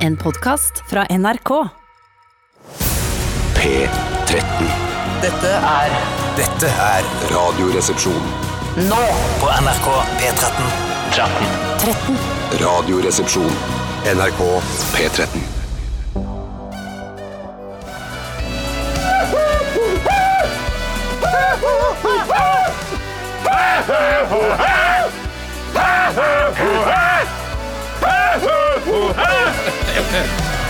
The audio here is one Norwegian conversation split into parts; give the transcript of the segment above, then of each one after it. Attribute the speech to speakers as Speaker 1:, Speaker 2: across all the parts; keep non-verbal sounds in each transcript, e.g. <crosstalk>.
Speaker 1: En podkast fra NRK.
Speaker 2: P13.
Speaker 3: Dette er
Speaker 2: Dette er Radioresepsjon.
Speaker 3: nå på NRK P13.
Speaker 2: Radioresepsjon. NRK P13.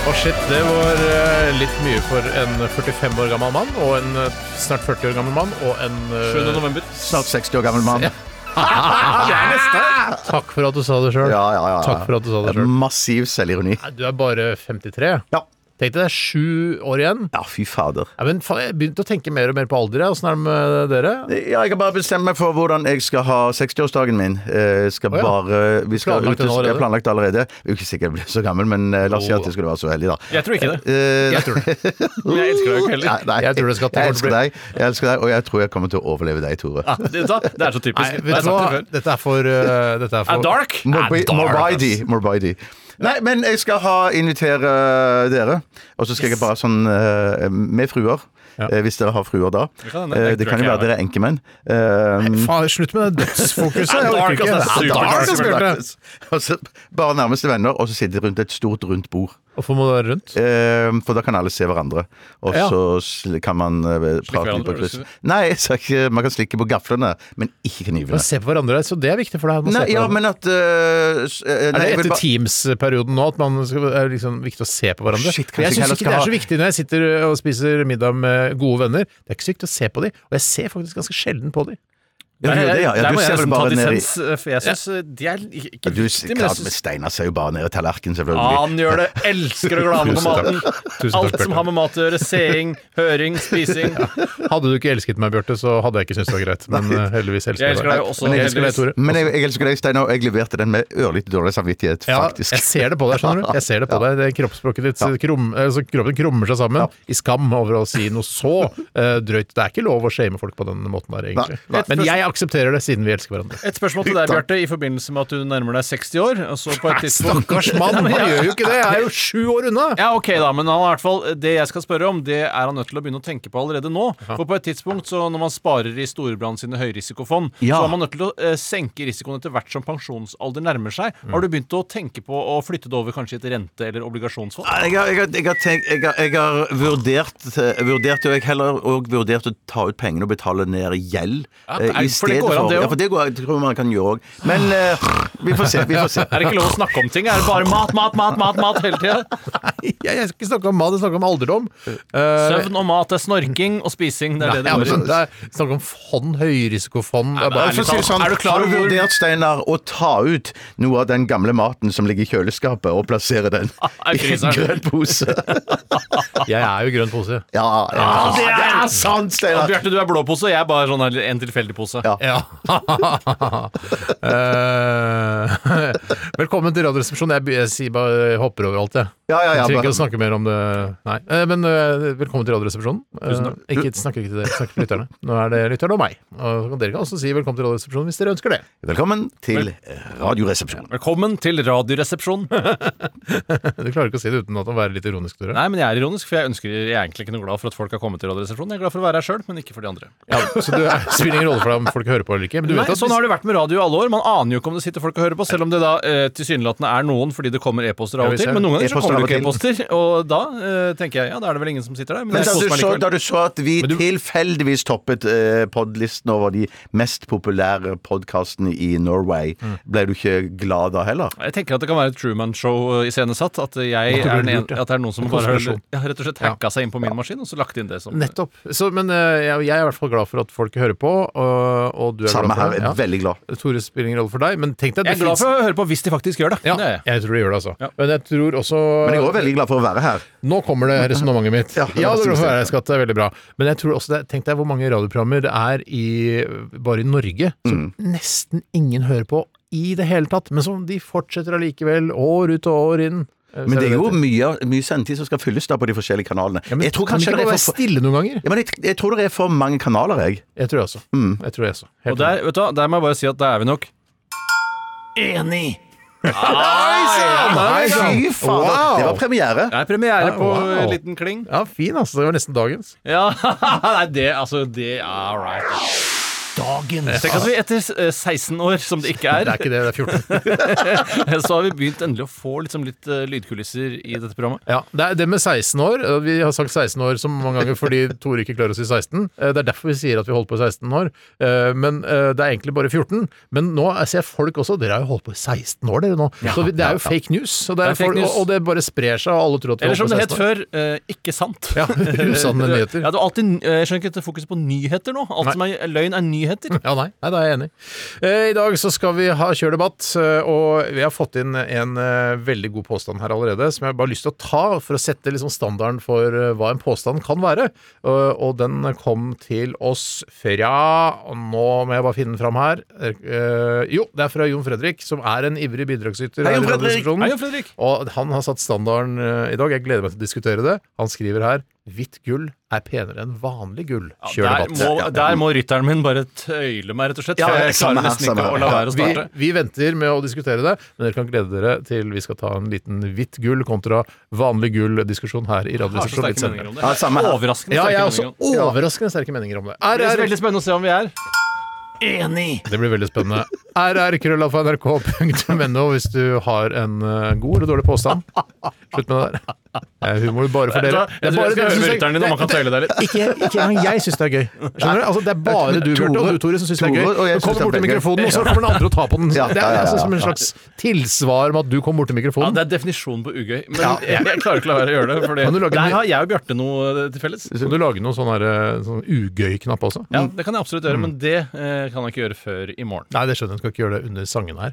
Speaker 4: Å shit, det var eh, litt mye for en 45 år gammel mann, og en eh, snart 40 år gammel mann, og en eh,
Speaker 5: Snart 60 år gammel mann. Ja,
Speaker 4: Takk for at du sa det sjøl.
Speaker 5: ja, ja, ja.
Speaker 4: Takk for at du sa det sjøl.
Speaker 5: Massiv selvironi.
Speaker 4: Du er bare 53.
Speaker 5: Ja.
Speaker 4: Tenk deg det er sju år igjen.
Speaker 5: ja, fy fader.
Speaker 4: Ja, men faen, jeg begynte å tenke mer og mer på alder. jeg. Åssen er det med dere?
Speaker 5: Ja, jeg har bare bestemt meg for hvordan jeg skal ha 60-årsdagen min. Eh, skal
Speaker 4: Å, ja.
Speaker 5: bare vi skal
Speaker 4: Planlagt
Speaker 5: ut,
Speaker 4: den allerede?
Speaker 5: Jeg har planlagt allerede. Jeg er ikke sikker jeg blir så gammel, men eh, la oss si at jeg skulle være så heldig, da.
Speaker 6: Jeg tror ikke det.
Speaker 5: Eh,
Speaker 4: <laughs> Jeg tror det.
Speaker 6: Men jeg elsker deg jo ikke heller.
Speaker 5: Nei, nei,
Speaker 4: Jeg tror det skal- det kommer
Speaker 5: jeg
Speaker 4: til å
Speaker 5: elsker deg, jeg elsker deg, og jeg tror jeg kommer til å overleve deg, Tore.
Speaker 6: Ja, det, vet du hva? det er så
Speaker 4: Nei,
Speaker 6: typisk.
Speaker 4: vet du hva? Dette er for eh, Dette er
Speaker 6: Er
Speaker 4: for
Speaker 6: dark? altså?
Speaker 5: Morbi-
Speaker 4: dark,
Speaker 5: Morbidi. Morbidi. Nei, men jeg skal ha invitere dere. Og så skal jeg bare sånn eh, med fruer. eh, Hvis dere har fruer da. Eh, Det
Speaker 6: kan
Speaker 5: kan,
Speaker 6: hende. Det tror
Speaker 5: jo
Speaker 6: jeg
Speaker 5: være
Speaker 6: ikke jeg
Speaker 5: dere er enkemenn. Eh,
Speaker 4: Faen, slutt med det dødsfokuset.
Speaker 6: Det er
Speaker 4: Jeg orker
Speaker 6: dark,
Speaker 4: ikke.
Speaker 6: altså.
Speaker 4: Det er dark,
Speaker 6: Superdar,
Speaker 4: altså, Bjarte.
Speaker 5: Og så bare nærmeste venner, og så sitte rundt et stort, rundt bord.
Speaker 4: Hvorfor må du være rundt?
Speaker 5: Eh, For da kan alle se hverandre. Og
Speaker 4: Ja.
Speaker 5: så sl- kan man eh, prate litt
Speaker 6: hverandre,
Speaker 5: på kryss.
Speaker 6: vil du si?
Speaker 5: Nei, jeg sa ikke, man kan slikke på gaflene, men ikke knivene.
Speaker 4: Men se på hverandre, så det er viktig for deg. at man ser
Speaker 5: Nei,
Speaker 4: på
Speaker 5: ja,
Speaker 4: hverandre.
Speaker 5: men at eh, s- eh,
Speaker 4: Er
Speaker 5: nei,
Speaker 4: det
Speaker 5: jeg vil
Speaker 4: etter
Speaker 5: bare-
Speaker 4: Teams-perioden nå at man skal, er liksom viktig å se på hverandre?
Speaker 5: Shit, kanskje
Speaker 4: For jeg
Speaker 5: ikke
Speaker 4: syns
Speaker 5: heller
Speaker 4: ikke det er
Speaker 5: skal
Speaker 4: så viktig når jeg sitter og spiser middag med gode venner. Det er ikke så viktig å se på dem, og jeg ser faktisk ganske sjelden på dem.
Speaker 5: Ja, du gjør det, ja. Ja,
Speaker 6: Der
Speaker 5: du
Speaker 6: må
Speaker 5: ser
Speaker 6: jeg
Speaker 5: vel
Speaker 6: nesten ta
Speaker 5: bare ned i
Speaker 6: dissens, for jeg syns de er ikke
Speaker 5: Ja,
Speaker 6: ikke
Speaker 5: Du,
Speaker 6: viktig, men
Speaker 5: klart,
Speaker 6: jeg
Speaker 5: men
Speaker 6: syns
Speaker 5: Steinar ser jo bare ned i tallerkenen, selvfølgelig.
Speaker 6: han gjør det. Elsker å glane på
Speaker 4: Tusen takk.
Speaker 6: maten.
Speaker 4: Tusen takk,
Speaker 6: Alt som
Speaker 4: Bjarte.
Speaker 6: har med mat å gjøre. Seing, høring, spising.
Speaker 5: <laughs>
Speaker 4: Hadde du ikke elsket meg, Bjarte, så hadde jeg ikke syntes det var greit. Men eh, heldigvis elsker
Speaker 6: Jeg
Speaker 4: jeg
Speaker 6: elsker deg
Speaker 4: deg.
Speaker 6: også.
Speaker 4: Men jeg elsker deg,
Speaker 6: heldigvis.
Speaker 4: Tore.
Speaker 5: Men jeg, jeg elsker deg, Steinar, og jeg leverte den med ørlite dårlig samvittighet,
Speaker 4: Ja,
Speaker 5: faktisk.
Speaker 4: jeg ser det på deg, skjønner du. Jeg ser det
Speaker 5: <laughs>
Speaker 4: på deg. Det er kroppsspråket ditt krum, altså, Kroppen krummer seg sammen i skam over å si noe så eh, drøyt. Det er ikke lov å shame folk på den måten der, egentlig.
Speaker 5: Nei,
Speaker 4: Men jeg aksepterer det, siden vi elsker hverandre.
Speaker 6: Et spørsmål til deg, Bjarte, i forbindelse med at du nærmer deg 60 år. og så på et tidspunkt
Speaker 5: <laughs>
Speaker 4: Stakkars
Speaker 6: <laughs>
Speaker 4: mann, han gjør jo ikke det! Jeg er jo sju år unna!
Speaker 6: Ja, ok da, men han, er i hvert fall, det jeg skal spørre om, det er han nødt til å begynne å tenke på allerede nå. For på et tidspunkt, så når man sparer i Storebrand sine høyrisikofond,
Speaker 5: Ja.
Speaker 6: så er man nødt til å eh, senke risikoen etter hvert som pensjonsalder nærmer seg. Har du begynt å tenke på å flytte det over kanskje i et rente- eller obligasjonsfond?
Speaker 5: Jeg har, jeg, har, jeg, har tenkt, jeg, har, jeg har vurdert eh, Vurdert og jeg heller og vurdert å ta ut pengene og betale ned gjeld.
Speaker 6: Ja,
Speaker 5: eh, i
Speaker 6: for det
Speaker 5: stedet
Speaker 6: går an, det også.
Speaker 5: Ja, for det går, jeg tror man kan gjøre òg. Men eh, vi får se. Vi får se.
Speaker 6: <laughs> Er det ikke lov å snakke om ting? Er det bare mat, mat, mat, mat mat hele tida?
Speaker 4: Nei, jeg skal ikke snakke om mat, jeg snakker om alderdom. Eh,
Speaker 6: Søvn og mat, det er snorking og spising. Det er det
Speaker 4: ja,
Speaker 6: det
Speaker 4: men
Speaker 6: går i.
Speaker 4: sånn, det er snakk om fond, høyrisikofond det er bare-
Speaker 5: For å si det sånn,
Speaker 6: Er du klar
Speaker 5: har du
Speaker 6: over hvor-
Speaker 5: vurdert, Steinar, å ta ut noe av den gamle maten som ligger i kjøleskapet, og plassere
Speaker 6: <laughs>
Speaker 5: den i
Speaker 6: i
Speaker 5: en
Speaker 6: fryseren.
Speaker 5: grønn pose?
Speaker 6: <laughs>
Speaker 4: Jeg er jo grønn pose.
Speaker 5: Ja, ja. det er sant,
Speaker 6: Ja,
Speaker 5: Steinar!
Speaker 6: Bjarte, du er blå pose, og jeg er bare sånn her, en tilfeldig pose.
Speaker 5: Ja.
Speaker 4: <laughs> Ja. Eh, velkommen til Radioresepsjonen. Jeg, be- jeg sier bare jeg hopper over alt, jeg.
Speaker 5: Ja, ja, ja,
Speaker 4: jeg trenger ikke
Speaker 5: bare-
Speaker 4: å snakke mer om det. Nei. Eh, men eh, velkommen til Radioresepsjonen. Uh, ikke, snakker ikke til dere, snakker til lytterne. Nå er det lytterne og meg. Og så kan dere kan også si velkommen til Radioresepsjonen hvis dere ønsker det.
Speaker 5: Velkommen til eh, Radioresepsjonen.
Speaker 6: Velkommen til Radioresepsjonen.
Speaker 4: Du klarer ikke å si det uten at å være litt ironisk, Tore.
Speaker 6: Nei, men jeg er ironisk, for jeg, ønsker, jeg er egentlig ikke noe glad for at folk har kommet til Radioresepsjonen. Jeg er glad for å være her sjøl, men ikke for de andre.
Speaker 4: Ja, så du det spiller ingen rolle for deg om folk hører på eller ikke. Men du vet
Speaker 6: Nei,
Speaker 4: at
Speaker 6: sånn har det vært med radio i alle år. Man aner jo ikke om det sitter folk og hører på, selv om det da eh, tilsynelatende er noen fordi det kommer e-poster
Speaker 4: Ja,
Speaker 6: av
Speaker 4: vi
Speaker 6: og til.
Speaker 4: ser.
Speaker 6: Men noen ganger så
Speaker 5: E-poster
Speaker 6: kommer det ikke
Speaker 5: av og
Speaker 6: e-poster, og da eh, tenker jeg ja, da er det vel ingen som sitter der. Men,
Speaker 5: Men
Speaker 6: jeg
Speaker 5: da
Speaker 6: koser
Speaker 5: du,
Speaker 6: meg
Speaker 5: så, da
Speaker 6: likevel.
Speaker 5: du så at vi
Speaker 6: Men du-
Speaker 5: tilfeldigvis toppet eh, podlisten over de mest populære podkastene i Norway, ble du ikke glad da heller?
Speaker 6: Jeg tenker at det kan være et Truman-show eh, iscenesatt. At jeg
Speaker 4: At det
Speaker 6: er
Speaker 4: blir
Speaker 6: den
Speaker 4: lurt,
Speaker 6: ene,
Speaker 4: ja.
Speaker 6: at det er noen som
Speaker 4: En
Speaker 6: bare har
Speaker 4: konspirasjon.
Speaker 6: ja, rett og slett hacka seg inn på min maskin, og så lagt inn det som
Speaker 4: Nettopp. Så, men eh, jeg, jeg er i hvert fall glad for at folk hører på, og, og du er
Speaker 5: Samme
Speaker 4: glad
Speaker 5: her.
Speaker 4: for
Speaker 5: er
Speaker 4: det.
Speaker 5: Veldig glad.
Speaker 4: Ja. Tore spiller ingen rolle for deg, men tenk deg
Speaker 6: Jeg
Speaker 4: at
Speaker 6: er
Speaker 4: det
Speaker 6: glad
Speaker 4: finnes-
Speaker 6: for å høre på hvis de faktisk gjør det.
Speaker 4: ja,
Speaker 6: det er jeg.
Speaker 4: jeg tror du gjør det, altså.
Speaker 6: Ja.
Speaker 4: Men jeg tror også
Speaker 5: Men jeg er òg veldig glad for å være her.
Speaker 4: Nå kommer det resonnementet mitt. Ja,
Speaker 5: <laughs> Ja,
Speaker 4: det er glad for å være her, skatt. Det er veldig bra. Men jeg tror også det, tenk deg hvor mange radioprogrammer det er i, bare i Norge som
Speaker 5: Mm.
Speaker 4: nesten ingen hører på i det hele tatt, men som de fortsetter allikevel, år ut og år inn. Eh,
Speaker 5: Men
Speaker 4: så
Speaker 5: det er jo
Speaker 4: dette.
Speaker 5: mye, mye sendetid som skal fylles da på de forskjellige kanalene.
Speaker 4: ja, men,
Speaker 5: jeg, tror
Speaker 4: Kan det
Speaker 5: kanskje
Speaker 4: ikke
Speaker 5: det
Speaker 4: bare
Speaker 5: er
Speaker 4: være
Speaker 5: for,
Speaker 4: stille noen ganger?
Speaker 5: ja, men jeg, jeg tror det er for mange kanaler, jeg.
Speaker 4: Jeg tror jeg også. Jeg tror jeg også. Helt
Speaker 6: Og der, vet du, hva, der må jeg bare si at der er vi nok
Speaker 5: Nei, Fy fader.
Speaker 4: Wow.
Speaker 5: Det var premiere.
Speaker 6: Det er premiere på
Speaker 4: wow.
Speaker 6: en liten kling.
Speaker 4: Ja, fin, altså. Det var nesten dagens.
Speaker 6: Ja, <laughs> nei, det altså det, All right. Dagens Tenk at vi etter eh, 16 år, som det ikke
Speaker 4: Det
Speaker 6: er,
Speaker 4: er ikke det, det er 14.
Speaker 6: <laughs> så har vi begynt endelig å få liksom litt eh, lydkulisser i dette programmet.
Speaker 4: Ja, det er det med 16 år. og Vi har sagt 16 år så mange ganger fordi Tore ikke klarer å si 16. Eh, Det er derfor vi sier at vi holdt på i 16 år. Eh, Men eh, det er egentlig bare 14. Men nå ser jeg folk også Dere har jo holdt på i 16 år, dere nå. Så vi- det er jo fake news. Og det,
Speaker 6: Det er
Speaker 4: er
Speaker 6: fake
Speaker 4: folk,
Speaker 6: news.
Speaker 4: og- og det bare sprer seg, og alle tror at vi
Speaker 6: Eller som
Speaker 4: holdt på i
Speaker 6: det het
Speaker 4: 16 år.
Speaker 6: før, eh, ikke sant. <laughs>
Speaker 4: Ja, usanne nyheter.
Speaker 6: Ja, det er alltid, eh, jeg skjønner ikke dette fokuset på nyheter nå. Alt som er eh, løgn, er nyheter.
Speaker 4: Ja, nei, nei, da er jeg enig. Eh, I dag så skal vi ha kjør debatt, eh, og vi har fått inn en eh, veldig god påstand her allerede, som jeg bare har lyst til å ta for å sette liksom standarden for eh, hva en påstand kan være. Eh, og den kom til oss fra og Nå må jeg bare finne den fram her. Eh, jo, det er fra Jon Fredrik, som er en ivrig bidragsyter.
Speaker 5: Hei,
Speaker 4: her
Speaker 5: Jon
Speaker 4: i
Speaker 5: Fredrik!
Speaker 4: Radiodiskusjonen.
Speaker 6: Hei, Jon Fredrik.
Speaker 4: Og han har satt standarden eh, i dag. Jeg gleder meg til å diskutere det. Han skriver her Hvitt gull er penere enn vanlig gull. Kjør
Speaker 6: der,
Speaker 4: debatt.
Speaker 6: må, der må rytteren min bare tøyle meg, rett og slett.
Speaker 5: Ja,
Speaker 6: for jeg
Speaker 5: samme
Speaker 6: klarer
Speaker 5: her,
Speaker 6: nesten
Speaker 5: samme
Speaker 6: ikke
Speaker 5: her.
Speaker 6: å la være å
Speaker 4: Vi,
Speaker 6: starte.
Speaker 4: vi venter med å diskutere det, men dere kan glede dere til vi skal ta en liten hvitt gull kontra vanlig gull-diskusjon her i
Speaker 6: Har så
Speaker 4: Radioresepsjonen litt
Speaker 6: sterke meninger
Speaker 4: senere.
Speaker 6: om det.
Speaker 5: Ja, samme her.
Speaker 6: Overraskende
Speaker 4: Ja, jeg er
Speaker 6: sterke
Speaker 4: også
Speaker 6: meninger om det.
Speaker 4: overraskende sterke meninger om det.
Speaker 6: Det blir
Speaker 4: RR,
Speaker 6: veldig spennende å se om vi er
Speaker 3: Enig.
Speaker 4: det blir veldig spennende. rrkrøllalfa.nrk.no hvis du har en eh, god eller dårlig påstand. Slutt med det der. Det er humor bare for dere.
Speaker 6: Jeg tror jeg skal høre med rytteren din om han kan tøyle deg litt.
Speaker 4: Ikke, ikke engang jeg syns det er gøy. Skjønner du? Altså, det er bare du, Bjarte, og du, Tore, som syns det er gøy.
Speaker 5: Tore og jeg
Speaker 4: Du kommer
Speaker 5: synes det er
Speaker 4: bort til
Speaker 5: veldig gøy.
Speaker 4: mikrofonen, og så kommer den andre og tar på den. Det
Speaker 5: Ja,
Speaker 4: er,
Speaker 5: ja, ja, ja.
Speaker 4: altså som en slags tilsvar med at du kom bort til
Speaker 6: Ja,
Speaker 4: mikrofonen.
Speaker 6: Det er definisjonen på ugøy. Men jeg, jeg klarer ikke å la være å gjøre det. Fordi
Speaker 4: Kan du lage en ny-
Speaker 6: der har jeg og Bjarte noe eh, til felles.
Speaker 4: Skal du lage noen sånn her, eh, sånn ugøy-knapp også?
Speaker 6: Ja, Det kan jeg absolutt gjøre, men det eh, kan jeg ikke gjøre før i morgen.
Speaker 4: Mm. Nei, det skjønner jeg. Skal ikke gjøre det under sangene her.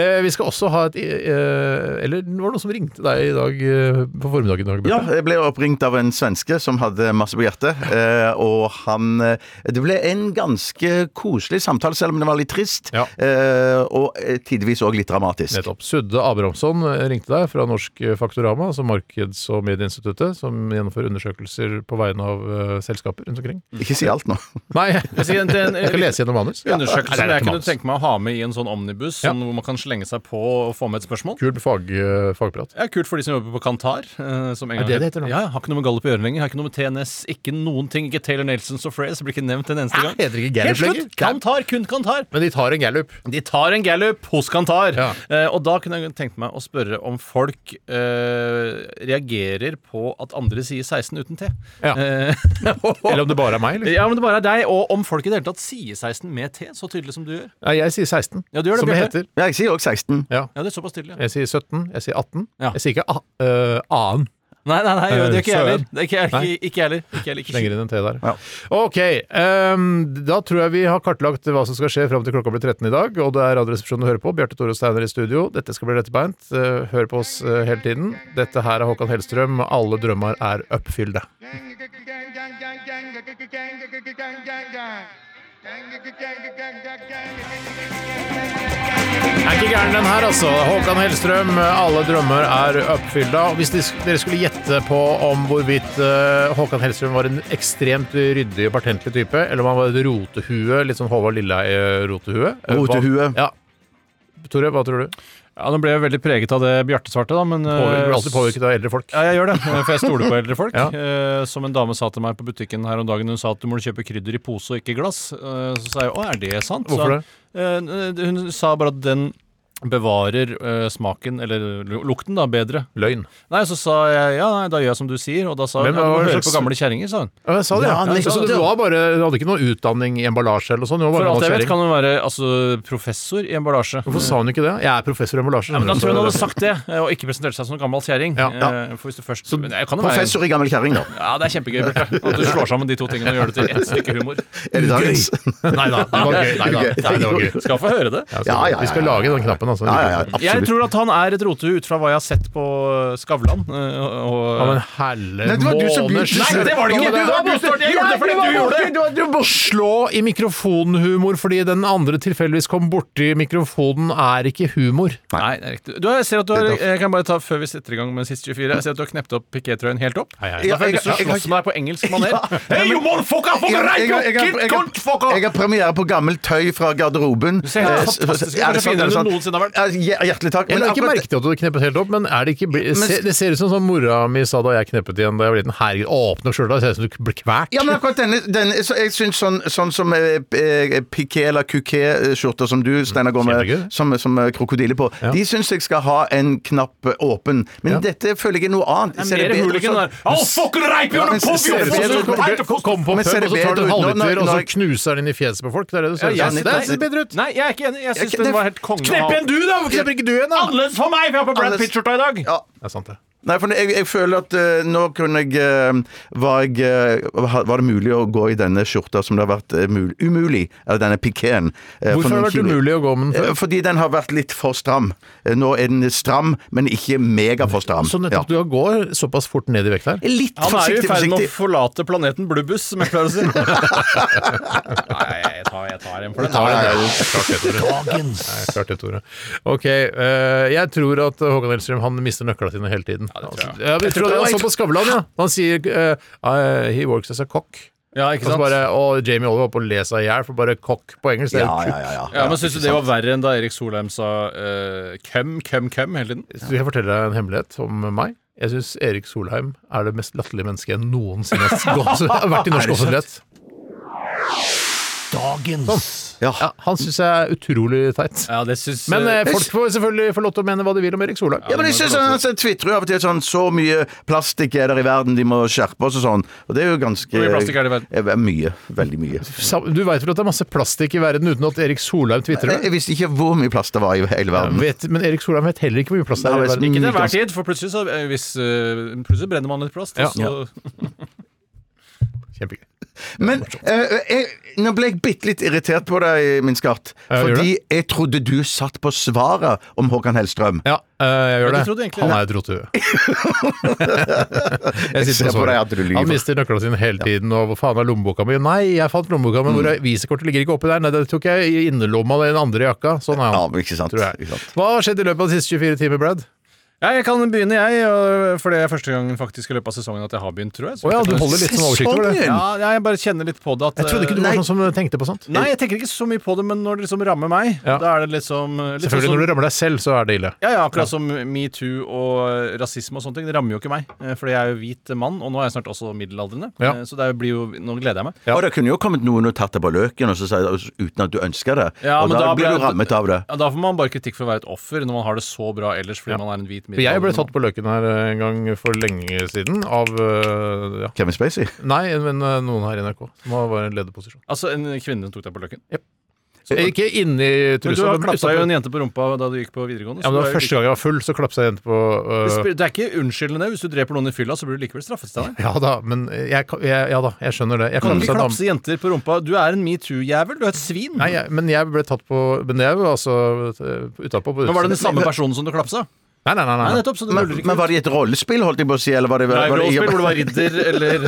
Speaker 4: Eh, vi skal også ha et eh, Eller det var det noen som ringte deg i dag eh, på formiddagen? i dag,
Speaker 5: Ja,
Speaker 4: Bjarte?
Speaker 5: jeg ble oppringt av en svenske som hadde masse på hjertet.
Speaker 6: <laughs>
Speaker 5: eh, Og han eh, Det ble en ganske koselig samtale, selv om det var litt trist.
Speaker 4: Ja.
Speaker 5: eh, Og eh, tidvis òg litt dramatisk.
Speaker 4: Nettopp. Sudde Abrahamsson eh, ringte deg fra Norsk Faktorama, altså Markeds- og medieinstituttet, som gjennomfører undersøkelser på vegne av eh, selskaper rundt omkring.
Speaker 5: Ikke si
Speaker 6: <laughs>
Speaker 5: alt nå.
Speaker 4: Nei,
Speaker 6: si en- en-
Speaker 4: jeg skal lese gjennom manus.
Speaker 6: Undersøkelse
Speaker 4: Nei, det er
Speaker 6: jeg
Speaker 4: ikke
Speaker 6: kunne
Speaker 4: manus.
Speaker 6: tenke meg å ha med i en sånn omnibus,
Speaker 4: Ja.
Speaker 6: sånn hvor man kan slenge seg på og få med et spørsmål.
Speaker 4: Kul fag, eh, fagprat.
Speaker 6: Ja, Kult for de som jobber på Kantar. eh, Som en
Speaker 4: Er
Speaker 6: gang
Speaker 4: det det heter nå?
Speaker 6: Ja, Har ikke noe med Gallup å gjøre lenger. Har ikke noe med TNS, ikke noen ting. Ikke Taylor Nelson og Fraise. Blir ikke nevnt en eneste gang.
Speaker 4: ikke
Speaker 6: Helt slutt! Kantar, kun Kantar.
Speaker 4: Men de tar en gallup.
Speaker 6: De tar en gallup hos Kantar.
Speaker 4: Ja.
Speaker 6: Eh, og da kunne jeg tenkt meg å spørre om folk eh, reagerer på at andre sier 16 uten T.
Speaker 4: Ja.
Speaker 6: Eh, <laughs>
Speaker 4: Eller om det bare er meg. Liksom.
Speaker 6: ja, men det bare er deg. Og om folk i det hele tatt sier 16 med T, så tydelig som du gjør.
Speaker 4: Nei, jeg sier 16,
Speaker 6: Ja, du gjør det,
Speaker 4: som det
Speaker 6: Bjarte.
Speaker 4: heter.
Speaker 5: Ja, jeg sier òg 16.
Speaker 4: Ja.
Speaker 6: Ja, det er såpass tydelig. Ja.
Speaker 4: Jeg sier 17, jeg sier 18.
Speaker 6: Ja.
Speaker 4: Jeg sier ikke a eh, annen
Speaker 6: Nei, nei, nei, det gjør ikke jeg
Speaker 4: Søren.
Speaker 6: heller. Det er ikke jeg heller. Ikke jeg heller. Ikke jeg heller. Ikke.
Speaker 4: lenger inn enn T der.
Speaker 5: Ja.
Speaker 4: Ok, ehm, da tror jeg vi har kartlagt hva som skal skje fram til klokka blir 13 i dag. Og det er Radioresepsjonen du hører på. Bjarte Tore Steiner i studio. Dette skal bli lettbeint. Eh, Hør på oss eh, hele tiden. Dette her er Håkan Hellstrøm. Alle drømmer er oppfylde. Er ikke gæren den her, altså. Håkan Hellstrøm, alle drømmer er oppfylda. Og Hvis de- dere skulle gjette på om hvorvidt eh, Håkan Hellstrøm var en ekstremt ryddig og pertentlig type, eller om han var et rotehue, litt sånn Håvard Lilleheie-rotehue eh, hva-
Speaker 5: Rotehue.
Speaker 4: Ja. Tore, hva tror du?
Speaker 6: Ja, nå ble jeg veldig preget av det Bjarte svarte, da, men eh,
Speaker 4: Påvirker, blir alltid påvirket av eldre folk.
Speaker 6: Ja, jeg gjør det, eh, for jeg stoler på eldre <laughs> folk.
Speaker 4: Ja.
Speaker 6: Eh, Som en dame sa til meg på butikken her om dagen, hun sa at du må kjøpe krydder i pose og ikke i glass. Eh, Så sa jeg å, er det sant?
Speaker 4: Hvorfor det?
Speaker 6: det? Eh, Hun sa bare at den bevarer eh, smaken, eller lu- lukten, da, bedre.
Speaker 4: Løgn.
Speaker 6: Nei, så sa jeg ja, nei, da gjør jeg som du sier, og da sa hun
Speaker 4: Hvem
Speaker 6: ja, du
Speaker 4: var
Speaker 6: må
Speaker 4: det
Speaker 6: høre
Speaker 4: slags-
Speaker 6: på gamle kjerringer, sa hun.
Speaker 4: Ja, jeg sa det.
Speaker 5: Ja,
Speaker 4: Ja,
Speaker 5: nettopp.
Speaker 4: så du var bare, du hadde ikke noe utdanning i emballasje eller noe sånt? du var
Speaker 6: For
Speaker 4: bare
Speaker 6: alt jeg vet,
Speaker 4: emballasjering.
Speaker 6: kan hun være altså, professor i emballasje.
Speaker 4: Hvorfor sa hun ikke det? Jeg er professor i emballasje.
Speaker 6: Ja, men da
Speaker 4: skjønner
Speaker 6: tror
Speaker 4: du,
Speaker 6: jeg hun hadde
Speaker 4: så-
Speaker 6: sagt det, eh, og ikke presentert seg som gammel kjerring.
Speaker 4: Ja,
Speaker 6: Eh, For hvis du først Men jeg kan jo være
Speaker 5: Professor i gammel kjerring, da.
Speaker 6: Ja, det er kjempegøy, Bjarte. At du slår sammen de to tingene og gjør det til ett stykke humor.
Speaker 5: Er det
Speaker 6: <laughs>
Speaker 5: dagens?
Speaker 6: Altså,
Speaker 4: Nei da, det var gøy. Nei, da. Nei, det var gøy.
Speaker 6: Skal få høre
Speaker 4: Ja,
Speaker 6: det.
Speaker 4: så
Speaker 5: Ja, ja, ja,
Speaker 4: Vi skal
Speaker 5: ja,
Speaker 4: lage den knappen, altså.
Speaker 5: Ja, ja, ja,
Speaker 6: Jeg
Speaker 5: absolutt.
Speaker 6: tror at han er et rotehue ut fra hva jeg har sett på eh, Skavlan. eh,
Speaker 4: Ja,
Speaker 6: Og,
Speaker 4: men
Speaker 6: og
Speaker 4: helle
Speaker 5: Nei, det var du som
Speaker 4: måned-
Speaker 5: begynte. Nei,
Speaker 6: det var det ikke.
Speaker 4: Ja, men
Speaker 6: Du var
Speaker 4: det-
Speaker 6: påstått. Jeg gjorde det fordi
Speaker 4: Nei,
Speaker 6: du gjorde det.
Speaker 4: var påstått. Du- Du må slå i mikrofonhumor fordi den andre tilfeldigvis kom borti mikrofonen, er ikke humor.
Speaker 6: Nei, det er riktig. Du, jeg ser at du har, jeg kan bare ta før vi setter i gang med siste 24. Jeg ser at du har knept opp pikétrøyen helt opp.
Speaker 4: hei.
Speaker 6: Da får jeg lyst til å
Speaker 5: Jeg- jeg- jeg-
Speaker 6: slåss med deg på engelsk maner. <laughs> Hey, you motherfucker,
Speaker 5: Jeg,
Speaker 6: fucker,
Speaker 5: jeg,
Speaker 6: right,
Speaker 5: jeg,
Speaker 6: you
Speaker 5: jeg, jeg,
Speaker 6: kid, cunt, fucker!
Speaker 5: jeg har premiere på gammelt tøy fra garderoben.
Speaker 6: Du ser helt
Speaker 5: Eh,
Speaker 6: fantastisk ut.
Speaker 5: ja, det er
Speaker 6: Kanskje
Speaker 5: sant, det er
Speaker 6: finere enn
Speaker 5: sant.
Speaker 6: du noensinne har han har vært.
Speaker 5: Ja, hjer- Hjertelig takk.
Speaker 4: Jeg la ikke
Speaker 5: akkurat-
Speaker 4: merke til at du kneppet helt opp, men er det, ikke, bli- se, det ser ut som sånn mora mi sa da jeg kneppet igjen da jeg var liten. Herregud, åpne opp skjorta, det ser ut som du blir kvalt.
Speaker 5: Ja, men akkurat denne, denne så Jeg syns sånn, sånn som eh, eh, piqué eller kuké-skjorter som du, Steinar, går med,
Speaker 4: Kjempegøy.
Speaker 5: som, som eh, krokodille på,
Speaker 4: Ja.
Speaker 5: de syns jeg skal ha en knapp eh, åpen. Men
Speaker 4: Ja.
Speaker 5: dette føler jeg er noe annet.
Speaker 6: Det
Speaker 5: Ser
Speaker 6: er mer
Speaker 5: bedre ut
Speaker 6: hooligan
Speaker 5: sånn?
Speaker 6: der. I'll fucking rape you
Speaker 5: Ja,
Speaker 6: and
Speaker 5: men
Speaker 6: pop you
Speaker 5: ser
Speaker 6: in
Speaker 5: det
Speaker 6: the
Speaker 5: bedre
Speaker 6: pussy!
Speaker 5: ut?
Speaker 6: Right to
Speaker 4: Kom, kom på
Speaker 5: Men
Speaker 4: pub,
Speaker 5: ser det
Speaker 4: og så tar du en
Speaker 5: bedre ut nå?
Speaker 4: halvliter,
Speaker 5: Når-
Speaker 4: og så
Speaker 5: når-
Speaker 4: knuser den i fjeset på folk. Det er det du
Speaker 6: Ja,
Speaker 4: ser ut
Speaker 6: jeg
Speaker 4: som.
Speaker 6: synes
Speaker 4: Det
Speaker 6: det-
Speaker 4: ser bedre ut.
Speaker 6: Nei, jeg er ikke enig. Jeg syns
Speaker 5: Jeg-
Speaker 6: den
Speaker 5: det-
Speaker 6: var helt konge.
Speaker 4: Knepp igjen du, da! Hvorfor knepper ikke du igjen, da?
Speaker 6: Annerledes for meg, for jeg har på Brad
Speaker 5: Annerledes.
Speaker 6: Pitcher-ta i dag.
Speaker 5: Ja.
Speaker 4: Det er sant, det.
Speaker 5: Nei, for jeg, jeg føler at eh, nå kunne jeg eh, var, jeg eh, ha- var det mulig å gå i denne skjorta som det har vært eh, mul umulig? Eller denne pikéen. eh,
Speaker 4: Hvorfor
Speaker 5: for
Speaker 4: har
Speaker 5: noen
Speaker 4: det vært
Speaker 5: kilo.
Speaker 4: umulig å gå med den
Speaker 5: Eh,
Speaker 4: før?
Speaker 5: Fordi den har vært litt for stram. Eh, Nå er den stram, men ikke mega for stram.
Speaker 4: Så nettopp du går såpass fort ned i vekt her.
Speaker 5: Litt
Speaker 6: Han er jo i
Speaker 5: forsiktig,
Speaker 6: ferd med å
Speaker 5: forsiktig.
Speaker 6: forlate planeten Blubbus, som jeg <laughs> pleier å si. Nei, jeg tar, jeg tar en for det.
Speaker 4: Ja, det er jo klart det, Tore. Nei, klart det, Tore. Ok, eh, jeg tror at Håkan Hellstrøm han mister nøklene sine hele tiden. Ja,
Speaker 6: tror jeg.
Speaker 4: vi tror det var sånn på Skavlan, ja. Han sier eh, eh, 'he works as a cock'.
Speaker 6: Ja, ikke
Speaker 4: Og så
Speaker 6: sant?
Speaker 4: bare, og Jamie Oliver var på å le seg i hjel for bare 'cock' på engelsk. Det er jo
Speaker 5: Ja,
Speaker 4: kutt.
Speaker 5: ja, ja, ja.
Speaker 6: Ja, men Syns du det var verre enn da Erik Solheim sa uh, køm, køm, køm hele tiden?
Speaker 4: Skal jeg fortelle deg en hemmelighet om meg? Jeg syns Erik Solheim er det mest latterlige mennesket jeg noensinne har
Speaker 5: <laughs>
Speaker 4: har vært i norsk offentlighet.
Speaker 5: Ja.
Speaker 4: Ja, han syns jeg er utrolig teit.
Speaker 6: Ja, det syns
Speaker 4: Men eh,
Speaker 6: eh,
Speaker 4: folk får selvfølgelig få lov til å mene hva de vil om Erik Solheim.
Speaker 5: Ja, men jeg synes han altså, tvitrer jo av og til sånn Så mye plastikk er der i verden, de må skjerpe oss og sånn. Og det er jo ganske
Speaker 6: Hvor mye plastikk er det i
Speaker 4: Mm,
Speaker 5: Eh, Mye. Veldig mye.
Speaker 4: Sa- Du veit vel at det er masse plastikk i verden uten at Erik Solheim tvitrer
Speaker 5: Jeg,
Speaker 4: det?
Speaker 5: jeg visste ikke hvor mye plast det var i hele verden.
Speaker 4: Vet- Men Erik Solheim vet heller ikke hvor mye plast det er. i
Speaker 5: Nei,
Speaker 4: verden.
Speaker 5: men-
Speaker 6: ikke til hver tid, for plutselig, så, eh, hvis, eh, plutselig brenner man litt plast.
Speaker 4: Ja.
Speaker 6: og Så,
Speaker 4: Kjempegøy.
Speaker 5: Men eh, jeg, nå ble jeg bitte litt irritert på deg, min skatt.
Speaker 4: Ja, gjør
Speaker 5: Fordi jeg trodde du satt på svaret om Håkan Hellstrøm.
Speaker 4: Ja, eh, jeg gjør
Speaker 6: Men
Speaker 4: det.
Speaker 6: du trodde egentlig-
Speaker 4: Han er et
Speaker 5: <laughs>
Speaker 4: rotehue. jeg
Speaker 5: ser på
Speaker 4: svaret.
Speaker 5: deg at du lyver.
Speaker 4: Han mister nøklene sine hele tiden, og hvor faen er lommeboka mi? Nei, jeg fant lommeboka, men
Speaker 5: Mm.
Speaker 4: hvor er visekortet ligger ikke oppi der. Nei, det tok jeg i innerlomma i den andre jakka. Sånn er
Speaker 5: Ja,
Speaker 4: han.
Speaker 5: men ikke sant?
Speaker 4: Tror jeg.
Speaker 5: Ikke sant?
Speaker 4: Hva har skjedd i løpet av de siste 24 timer, Brad?
Speaker 6: ja, jeg kan begynne, jeg. og- For det er første gang faktisk i løpet av sesongen at jeg har begynt, tror jeg. Så-
Speaker 4: Å ja, du holder litt som oversikt over det.
Speaker 5: Sesongen!
Speaker 6: Ja, jeg bare kjenner litt på det at
Speaker 4: Jeg trodde ikke du
Speaker 6: eh,
Speaker 4: var
Speaker 6: nei.
Speaker 4: sånn som tenkte på sånt.
Speaker 6: Nei, jeg tenker ikke så mye på det, men når det liksom rammer meg,
Speaker 4: Ja.
Speaker 6: da er det liksom eh, litt sånn
Speaker 4: Selvfølgelig,
Speaker 6: som-
Speaker 4: når du rammer deg selv, så er det ille.
Speaker 6: Ja, ja, akkurat som metoo og eh, rasisme og sånne ting. Det rammer jo ikke meg, eh, fordi jeg er jo hvit mann, og nå er jeg snart også middelaldrende.
Speaker 4: Ja.
Speaker 6: Eh, Så det blir jo Nå gleder jeg meg.
Speaker 4: Ja.
Speaker 5: Og det kunne jo kommet noen og tatt deg på løken og så sa jeg, uten at du ønska det.
Speaker 6: Ja,
Speaker 5: og
Speaker 6: men
Speaker 5: da,
Speaker 6: da
Speaker 5: blir
Speaker 6: ble-
Speaker 5: du rammet av det.
Speaker 6: Ja, da får man bare kritikk for å være et offer når man har det så bra ellers fordi
Speaker 4: Ja.
Speaker 6: man er en hvit
Speaker 4: For Jeg ble
Speaker 6: middelaldrende
Speaker 4: tatt på løken her eh, en gang for lenge siden av eh, ja.
Speaker 5: Kevin Spacey.
Speaker 4: Nei, men eh, noen her i NRK som var i en lederposisjon. Eh,
Speaker 6: mann. Altså, en kvinne tok deg på løkken.
Speaker 4: Ikke inni
Speaker 6: Men du
Speaker 4: trusa,
Speaker 6: har
Speaker 4: men
Speaker 6: klappa jo
Speaker 4: utenpå.
Speaker 6: en jente på rumpa da du gikk på videregående.
Speaker 4: Ja, men det
Speaker 6: så du
Speaker 4: var
Speaker 6: er jo
Speaker 4: første gang jeg var full, så klapsa jeg jente på
Speaker 6: like-
Speaker 4: øh,
Speaker 6: Det spil- Det er ikke unnskyldende. Hvis du dreper noen i fylla, så blir du likevel straffet. Steiner.
Speaker 4: Ja da, men jeg, kan- jeg, ja da, jeg skjønner det. Jeg
Speaker 6: Kan
Speaker 4: kaller seg
Speaker 6: ikke
Speaker 4: dame.
Speaker 6: klapse jenter på rumpa. Du er en metoo-jævel. Du er et svin.
Speaker 4: Nei, jeg, men jeg ble tatt på Men det var altså øh, utapå. på
Speaker 6: Men var det den
Speaker 4: utsiden.
Speaker 6: samme personen som du klapsa?
Speaker 4: Nei, nei, nei.
Speaker 6: Nei,
Speaker 4: nei, nei.
Speaker 6: nettopp. Så det
Speaker 5: Men,
Speaker 6: nuller ikke
Speaker 5: men var det i et rollespill, holdt jeg på å si? Eller var det, var det,
Speaker 6: Live-rollespill hvor det var ridder eller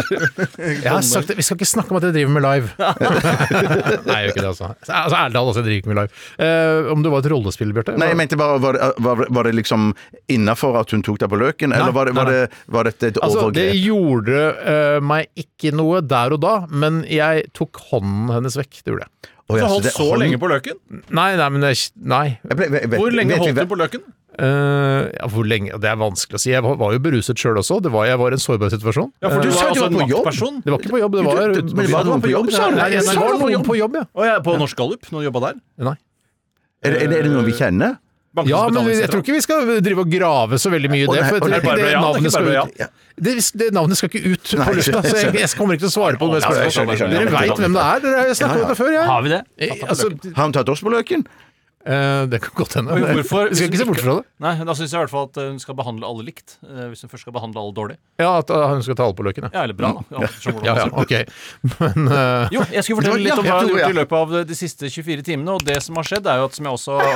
Speaker 4: Jeg har sagt det, Vi skal ikke snakke om at jeg driver med live. <laughs> nei, jeg gjør ikke det, altså. Altså, Ærlig talt, altså, jeg driver ikke med live. Eh, om det var et rollespill, Bjarte?
Speaker 5: Nei, jeg
Speaker 6: Altså-
Speaker 5: mente bare, var det, eh, var, var det liksom innafor at hun tok deg på løken, eller var, det, var,
Speaker 4: nei, nei.
Speaker 5: det, var dette et
Speaker 4: Altså, det
Speaker 5: overgrep?
Speaker 4: gjorde øh, meg ikke noe der og da, men jeg tok hånden hennes vekk. Det gjorde jeg.
Speaker 5: Å,
Speaker 6: Du
Speaker 5: ja,
Speaker 6: har
Speaker 5: så
Speaker 6: holdt
Speaker 5: det-
Speaker 6: så
Speaker 5: hold-
Speaker 6: lenge på løken?
Speaker 4: Nei, nei, men jeg, nei.
Speaker 5: Jeg ble- vet-
Speaker 6: Hvor lenge
Speaker 5: vet vi
Speaker 6: holdt
Speaker 5: hve-
Speaker 6: du på løken?
Speaker 4: Eh, ja, hvor lenge Det er vanskelig å si. Jeg var, var jo beruset sjøl også. Det var, jeg var i en sårbar situasjon.
Speaker 6: Ja, for
Speaker 4: Eh,
Speaker 6: du
Speaker 5: Du sa du
Speaker 6: var altså
Speaker 5: var
Speaker 6: en
Speaker 5: på jobb.
Speaker 6: maktperson.
Speaker 4: Det var ikke på jobb, det var
Speaker 5: Du- du- men var det noen på jobb, sa du?
Speaker 4: Nei, jeg
Speaker 5: Sa du
Speaker 4: var
Speaker 5: noen på
Speaker 4: noen
Speaker 5: jobb?
Speaker 4: på jobb, ja.
Speaker 6: Å, ja, på Norsk Gallup, når du jobba der?
Speaker 4: Nei.
Speaker 5: Er, det- er, det- er det noen vi kjenner?
Speaker 6: Bankens
Speaker 4: Ja, men jeg
Speaker 6: betalingssentral.
Speaker 4: tror ikke vi skal drive og grave så veldig mye i det.
Speaker 5: nei,
Speaker 4: For jeg
Speaker 5: og det er
Speaker 4: tror ikke
Speaker 6: Barbara
Speaker 4: det
Speaker 6: Jan, det er
Speaker 4: navnet
Speaker 6: ikke
Speaker 4: skal
Speaker 6: Barbara
Speaker 4: ut. Det, det navnet skal ikke ut på
Speaker 5: Nei,
Speaker 4: lufta, så jeg, jeg kommer ikke til å svare på det. med
Speaker 5: Å, nei, jeg skjønner, jeg
Speaker 4: spørsmål.
Speaker 5: skjønner.
Speaker 4: Dere veit hvem det er. Dere har snakket om dette før, jeg.
Speaker 6: Har vi det?
Speaker 4: Eh, Altså,
Speaker 5: Har hun tatt oss på løken?
Speaker 4: eh, det kan godt hende.
Speaker 6: Men hvorfor-
Speaker 4: Vi skal ikke se bort fra det.
Speaker 6: Nei, Da syns jeg i hvert fall at eh, hun skal behandle alle likt. eh, Hvis hun først skal behandle alle dårlig.
Speaker 4: Ja, at eh, hun skal ta alle på løken, ja.
Speaker 6: Ja, eller bra, da. Ja, skjønner hvordan
Speaker 4: Ja,
Speaker 6: man
Speaker 4: ja,
Speaker 6: ser på det.
Speaker 4: <laughs> ok. Men eh,
Speaker 6: Jo, jeg skulle fortelle
Speaker 5: Ja,
Speaker 6: litt
Speaker 5: jeg
Speaker 6: om hva jeg har
Speaker 5: tror,
Speaker 6: gjort i
Speaker 5: ja.
Speaker 6: løpet av de siste 24 timene. Og det som har skjedd, er jo at som jeg også har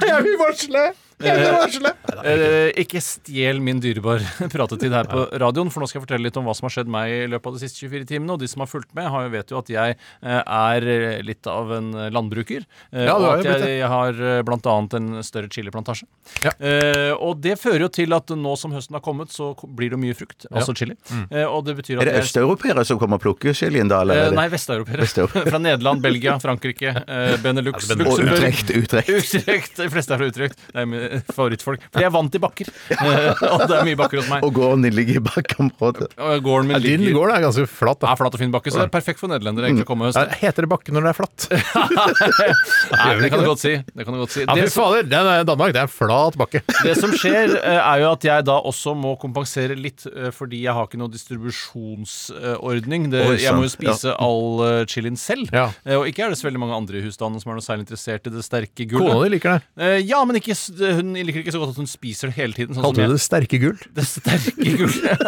Speaker 4: <laughs> Jeg blir varsle!
Speaker 6: Eh, ikke stjel min dyrebare <laughs> pratetid her på radioen, for nå skal jeg fortelle litt om hva som har skjedd meg i løpet av de siste 24 timene. Og de som har fulgt med, har jo, vet jo at jeg eh, er litt av en landbruker. eh,
Speaker 4: Ja, du
Speaker 6: og
Speaker 4: har jo
Speaker 6: at
Speaker 4: blitt
Speaker 6: jeg,
Speaker 4: det.
Speaker 6: jeg har eh, blant annet en større chiliplantasje.
Speaker 4: Ja.
Speaker 6: Eh, og det fører jo til at nå som høsten har kommet, så ko- blir det mye frukt, altså chili.
Speaker 4: Mm.
Speaker 6: Eh, og det betyr at
Speaker 5: Er det
Speaker 6: jeg-
Speaker 5: østeuropeere som kommer og plukker chilien da? Eller?
Speaker 6: Eh,
Speaker 5: er det-
Speaker 6: nei, vesteuropeere.
Speaker 5: Vesteuropeere.
Speaker 6: fra Nederland, Belgia, Frankrike, eh, Benelux,
Speaker 4: Er det
Speaker 5: Og
Speaker 6: Luxembourg.
Speaker 5: Utrecht. Utrecht.
Speaker 6: Utrygt. De fleste er fra Utrygt. Det er mine favorittfolk. For jeg vant i bakker. Eh, og det er mye bakker hos meg.
Speaker 5: Og gården din ligger i bakkeområdet.
Speaker 6: Og gården min
Speaker 4: Ja, din
Speaker 6: ligger
Speaker 4: gård er ganske flatt, da.
Speaker 6: er flat og fin bakke, så det er perfekt for nederlendere egentlig å komme i høst. <laughs>
Speaker 4: Er- Heter det bakke når det er flatt?
Speaker 6: Nei, det kan du godt si. Det kan du godt si.
Speaker 4: Ja,
Speaker 6: Det
Speaker 4: fy
Speaker 6: som-
Speaker 4: fader! Det er Danmark, det er en flat bakke.
Speaker 6: Det som skjer, eh, er jo at jeg da også må kompensere litt, eh, fordi jeg har ikke noe distribusjonsordning. Det,
Speaker 5: Oi,
Speaker 6: jeg må jo
Speaker 5: sant. Ja.
Speaker 6: spise all eh, chilien selv.
Speaker 4: Ja.
Speaker 6: Eh, Og ikke er det så veldig mange andre i husstanden som er noe særlig interessert i det sterke gullet.
Speaker 4: Kona di liker det.
Speaker 6: Eh, Ja, men ikke, s- hun liker ikke så godt at hun spiser det hele tiden. Sånn som
Speaker 4: Kalte
Speaker 6: jeg.
Speaker 4: du det sterke gull?
Speaker 6: det sterke gullet.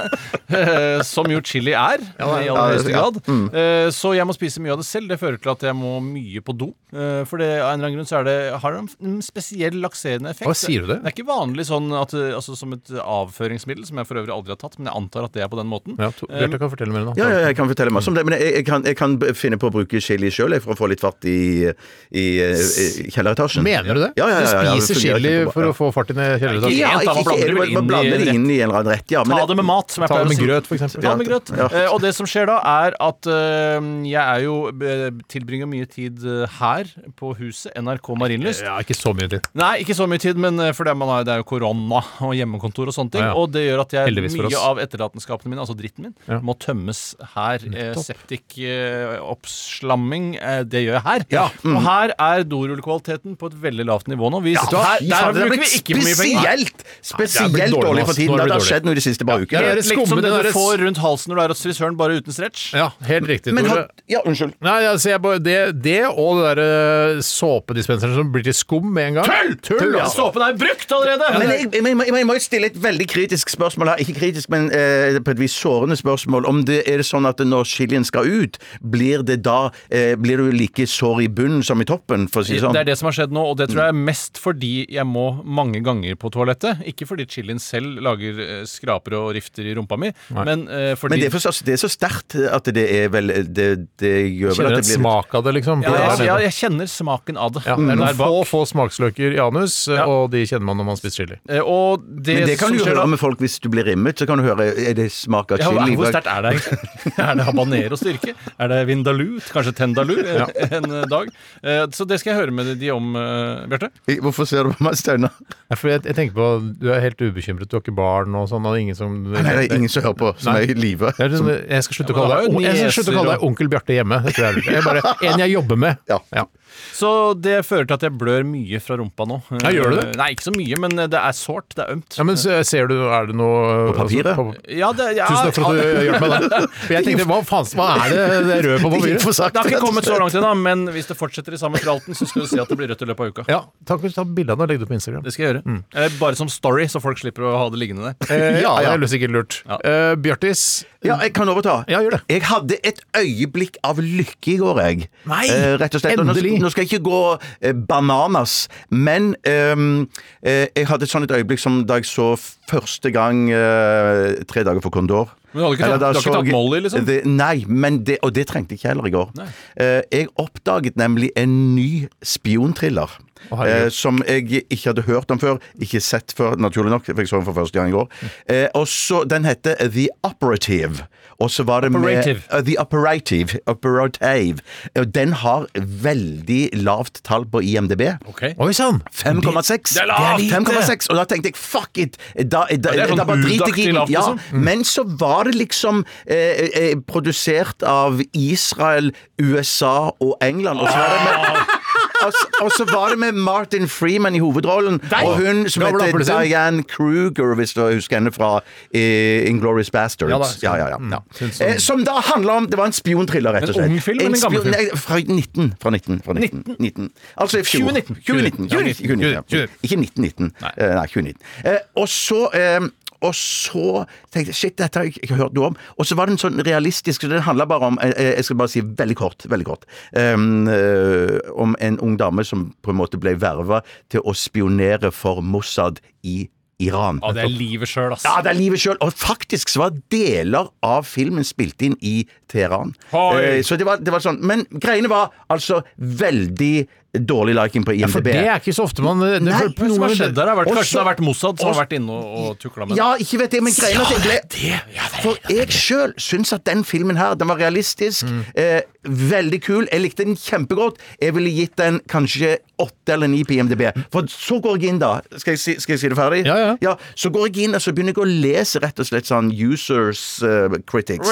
Speaker 6: Eh, som jo chili er, i
Speaker 5: ja,
Speaker 6: aller høyeste
Speaker 5: ja.
Speaker 6: grad.
Speaker 4: Mm.
Speaker 6: Eh, Så jeg må spise mye av det selv. Det fører til at jeg må mye på do. Eh, For det, av en eller annen grunn så er det, har det en spesiell lakserende effekt.
Speaker 4: Hva sier du det?
Speaker 6: Det er ikke vanlig sånn at, eh, altså, som et avføringsmiddel, som jeg for øvrig aldri har tatt, men jeg antar at det er på den måten.
Speaker 4: Ja, to- Eh, Bjarte kan fortelle mer om
Speaker 5: Ja,
Speaker 4: det.
Speaker 5: ja, jeg kan fortelle masse om det. Men jeg, jeg, kan, jeg kan b- finne på å bruke chili sjøl for å få litt fart i, i, eh, i kjelleretasjen.
Speaker 4: Mener du det?
Speaker 5: Ja, ja, ja, ja, ja.
Speaker 4: Du spiser chili
Speaker 5: Fungerer kjempebra,
Speaker 4: for
Speaker 5: ja.
Speaker 4: å få fart inn i kjelleretasjen?
Speaker 5: Ja,
Speaker 6: Helt, da,
Speaker 5: ikke,
Speaker 6: man
Speaker 5: ikke,
Speaker 6: blander det
Speaker 5: man- man
Speaker 6: inn i
Speaker 5: blander det
Speaker 6: rett.
Speaker 5: inn i en eller annen rett. Ja, men
Speaker 6: Ta
Speaker 5: jeg-
Speaker 6: det med mat, som jeg
Speaker 4: Ta
Speaker 6: pleier
Speaker 4: det
Speaker 6: å
Speaker 4: med
Speaker 6: si.
Speaker 4: grøt, for eksempel.
Speaker 6: Ta det med grøt.
Speaker 5: Ja.
Speaker 6: Eh, og det som skjer da, er at eh, jeg er jo eh, tilbringer mye tid eh, her på huset, NRK Marienlyst.
Speaker 4: Ja, ikke så mye til.
Speaker 6: Nei, ikke så mye tid, men eh, for det, er- man har, det er jo korona og hjemmekontor og sånne ting.
Speaker 4: Ja, ja.
Speaker 6: Og det gjør at jeg
Speaker 4: Heldigvis for
Speaker 6: mye
Speaker 4: oss.
Speaker 6: av etterlatenskapene mine, altså dritten min,
Speaker 4: Ja.
Speaker 6: må tømmes her. Eh, septik eh, oppslamming, eh, det gjør jeg her. Og her er dorullkvaliteten på et veldig lavt nivå nå. Vi,
Speaker 5: Ja,
Speaker 6: her,
Speaker 5: fy
Speaker 6: der
Speaker 5: faen, det har
Speaker 6: bruker
Speaker 5: blitt
Speaker 6: vi ikke for mye penger.
Speaker 5: Spesielt,
Speaker 4: det har
Speaker 5: spesielt
Speaker 4: blitt dårlig,
Speaker 5: dårlig for
Speaker 4: ass.
Speaker 5: tiden.
Speaker 4: Nå har
Speaker 5: Det
Speaker 4: det
Speaker 5: har
Speaker 4: blitt
Speaker 5: skjedd noe de siste par ukene.
Speaker 4: Dere
Speaker 6: Litt som
Speaker 4: skummene
Speaker 6: det du
Speaker 4: deres-
Speaker 6: får rundt halsen når du er hos frisøren, bare uten stretch.
Speaker 4: Ja, helt riktig.
Speaker 5: Men
Speaker 4: Tore.
Speaker 5: har, ja, unnskyld.
Speaker 4: Nei, altså, jeg bare, det, det og det derre såpedispenseren som blir til skum med en gang. Tull! Tull
Speaker 6: Ja,
Speaker 4: altså.
Speaker 6: Såpen er brukt allerede!
Speaker 5: Men jeg, jeg, jeg, jeg, jeg må jo stille et veldig kritisk spørsmål her. Ikke kritisk, men eh, på et vis sårende spørsmål. Om det er det sånn at når chilien skal ut, blir det da eh, Blir du like sår i bunnen som i toppen, for å si det sånn?
Speaker 6: Det er det som har skjedd nå, og det tror jeg er mest fordi jeg må mange ganger på toalettet. Ikke fordi chilien selv lager eh, skraper og rifter i rumpa mi, men eh, fordi
Speaker 5: Men det er, for, det er så sterkt at det er vel Det, det gjør vel
Speaker 4: Kjenner
Speaker 5: at
Speaker 4: en
Speaker 5: det blir
Speaker 4: smak av det, liksom.
Speaker 6: ja, jeg, ja,
Speaker 4: ja, Mm.
Speaker 6: jeg kjenner smaken av det.
Speaker 4: det er
Speaker 6: Der
Speaker 4: noen
Speaker 6: bak.
Speaker 4: få, få smaksløker i anus,
Speaker 6: Ja.
Speaker 4: og de kjenner man når man spiser chili.
Speaker 6: Eh, Og det,
Speaker 5: Men det kan
Speaker 6: som
Speaker 5: du jo
Speaker 6: skjer
Speaker 5: høre
Speaker 6: da
Speaker 5: med folk hvis du blir rimmet. Så kan du høre Er det smak av
Speaker 6: <laughs> ja,
Speaker 5: chili?
Speaker 6: Hvor sterkt er det? <laughs> egentlig? er det habanero styrke? Er det vindalut? Kanskje tendalou eh, <laughs> en eh, dag? Eh, Så det skal jeg høre med de om, eh, Bjarte.
Speaker 5: Hvorfor ser du på meg, Steinar?
Speaker 4: Ja, for jeg, jeg tenker på, Du er helt ubekymret, du har ikke barn og sånn, og ingen som
Speaker 5: Nei, det er ingen som hører på, som
Speaker 4: Nei.
Speaker 5: er i live.
Speaker 4: Det er sånn, jeg skal slutte å
Speaker 6: Ja,
Speaker 4: kalle deg,
Speaker 6: men det er jo
Speaker 4: jeg skal slutte å
Speaker 6: nieser
Speaker 4: kalle deg onkel Bjarte hjemme. Det tror jeg er lurt. Jeg bare, <laughs> en jeg jobber med.
Speaker 5: Ja.
Speaker 6: Så det fører til at jeg blør mye fra rumpa nå. Eh,
Speaker 4: Ja, gjør du det?
Speaker 6: Nei, ikke så mye, men det er sårt. Det er ømt.
Speaker 4: Ja, men se- ser du, er det noe Altså, På Ah,
Speaker 5: papiret?
Speaker 6: Ja, det, ja,
Speaker 4: Tusen takk for at du hjalp meg der. For jeg tenkte, hva faen hva er det det røde på
Speaker 5: Det gikk
Speaker 4: papiret?
Speaker 5: for sakte.
Speaker 6: Det har ikke kommet så langt ennå, men hvis det fortsetter i samme tralten, så skal du si at det blir rødt i løpet av uka.
Speaker 4: Ja, takk for at du tar bildene og legger det på Instagram.
Speaker 6: Det skal jeg gjøre. Eh, Bare som story, så folk slipper å ha det liggende der.
Speaker 4: Eh, ja, det
Speaker 5: ja.
Speaker 4: er sikkert lurt.
Speaker 6: Ja.
Speaker 4: Eh, Bjartis,
Speaker 5: Ja, jeg kan overta.
Speaker 4: Ja, gjør det.
Speaker 5: Jeg hadde et øyeblikk av lykke i går, jeg.
Speaker 4: Nei,
Speaker 5: Eh, rett og slett. Og nå-
Speaker 4: endelig.
Speaker 5: Nå skal jeg ikke gå eh, bananas, men ehm, eh, jeg hadde et sånt et øyeblikk som da jeg så første gang eh, Tre dager for Kondor.
Speaker 6: Men du hadde ikke tatt-
Speaker 5: Eller da
Speaker 6: du har ikke
Speaker 5: så
Speaker 6: tatt
Speaker 5: jeg-
Speaker 6: Molly, liksom?
Speaker 5: Det, nei, men det, og det trengte jeg ikke heller i går. Eh, jeg oppdaget nemlig en ny spionthriller.
Speaker 4: Å, herregud.
Speaker 5: eh, som jeg ikke hadde hørt om før, ikke sett før, naturlig nok. For jeg så den for første gang i går. Eh, og så, Den heter The Operative. Og så var det
Speaker 6: Operative.
Speaker 5: med eh, The Operative. Operative. Og den har veldig lavt tall på IMDb.
Speaker 6: Ok.
Speaker 4: oi sann!
Speaker 5: 5,6.
Speaker 6: Det er lavt, det.
Speaker 5: 5,6, Og da tenkte jeg fuck it! Da, da,
Speaker 6: det er sånn
Speaker 5: da bare driter jeg i
Speaker 6: udaktig
Speaker 5: den.
Speaker 6: lavt,
Speaker 5: Ja,
Speaker 6: liksom.
Speaker 5: Men så var det liksom eh, eh, produsert av Israel, USA og England. Og så var det
Speaker 6: Ah.
Speaker 5: med <laughs> og så- og så var det med Martin Freeman i hovedrollen, og hun som
Speaker 4: Gammel
Speaker 5: heter
Speaker 4: appelsin.
Speaker 5: Diane Kruger, hvis du husker henne fra eh, Inglourious Bastards.
Speaker 4: Ja da,
Speaker 5: Ja,
Speaker 4: skal-
Speaker 5: ja, ja,
Speaker 4: mm,
Speaker 5: ja.
Speaker 4: synes
Speaker 5: Eh, som da handla om Det var en spionthriller, rett og slett.
Speaker 6: En ung film eller en gammel
Speaker 5: spion-
Speaker 6: film?
Speaker 5: Nei, fra 19. Fra 19, fra 19, 19. Altså i fjor.
Speaker 6: 2019.
Speaker 5: 2019. 2019, 2019,
Speaker 6: 2019,
Speaker 5: ja. Ikke 1919. Eh, Nei, 2019. Eh, og så eh, Og så tenkte jeg shit, dette har jeg ikke hørt noe om. Og så var den sånn realistisk, så den handla bare om eh, eh, Jeg skal bare si veldig kort, veldig kort. ehm, eh, om en ung dame som på en måte ble verva til å spionere for Mossad i Iran.
Speaker 6: Ja, det er livet sjøl, ass.
Speaker 5: Ja, det er livet sjøl. Og faktisk så var deler av filmen spilt inn i Teheran.
Speaker 6: Hoi.
Speaker 5: Eh, så det var, det var sånn. Men greiene var altså veldig dårlig liking på
Speaker 4: For
Speaker 5: IMDb.
Speaker 4: det er ikke så ofte man det,
Speaker 5: Nei,
Speaker 4: for-
Speaker 6: Hva er det som har
Speaker 4: noen-
Speaker 6: skjedd der? Det har vært,
Speaker 5: Også-
Speaker 6: kanskje det har vært Mossad som har
Speaker 5: også-
Speaker 6: vært inne og, og tukla med det?
Speaker 5: ja, ikke vet jeg, men greiene at jeg ble For jeg sjøl syns at den filmen her, den var realistisk,
Speaker 4: Mm.
Speaker 5: eh, veldig kul. Jeg likte den kjempegodt. Jeg ville gitt den kanskje åtte eller ni på IMDb. For så går jeg inn, da. Skal jeg si, skal jeg si det ferdig?
Speaker 4: Ja, ja.
Speaker 5: Så går jeg inn og så begynner jeg å lese rett og slett sånn users eh, critics.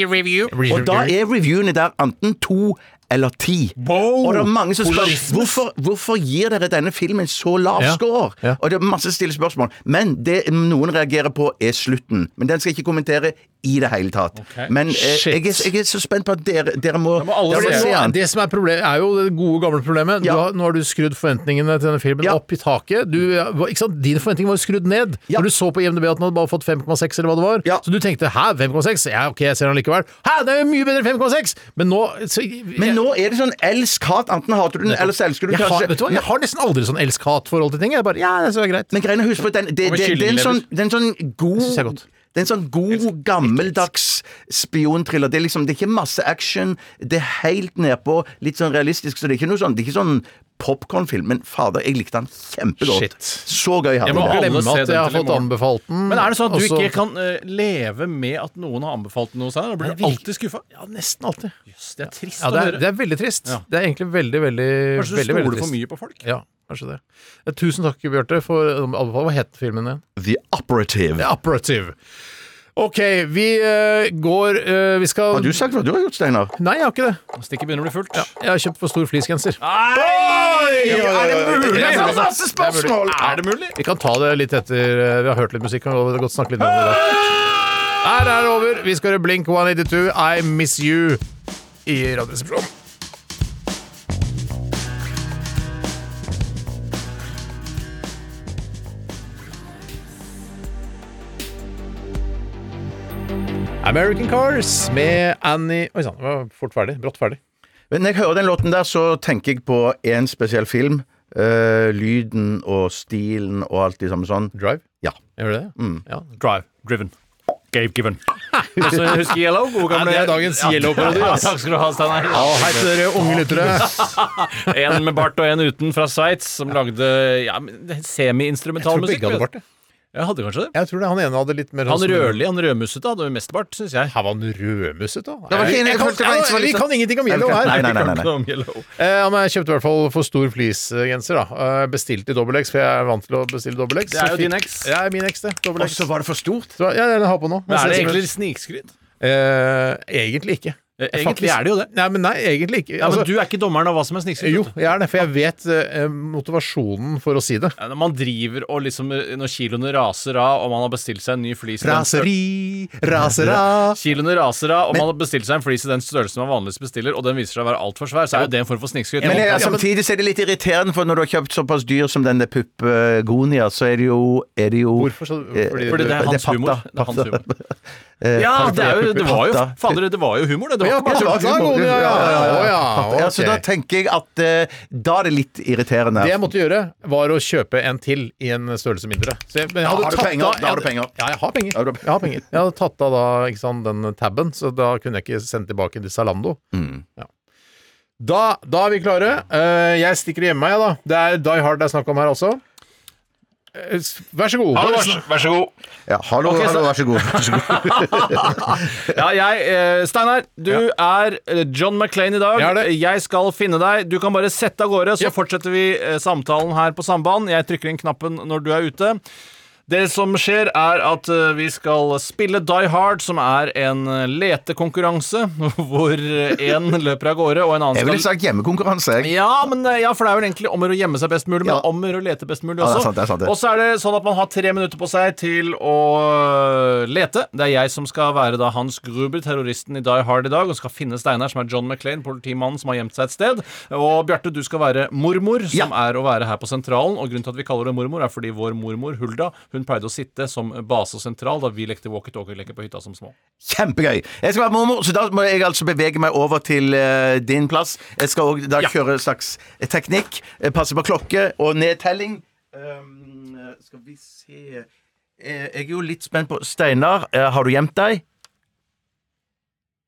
Speaker 5: Og da er reviewene der enten to eller ti. og det er mange som spør
Speaker 6: Polarisme.
Speaker 5: hvorfor, hvorfor gir dere denne filmen så lav
Speaker 4: Ja.
Speaker 5: score.
Speaker 4: Ja.
Speaker 5: Og det er masse stille spørsmål. Men det noen reagerer på, er slutten. Men den skal jeg ikke kommentere i det hele tatt.
Speaker 6: Ok.
Speaker 5: Men eh,
Speaker 4: Shit.
Speaker 5: jeg, er, jeg er så spent på at dere, dere må,
Speaker 6: må alle
Speaker 5: dere
Speaker 4: Det,
Speaker 5: må
Speaker 6: se
Speaker 5: se
Speaker 4: nå,
Speaker 5: den.
Speaker 4: det som er problemet, er jo det gode, gamle problemet.
Speaker 5: Ja.
Speaker 4: Du har, nå har du skrudd forventningene til denne filmen
Speaker 5: Ja.
Speaker 4: opp i taket. Du, ikke sant? Dine forventninger var jo skrudd ned.
Speaker 5: Ja.
Speaker 4: Når du så på IMDb at den hadde bare fått 5,6 eller hva det var,
Speaker 5: Ja.
Speaker 4: så du tenkte 'hæ, 5,6'? Ja, ok, jeg ser den likevel. 'Hæ, det er jo mye bedre enn 5,6'! Men nå så,
Speaker 5: Men nå er det sånn elsk-hat. Enten hater du den, eller så elsker du
Speaker 4: jeg,
Speaker 5: den
Speaker 4: har,
Speaker 5: kanskje.
Speaker 4: vet du hva? jeg har nesten aldri sånn elsk-hat-forhold til ting. Jeg bare, ja, det er så greit.
Speaker 5: Men greiene husk på at den, det, det,
Speaker 6: med
Speaker 5: det, er en
Speaker 6: kyllinglever.
Speaker 5: sånn, det er en sånn god
Speaker 4: synes jeg er godt.
Speaker 5: Det er en sånn god, gammeldags spionthriller. Det er liksom, det er ikke masse action. Det er helt nedpå, litt sånn realistisk. Så det er ikke noe sånn, det er ikke sånn popkornfilm. Men fader, jeg likte den kjempegodt.
Speaker 4: Shit.
Speaker 5: Så gøy hadde
Speaker 6: Jeg må
Speaker 5: jeg det.
Speaker 6: alle
Speaker 4: Glemme
Speaker 6: se
Speaker 4: at
Speaker 6: den
Speaker 4: jeg har
Speaker 6: til i
Speaker 4: fått
Speaker 6: morgen.
Speaker 4: anbefalt den.
Speaker 6: Men er det sånn at du
Speaker 4: og så-
Speaker 6: ikke kan eh, leve med at noen har anbefalt noe senere? Da blir du
Speaker 4: Nei,
Speaker 6: alltid skuffa.
Speaker 4: Ja, nesten alltid.
Speaker 6: Jøss, det er trist
Speaker 4: Ja, det, er, det
Speaker 6: å høre.
Speaker 4: er veldig trist.
Speaker 6: Ja.
Speaker 4: Det er egentlig veldig, veldig
Speaker 6: Kanskje du
Speaker 4: veldig, veldig
Speaker 6: stoler
Speaker 4: trist.
Speaker 6: for mye på folk?
Speaker 4: Ja, kanskje det. Eh, Tusen takk, Bjarte, for anbefaling. Hva het filmen igjen?
Speaker 5: The Operative.
Speaker 4: The Operative. Ok, vi eh, går eh, Vi skal
Speaker 5: Har du sagt hva du har gjort, Steinar?
Speaker 4: Nei, jeg har ikke det.
Speaker 6: Stikket begynner å bli fullt.
Speaker 4: Jeg har kjøpt for stor fleecegenser.
Speaker 5: Er det mulig?
Speaker 4: Det er mulig.
Speaker 5: masse spørsmål!
Speaker 4: Er det mulig? Vi kan ta det litt etter eh, vi har hørt litt musikk. Kan vi godt snakke litt om det da. Her er det over. Vi skal høre Blink 182, I Miss You, i Radioresepsjonen. American Cars med Annie Oi sann, det var fort ferdig. Brått ferdig.
Speaker 5: Men når jeg hører den låten der, så tenker jeg på én spesiell film. Eh, lyden og stilen og alt det samme sånn.
Speaker 4: Drive?
Speaker 5: Ja.
Speaker 4: Gjør du det? Ja.
Speaker 6: Drive. Driven. Gabe Given. <laughs> Altså, husker Yellow? Gode gamle
Speaker 4: Ja, det er dagens Yellow-parodi,
Speaker 6: Ja,
Speaker 4: ass.
Speaker 6: takk skal du ha, Steinar.
Speaker 4: Hei til dere unge lyttere.
Speaker 6: <laughs> En med bart og en uten fra Sveits, som lagde ja, men semi-instrumental
Speaker 4: Tror
Speaker 6: musikk.
Speaker 4: begge hadde bart, det.
Speaker 6: Jeg hadde kanskje det.
Speaker 4: Jeg tror det han ene hadde litt mer
Speaker 6: Han
Speaker 4: sånn-
Speaker 6: rødlig, han rødmussete hadde jo mest bart, syns jeg.
Speaker 4: Her var han rødmusset, da.
Speaker 5: var ikke en-
Speaker 4: Jeg kan-
Speaker 5: jeg følte det var en som var
Speaker 4: vi
Speaker 5: litt
Speaker 4: kan
Speaker 5: sånn-
Speaker 4: ingenting om
Speaker 5: Nei, vi
Speaker 4: Yellow
Speaker 5: kan-
Speaker 4: her.
Speaker 5: Nei, nei, nei, nei, nei.
Speaker 6: Om Yellow.
Speaker 4: Eh, men jeg kjøpte i hvert fall for stor fleecegenser. da. Eh, Bestilte i dobbel X, for jeg er vant til å bestille dobbel X.
Speaker 6: Det er jo
Speaker 4: Så
Speaker 6: din
Speaker 4: fikk-
Speaker 6: X.
Speaker 4: Ja, min X, det. Dobbel
Speaker 5: Og
Speaker 4: X.
Speaker 5: så var det for stort.
Speaker 4: Så, ja, den har på nå.
Speaker 6: Men er det egentlig snikskryt?
Speaker 4: Eh, Egentlig ikke.
Speaker 6: Eh, Egentlig er det jo det.
Speaker 4: Nei, men nei, egentlig ikke.
Speaker 6: Ja, men
Speaker 4: Altså,
Speaker 6: du er ikke dommeren av hva som er snikskryt.
Speaker 4: jo, jeg er det, for jeg vet eh, motivasjonen for å si det.
Speaker 6: Ja, Når man driver og liksom eh, Når kiloene raser av, og man har bestilt seg en ny flis
Speaker 4: Raseri, rasera
Speaker 6: Kiloene raser av, og man har bestilt seg en flis i den størrelsen man vanligvis bestiller, og den viser seg å være altfor svær, så er jo det en form for snikskryt.
Speaker 5: Men
Speaker 6: Ja,
Speaker 5: jeg, altså- samtidig så er det litt irriterende, for når du har kjøpt såpass dyr som den der Pupgonia, så er det jo, er det jo eh,
Speaker 4: Hvorfor så? Fordi,
Speaker 6: Fordi det
Speaker 5: det
Speaker 6: er
Speaker 5: er
Speaker 6: hans
Speaker 5: patta.
Speaker 6: humor. Det er
Speaker 5: <laughs>
Speaker 6: hans
Speaker 5: Patta.
Speaker 6: humor. Ja, det, er jo, det var jo
Speaker 5: Patta. altså,
Speaker 6: Fader, det var jo humor, det. det
Speaker 4: Ja,
Speaker 6: var
Speaker 4: patta.
Speaker 6: ikke bare
Speaker 4: Pupgonia, ja, ja, ja, ja,
Speaker 5: Ja, så
Speaker 4: ok.
Speaker 5: da tenker jeg at eh, da er det litt irriterende.
Speaker 4: Det jeg måtte gjøre, var å kjøpe en til i en størrelse mindre. Så jeg, men jeg
Speaker 5: Da
Speaker 4: hadde
Speaker 5: har du
Speaker 4: tatt
Speaker 5: penger,
Speaker 4: av-
Speaker 5: da har du
Speaker 4: jeg hadde-
Speaker 5: penger.
Speaker 4: Ja, jeg har penger.
Speaker 5: Da har du
Speaker 4: Jeg har penger. Jeg hadde tatt av da, ikke sant, den tabben, så da kunne jeg ikke sende tilbake til Zalando.
Speaker 6: Mm.
Speaker 4: Ja. Da, da er vi klare. Eh, jeg stikker hjemme, jeg, da. Det er Die Hard det er snakk om her også. Eh, s- Vær så god.
Speaker 6: Vær så god.
Speaker 5: Ja, hallo,
Speaker 6: så-
Speaker 5: hallo, vær så god. Vær så god.
Speaker 6: Ja, jeg, eh, Steinar, du er eh, John McClain i dag.
Speaker 4: Jeg er det.
Speaker 6: Jeg skal finne deg. Du kan bare sette av gårde, så fortsetter vi eh, samtalen her på samband. Jeg trykker inn knappen når du er ute. Det som skjer, er at eh, vi skal spille Die Hard, som er en eh, letekonkurranse <laughs> hvor én løper av gårde og en annen
Speaker 5: Jeg ville
Speaker 6: skal
Speaker 5: sagt hjemmekonkurranse, jeg.
Speaker 6: Ja, men eh, ja, for det er vel egentlig om å gjøre å gjemme seg best mulig, men
Speaker 5: Ja.
Speaker 6: om å gjøre å lete best mulig
Speaker 5: Ja, det er
Speaker 6: også.
Speaker 5: sant, det er sant, det.
Speaker 6: Og så er det sånn at man har tre minutter på seg til å øh, lete. Det er jeg som skal være da Hans Gruber, terroristen i Die Hard i dag, og skal finne Steinar, som er John McClain, politimannen som har gjemt seg et sted. Og Bjarte, du skal være mormor, som er å være her på sentralen. Og grunnen til at vi kaller det mormor, er fordi vår mormor, Hulda, hun hun pleide å sitte som base og sentral da vi lekte walkietalkie-leker på hytta som små.
Speaker 5: Kjempegøy! Jeg skal være mormor, så da må jeg altså bevege meg over til eh, din plass. Jeg skal òg da
Speaker 6: Ja.
Speaker 5: kjøre en slags teknikk. eh, Passe på klokke og nedtelling. Um, eh, skal vi se Eh, Jeg er jo litt spent på Steinar, eh, har du gjemt deg?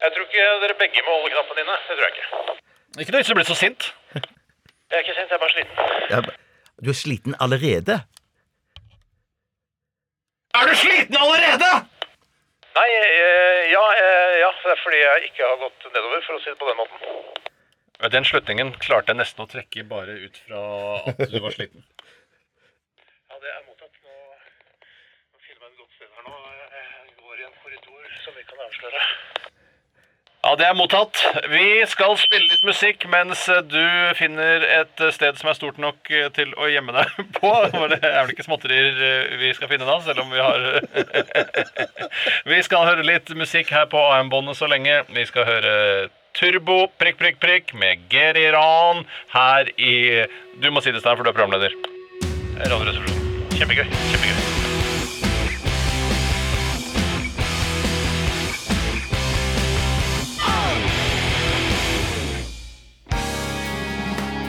Speaker 7: Jeg tror ikke dere begge må holde knappene dine. Det tror jeg ikke.
Speaker 6: Ikke nødvendigvis bli så sint.
Speaker 7: Jeg er ikke sint, jeg er bare sliten.
Speaker 5: Ja, Du er sliten allerede?
Speaker 6: Er du sliten allerede?!
Speaker 7: Nei, eh, ja, eh, ja, det er fordi jeg ikke har gått nedover, for å si det på den måten.
Speaker 6: Den slutningen klarte jeg nesten å trekke bare ut fra at du var sliten.
Speaker 7: Ja, det er mottatt. Nå, nå filmer jeg et godt sted her nå. Jeg går i en korridor som vi kan avsløre.
Speaker 6: Ja, det er mottatt. Vi skal spille litt musikk mens du finner et sted som er stort nok til å gjemme deg <laughs> på. For det er vel ikke småtterier eh, vi skal finne da, selv om vi har <laughs> Vi skal høre litt musikk her på AM-båndet så lenge. Vi skal høre Turbo prikk, prikk, prikk med Geri Ran her i Du må si det, Stein, for du er programleder. Radioresepsjonen. Kjempegøy. Kjempegøy.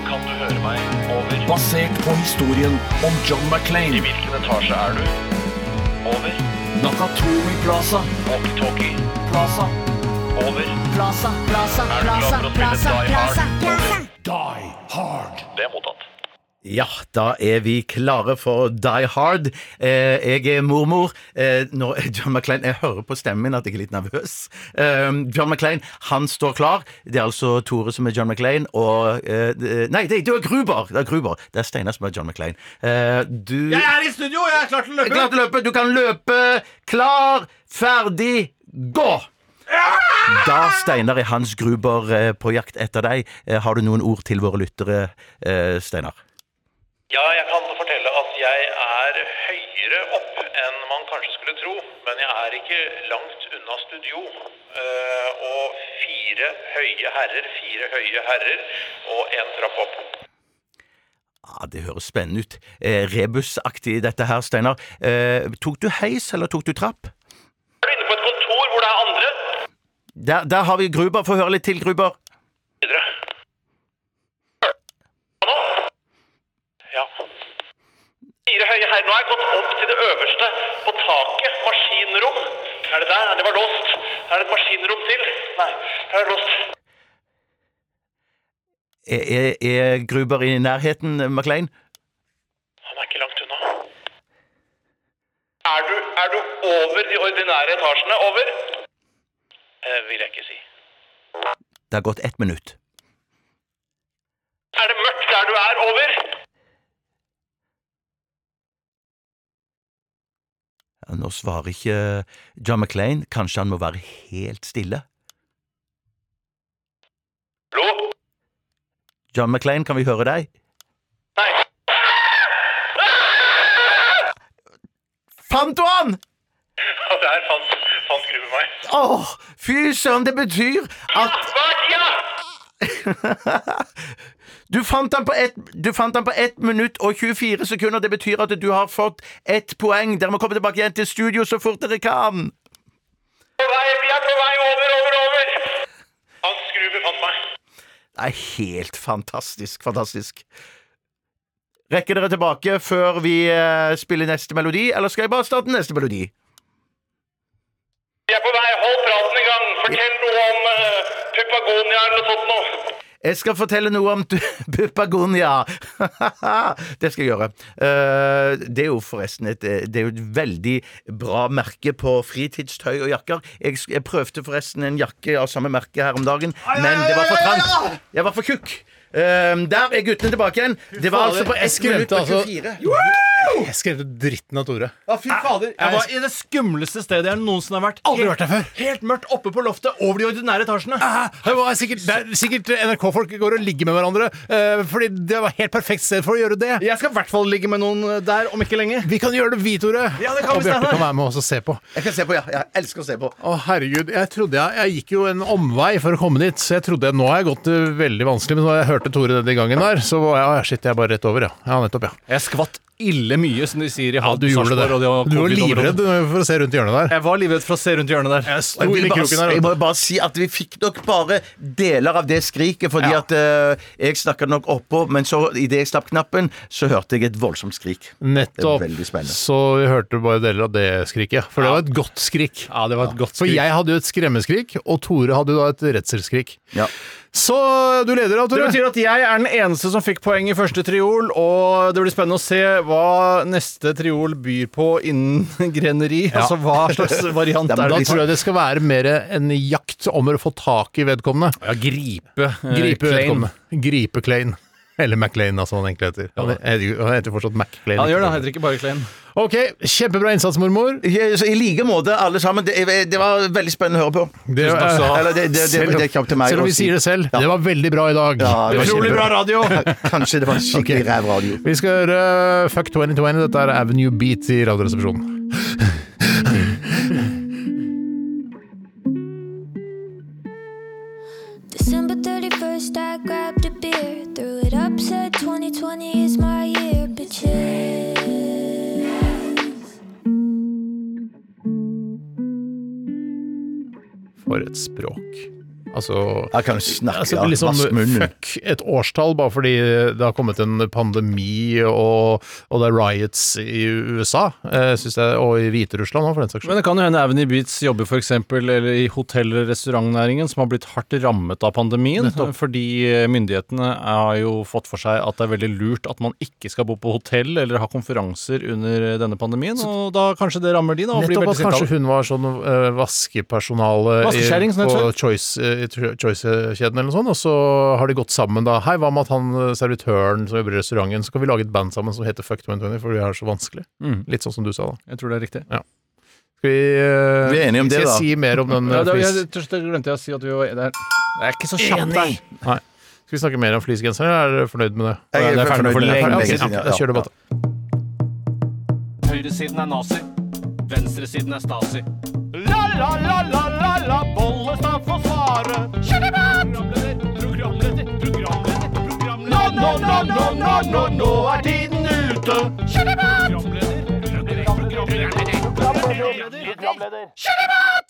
Speaker 6: Kan du høre meg? Over.
Speaker 8: Basert på historien om John McClain,
Speaker 6: Hvilken etasje er du? Over.
Speaker 8: Nakatomi Plaza,
Speaker 6: Walkietalkie.
Speaker 8: Plaza,
Speaker 6: Over.
Speaker 9: Plaza, plaza, plaza,
Speaker 6: for å spille
Speaker 9: plaza,
Speaker 6: Die Hard?
Speaker 9: plaza, plaza.
Speaker 8: Die Hard.
Speaker 6: Det er mottatt.
Speaker 5: Ja, da er vi klare for Die Hard. Eh, jeg er mormor. Eh, når <laughs> John McClain, Jeg hører på stemmen min at jeg er litt nervøs. Eh, John McClain han står klar. Det er altså Tore som er John McClain, og eh, det- Nei, det, det er Gruber! Det er Gruber. Det er Steinar som er John McClain. Eh, du
Speaker 6: Jeg er i studio! Jeg er klar til
Speaker 5: er
Speaker 6: å løpe!
Speaker 5: klar til å løpe. Du kan løpe. Klar, ferdig, gå! Da Steinar er Hans Gruber eh, på jakt etter deg. Eh, Har du noen ord til våre lyttere, eh, Steinar?
Speaker 7: Ja, jeg kan fortelle at jeg er høyere opp enn man kanskje skulle tro, men jeg er ikke langt unna studio. Eh, og fire høye herrer, fire høye herrer og en trapp opp.
Speaker 5: Ja, Ah, Det høres spennende ut. Eh, Rebusaktig dette her, Steinar. Eh, tok du heis, eller tok du trapp?
Speaker 7: Jeg er inne på et kontor hvor det er andre.
Speaker 5: Der, der har vi Gruber. Få høre litt til, Gruber.
Speaker 7: Videre. Nå? Ja. Fire høye herrer. Nå har jeg gått opp til det øverste på taket. Maskinrom. Er det der? Det var låst. Er det et maskinrom til? Nei, det er låst.
Speaker 5: Er, er, er Gruber i nærheten, eh, Maclean?
Speaker 7: Han er ikke langt unna. Er du, er du over de ordinære etasjene? Over? Eh, vil jeg ikke si.
Speaker 5: Det har gått ett minutt.
Speaker 7: Er det mørkt der du er? Over?
Speaker 5: Ja, Nå svarer ikke John Maclean. Kanskje han må være helt stille?
Speaker 7: Blå?
Speaker 5: John Maclean, kan vi høre deg?
Speaker 7: Nei.
Speaker 5: Fant du han?!
Speaker 7: Ja, <laughs> Der fant, fant Grue meg.
Speaker 5: Åh, fy søren, det betyr at
Speaker 7: Hva? Ja!
Speaker 5: <laughs> Du fant han på ett Du fant han på 1 minutt og 24 sekunder. Det betyr at du har fått ett poeng. Dere må komme tilbake igjen til studio så fort dere kan.
Speaker 7: På vei, vi er på vei over, over, over. Hans Grue fant meg.
Speaker 5: Det er helt fantastisk, fantastisk. Rekker dere tilbake før vi eh, spiller neste melodi, eller skal jeg bare starte neste melodi?
Speaker 7: Vi er på vei. Hold praten i gang. Fortell noe om uh, Pupagonia eller noe sånt nå.
Speaker 5: Jeg skal fortelle noe om <laughs> Pupagonia. <laughs> det skal jeg gjøre. Eh, Det er jo forresten et, eh, det er jo et veldig bra merke på fritidstøy og jakker. Jeg, sk- jeg prøvde forresten en jakke av samme merke her om dagen, men det var for trangt. Jeg var for tjukk. Eh, der er guttene tilbake igjen. Det var altså på
Speaker 4: Jeg
Speaker 5: 1 minutt
Speaker 4: skremte
Speaker 5: og
Speaker 4: altså-
Speaker 5: 24.
Speaker 4: Jeg skremte dritten av Tore.
Speaker 6: Jeg var i det skumleste stedet jeg noensinne har vært.
Speaker 4: Aldri
Speaker 6: Helt-
Speaker 4: vært der før.
Speaker 6: Helt mørkt oppe på loftet, over de ordinære etasjene.
Speaker 4: Det var sikkert, det er sikkert NRK-folk går og ligger med hverandre, eh, fordi det var helt perfekt sted for å gjøre det.
Speaker 6: Jeg skal i hvert fall ligge med noen eh, der om ikke lenge.
Speaker 4: Vi kan gjøre det, vi, Tore.
Speaker 6: Ja, det kan
Speaker 4: og
Speaker 6: vi,
Speaker 4: Bjarte
Speaker 6: Steinar.
Speaker 4: kan være med oss og se på.
Speaker 5: Jeg kan se på, ja. Jeg elsker å se på.
Speaker 4: Å, herregud. Jeg trodde jeg, jeg gikk jo en omvei for å komme dit, så jeg trodde jeg, nå har jeg gått eh, det veldig vanskelig, men når jeg hørte Tore denne gangen der, så var jeg, å, shit, jeg er bare rett over, ja. Ja, nettopp, ja.
Speaker 6: Jeg skvatt ille mye, som de sier i Halden, Sarpsborg, og
Speaker 4: Du
Speaker 6: det å-
Speaker 4: var livredd eh,
Speaker 6: covid-området.
Speaker 4: for å se rundt hjørnet der.
Speaker 6: Jeg var livredd for å se rundt hjørnet der.
Speaker 4: Jeg sto
Speaker 5: Jeg,
Speaker 4: inn
Speaker 5: vil
Speaker 4: i
Speaker 5: bare,
Speaker 4: kroken der.
Speaker 5: jeg
Speaker 4: vet
Speaker 5: må bare si at vi fikk nok bare deler av det skriket, fordi at eh, jeg snakka nok oppå, men så idet jeg slapp knappen, så hørte jeg et voldsomt skrik.
Speaker 4: du. Nettopp.
Speaker 5: Det er veldig spennende.
Speaker 4: Så vi hørte bare deler av det skriket. For det var et godt skrik.
Speaker 6: Ja, det var et godt
Speaker 4: For
Speaker 6: skrik.
Speaker 4: jeg hadde jo et skremmeskrik, og Tore hadde jo da et redselskrik.
Speaker 5: Ja.
Speaker 4: Så eh, du leder da,
Speaker 6: Det
Speaker 4: Tore.
Speaker 6: betyr at jeg er den eneste som fikk poeng i første triol, og det blir spennende å se hva neste triol byr på innen <laughs> greneri. Altså hva slags variant
Speaker 5: Ja, men
Speaker 6: er sånn-
Speaker 4: Da
Speaker 6: det?
Speaker 4: tror jeg det skal være mer en jakt om å få tak i vedkommende.
Speaker 6: Ja, gripe. eh,
Speaker 4: Gripe
Speaker 6: Klein.
Speaker 4: vedkommende. Gripe Klein. Eller McLean, altså han egentlig heter. Han heter, han heter fortsatt McLean.
Speaker 6: Han gjør det, han heter ikke bare Klein.
Speaker 4: Ok, kjempebra innsats, mormor.
Speaker 5: Ja, så I like måte, alle sammen. Det, det var veldig spennende å høre på.
Speaker 4: Det,
Speaker 6: takk skal du ha.
Speaker 5: Eller det, det, det,
Speaker 4: Selv om-
Speaker 5: det kom til meg
Speaker 4: selv om
Speaker 5: å
Speaker 4: vi
Speaker 5: si.
Speaker 4: sier det selv, det var veldig bra i dag.
Speaker 5: Ja, det var
Speaker 6: Utrolig
Speaker 5: kjempebra.
Speaker 6: bra radio!
Speaker 5: Kanskje det var skikkelig
Speaker 4: Ok.
Speaker 5: ræv radio.
Speaker 4: Vi skal høre eh, Fuck 2020. Dette er Avenue Beat i Radioresepsjonen.
Speaker 9: December 31st, I grabbed a beer, threw it up, said 2020 is my year, bitches.
Speaker 4: For et språk. Altså
Speaker 5: Jeg kan snakke,
Speaker 4: Altså,
Speaker 5: ja.
Speaker 6: sånn,
Speaker 4: liksom,
Speaker 6: eh,
Speaker 5: Vask munnen.
Speaker 4: fuck et årstall, bare fordi det har kommet en pandemi og, og det er riots i USA, eh, synes jeg, og i Hviterussland òg, for den saks skyld.
Speaker 6: <laughs> Men det kan jo hende Avenue Beats jobber for eksempel, eller i hotell- eller restaurantnæringen, som har blitt hardt rammet av pandemien. Fordi eh, myndighetene har jo fått for seg at det er veldig lurt at man ikke skal bo på hotell eller ha konferanser under eh, denne pandemien. Og da kanskje det rammer de, da. Og blir
Speaker 4: Nettopp
Speaker 6: veldig
Speaker 4: at kanskje
Speaker 6: sinte.
Speaker 4: hun var sånn eh, vaskepersonale i-
Speaker 6: Vaskekjerring, som det
Speaker 4: på
Speaker 6: heter.
Speaker 4: Choice, eh, i Tro- Choice-kjeden eller noe sånt, og så har de gått sammen da. Hei, hva med at han eh, servitøren som jobber i restauranten, så kan vi lage et band sammen som heter Fuck 2020, for vi har det så vanskelig. Litt sånn som du sa, da.
Speaker 6: Jeg tror det er riktig.
Speaker 4: Skal vi, eh,
Speaker 5: Vi er enige om det,
Speaker 4: skal
Speaker 5: da.
Speaker 4: jeg si mer om den
Speaker 6: Ja,
Speaker 4: eh,
Speaker 6: det,
Speaker 4: flis-
Speaker 6: jeg, jeg, jeg glemte jeg å si at vi var der. Det er ikke så kjapt, der.
Speaker 4: Nei. Skal vi snakke mer om fleecegenseren, eller er du fornøyd med det?
Speaker 5: Jeg er
Speaker 4: Det ferdig for
Speaker 5: fornøyd med det.
Speaker 4: lenge
Speaker 5: Ferdig med
Speaker 4: siden.
Speaker 5: lenge siden,
Speaker 4: Ja, da
Speaker 5: ja.
Speaker 4: kjører du bare.
Speaker 8: Høyresiden er nazi. Venstresiden er stasi. La, la, la, la, la, la, Bollestad får svare. Programleder, programleder, programleder, programleder. Nå, nå, nå, nå, nå, nå, nå er tiden ute. Programleder, programleder, programleder, programleder.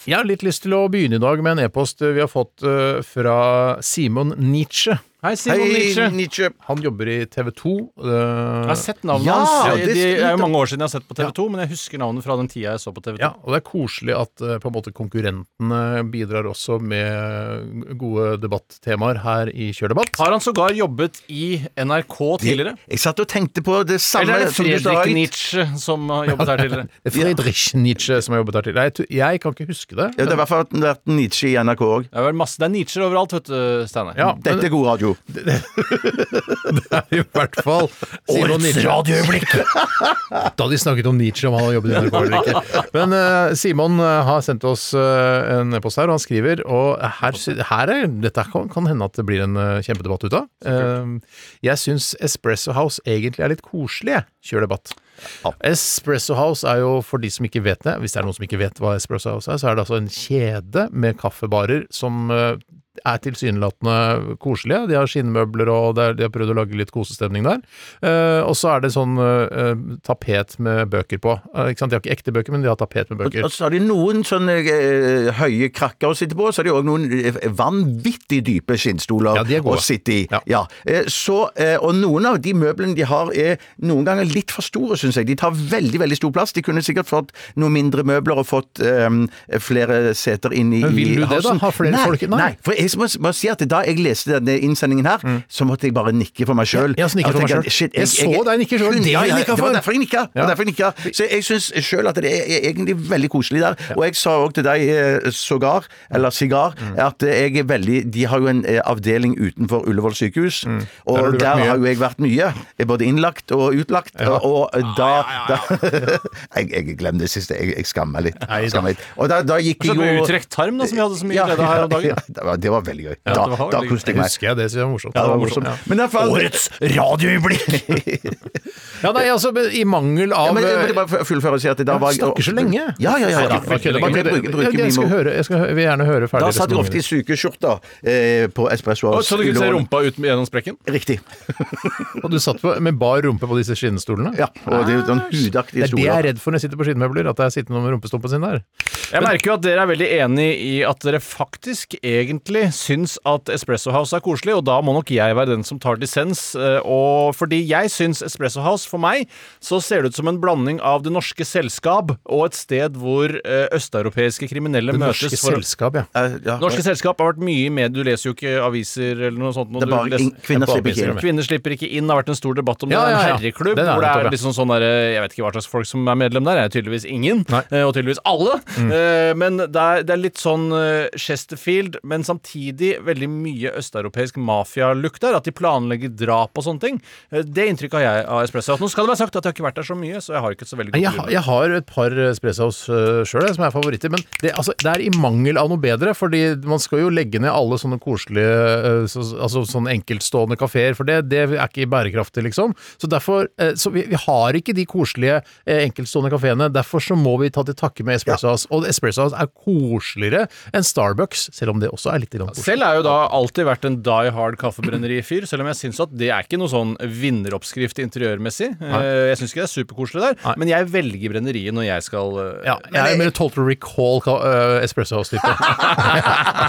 Speaker 4: Jeg har litt lyst til å begynne i dag med en e-post vi har fått eh, fra Simon Nietzsche.
Speaker 6: Hei, Simon Nietzsche.
Speaker 5: Hei, Nietzsche.
Speaker 4: Han jobber i TV 2. eh,
Speaker 6: Jeg har sett navnet
Speaker 5: Ja,
Speaker 6: hans.
Speaker 5: det
Speaker 6: Det,
Speaker 5: skulle-
Speaker 6: er jo mange år siden jeg har sett på TV 2, men jeg husker navnet fra den tida jeg så på TV 2.
Speaker 4: ja, og det er koselig at eh, på en måte konkurrentene bidrar også med gode debattemaer her i Kjørdebatt.
Speaker 6: Har han sågar jobbet i NRK tidligere?
Speaker 5: Jeg satt og tenkte på det samme.
Speaker 6: Eller er det
Speaker 5: som du sa,
Speaker 6: Fredrik
Speaker 5: Ait.
Speaker 6: Nietzsche som har jobbet her
Speaker 5: <laughs>
Speaker 6: tidligere?
Speaker 4: Det er Friedrich Nietzsche som har jobbet her til. Nei, jeg, jeg kan ikke huske det.
Speaker 5: Ja, det har i hvert fall vært Nietzsche i NRK òg.
Speaker 6: Det er vel masse, det er Nietzsche overalt, vet du, Steinar.
Speaker 4: Ja, men
Speaker 5: Dette er god radio.
Speaker 4: det er <laughs> i hvert
Speaker 5: <laughs>
Speaker 4: fall Simon Nietzsche.
Speaker 5: radioøyeblikk!
Speaker 4: <laughs> Da de snakket om Nietzsche, om han har jobbet i NRK eller ikke. Men eh, Simon eh, har sendt oss eh, en e-post her, og han skriver Og her, sy- her er, dette kan, kan hende at det blir en eh, kjempedebatt ut av. Eh, jeg syns Espresso House egentlig er litt koselig, jeg. Kjør debatt. Espresso House er jo, for de som ikke vet det Hvis det er noen som ikke vet hva Espresso House er, så er det altså en kjede med kaffebarer som eh, er tilsynelatende koselige. De har skinnmøbler, og det er- de har prøvd å lage litt kosestemning der. Eh, og så er det sånn eh, eh, tapet med bøker på. Eh, ikke sant? De har ikke ekte bøker, men de har tapet med bøker.
Speaker 5: Og så har de noen sånne eh, høye krakker å sitte på, og så har de òg noen eh, vanvittig dype skinnstoler
Speaker 4: Ja, de er gode.
Speaker 5: å sitte i.
Speaker 4: Ja.
Speaker 5: Eh, så, eh, og noen av de møblene de har er noen ganger litt for store, syns jeg. De tar veldig veldig stor plass. De kunne sikkert fått noen mindre møbler og fått eh, flere seter inn i
Speaker 4: Men vil du det, da?
Speaker 5: hausen.
Speaker 4: Ha flere
Speaker 5: nei,
Speaker 4: folk- nei.
Speaker 5: Nei. for jeg må, må si at da jeg leste denne innsendingen her, så måtte jeg bare nikke for meg sjøl.
Speaker 4: Mm. Ja, så nikker for meg selv. Jeg så deg nikke selv. Det
Speaker 5: Ja,
Speaker 4: jeg
Speaker 5: ja,
Speaker 4: nikket
Speaker 5: det
Speaker 4: for.
Speaker 5: var derfor jeg nikka. Det var
Speaker 4: Ja.
Speaker 5: derfor jeg nikka. Så jeg syns sjøl at det er er egentlig veldig koselig der. Og jeg sa òg til deg eh, sågar, eller sigar,
Speaker 4: Mm.
Speaker 5: at eh, jeg er veldig De har jo en eh, avdeling utenfor Ullevål sykehus,
Speaker 4: Mm. Der har
Speaker 5: og der,
Speaker 4: du vært mye.
Speaker 5: har jo jeg vært mye. Jeg er både innlagt og utlagt, og
Speaker 4: Ah,
Speaker 5: eh, da, da <laughs> Jeg, jeg glem det siste. Jeg, jeg skammer meg litt.
Speaker 4: Nei da.
Speaker 5: Skammer meg litt. Og da, da gikk
Speaker 6: Så
Speaker 5: jeg
Speaker 6: ble
Speaker 5: jo
Speaker 6: utrekt tarm, da, som vi hadde så mye
Speaker 5: Ja,
Speaker 6: glede av her om
Speaker 5: ja,
Speaker 6: dagen.
Speaker 5: ja, det var- det var var veldig gøy.
Speaker 4: Ja,
Speaker 5: Da,
Speaker 4: det var
Speaker 5: da
Speaker 4: veldig-
Speaker 5: koste jeg meg.
Speaker 4: Husker jeg det, så det var morsomt.
Speaker 5: Ja, det var morsomt.
Speaker 4: Ja.
Speaker 5: Men i hvert fall
Speaker 6: Årets radioøyeblikk!
Speaker 4: Ja, nei, altså, men i mangel
Speaker 5: Ja,
Speaker 4: av eh,
Speaker 5: men jeg måtte bare fullføre og si at da var jeg
Speaker 4: snakker så lenge.
Speaker 5: Ja, ja, ja. ja.
Speaker 4: Snakker så lenge.
Speaker 5: Bare bruke-
Speaker 4: Men det-
Speaker 5: bruke
Speaker 4: ja, Jeg skal
Speaker 5: mimo.
Speaker 4: høre, jeg skal hø- vil gjerne høre ferdig
Speaker 5: Da satt jeg
Speaker 4: resonemanget.
Speaker 5: ofte i sykeskjorta eh, på Espresso House.
Speaker 6: Så du kunne se
Speaker 5: Ullån.
Speaker 6: rumpa ut gjennom sprekken?
Speaker 5: Riktig.
Speaker 4: Og du satt på, med bar rumpe på disse skinnstolene?
Speaker 5: Ja, og det er jo sånn
Speaker 4: Det
Speaker 5: hudaktige
Speaker 4: er det jeg er
Speaker 5: soler.
Speaker 4: redd for når jeg sitter på skinnmøbler, at det er sittende med rumpestumpen sin der.
Speaker 6: Jeg merker jo at dere er veldig enig i at dere faktisk egentlig syns at Espresso House er koselig, og da må nok jeg være den som tar dissens. eh, Og fordi jeg syns Espresso House, for meg, så ser det ut som en blanding av Det Norske Selskap og et sted hvor eh, østeuropeiske kriminelle
Speaker 4: Det norske
Speaker 6: møtes for å
Speaker 4: selskap, ja.
Speaker 5: Eh, ja.
Speaker 6: Norske selskap har vært mye med Du leser jo ikke aviser eller noe sånt. når
Speaker 5: Det er
Speaker 6: du
Speaker 5: bare
Speaker 6: leser-
Speaker 5: ing- kvinner
Speaker 6: Det er bare
Speaker 5: slipper ikke inn.
Speaker 6: aviser. Kvinner slipper ikke inn. Det har vært en stor debatt om
Speaker 4: Ja,
Speaker 6: det. Det er
Speaker 4: ja, ja.
Speaker 6: En herreklubb
Speaker 4: Den er
Speaker 6: hvor det
Speaker 4: nettopp, ja.
Speaker 6: er liksom sånn derre Jeg vet ikke hva slags folk som er medlem der. Det er tydeligvis ingen.
Speaker 4: Nei. Mm.
Speaker 6: eh, Og tydeligvis alle. Eh, Men det er, det er litt sånn eh, Chesterfield, men samtidig veldig mye østeuropeisk mafialukt der. At de planlegger drap og sånne ting. Eh, Det inntrykket har jeg av Espresso. Nå skal det være sagt at jeg har ikke vært der så mye, så jeg har ikke så veldig
Speaker 4: Nei,
Speaker 6: godt
Speaker 4: Jeg, har- jeg har et par Espressos uh, sjøl som er favoritter, men det, altså, det er i mangel av noe bedre. Fordi man skal jo legge ned alle sånne koselige eh, så, altså, sånne enkeltstående kafeer, for det, det er ikke bærekraftig, liksom. Så derfor eh, så vi, vi har ikke de koselige eh, enkeltstående kafeene. Derfor så må vi ta til takke med Espresso House. Og Espresso House er koseligere enn Starbucks, selv om det også er litt grann koselig.
Speaker 6: Selv er jo da alltid vært en die hard kaffebrenneri-fyr, selv om jeg syns at det er ikke noe sånn vinneroppskrift interiørmessig. Eh, Jeg syns ikke det er superkoselig der, men jeg velger brenneriet når jeg skal eh,
Speaker 4: Ja, jeg er mer total recall eh, Espresso
Speaker 6: <laughs>
Speaker 4: House-type.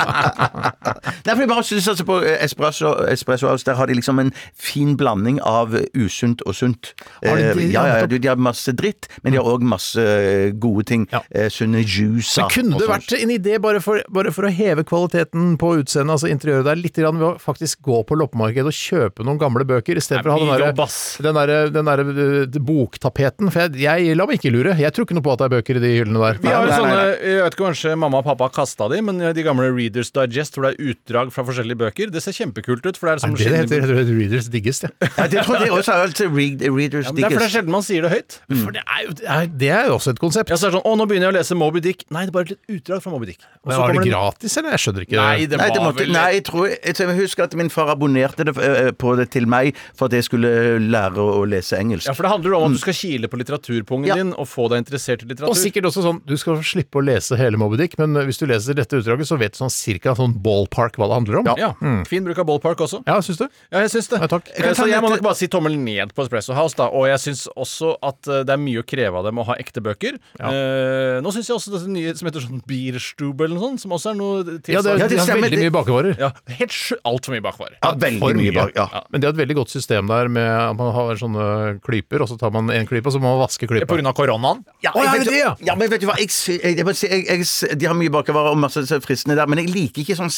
Speaker 5: Nei, for jeg bare synes altså på eh, Espresso, Espresso House, der har de liksom en fin blanding av eh, usunt og sunt.
Speaker 4: Har de det,
Speaker 5: Eh,
Speaker 4: ja,
Speaker 5: ja, ja,
Speaker 4: nettopp.
Speaker 5: du, de har masse dritt, men de har òg masse eh, gode ting.
Speaker 4: Ja.
Speaker 5: Eh, sunne juicer.
Speaker 4: Det kunne
Speaker 5: og
Speaker 4: det
Speaker 5: sånn.
Speaker 4: vært en idé bare for, bare for å heve kvaliteten på utseendet, altså interiøret der, litt grann ved å faktisk gå på loppemarkedet og kjøpe noen gamle bøker, istedenfor å ha den
Speaker 6: Mye jobb,
Speaker 4: derre
Speaker 6: ass.
Speaker 4: den der, den der, eh, boktapeten. For jeg, jeg lar meg ikke lure. Jeg tror ikke noe på at det er bøker i de hyllene der.
Speaker 6: Vi har jo
Speaker 5: Nei, nei,
Speaker 6: sånne,
Speaker 5: nei.
Speaker 6: jeg vet ikke kanskje mamma og pappa har kasta de, men de gamle Readers Digest hvor det er utdrag fra forskjellige bøker, det ser kjempekult ut. For det er
Speaker 4: Er
Speaker 6: som
Speaker 4: det det heter?
Speaker 6: sjelden-
Speaker 4: Jeg tror det heter Readers Diggest, jeg.
Speaker 5: Ja, det tror jeg også er altså read, Readers
Speaker 6: Ja, men det er fordi det er
Speaker 5: Digest.
Speaker 6: sjelden man sier det høyt.
Speaker 4: For det er jo det er, det er jo også et konsept.
Speaker 6: Ja, så er det sånn, Å, nå begynner jeg å lese Moby Dick. Nei, det er bare et litt utdrag fra Moby Dick. Og
Speaker 4: Men
Speaker 6: så
Speaker 4: var
Speaker 6: kommer
Speaker 4: det
Speaker 6: det-
Speaker 4: gratis, eller? Jeg skjønner ikke.
Speaker 6: Nei, det
Speaker 5: Nei,
Speaker 6: var
Speaker 5: det måtte,
Speaker 6: vel
Speaker 5: nei jeg, tror, jeg, tror jeg husker at min far abonnerte det, eh, på det til meg for at jeg skulle eh, lære å å lese engelsk.
Speaker 6: Ja, for det handler jo om at du skal kile på litteraturpungen
Speaker 5: Ja.
Speaker 6: din og få deg interessert i litteratur.
Speaker 4: Mm. Og sikkert også sånn, du skal slippe å lese hele Moby Dick, men eh, hvis du leser dette utdraget, så vet du sånn cirka sånn ballpark hva det handler om.
Speaker 6: Ja, Fin bruk av ballpark også.
Speaker 4: ja syns du?
Speaker 6: Ja, jeg syns det.
Speaker 4: Mm. Ja, takk.
Speaker 6: Eh, Så jeg må
Speaker 5: litt-
Speaker 6: nok bare si tommel ned på Espresso House, da. Og jeg syns også at eh, det er mye å kreve av dem å ha ekte bøker. Eh, nå syns jeg også dette nye som heter sånn Bierstube eller noe sånt, som også er noe
Speaker 4: Ja, det,
Speaker 6: tilsvarende.
Speaker 5: Ja, det
Speaker 4: de har
Speaker 5: stemmer,
Speaker 4: veldig
Speaker 5: det-
Speaker 4: mye bakevarer.
Speaker 6: Ja, helt sju... Altfor mye bakvarer.
Speaker 5: Ja, veldig mye bak, ja.
Speaker 4: Men de har et veldig godt system der med at man har sånne klyper, og så tar man en klype, og så må man vaske klypa.
Speaker 6: På grunn av koronaen?
Speaker 5: Ja,
Speaker 4: Å, ja,
Speaker 5: jeg
Speaker 4: er det
Speaker 5: vet,
Speaker 4: det, ja?
Speaker 5: ja, men vet du hva, jeg, sy- jeg, jeg, må si, jeg, jeg, sy- de har mye bakervarer og masse så fristende der, men jeg liker ikke sånn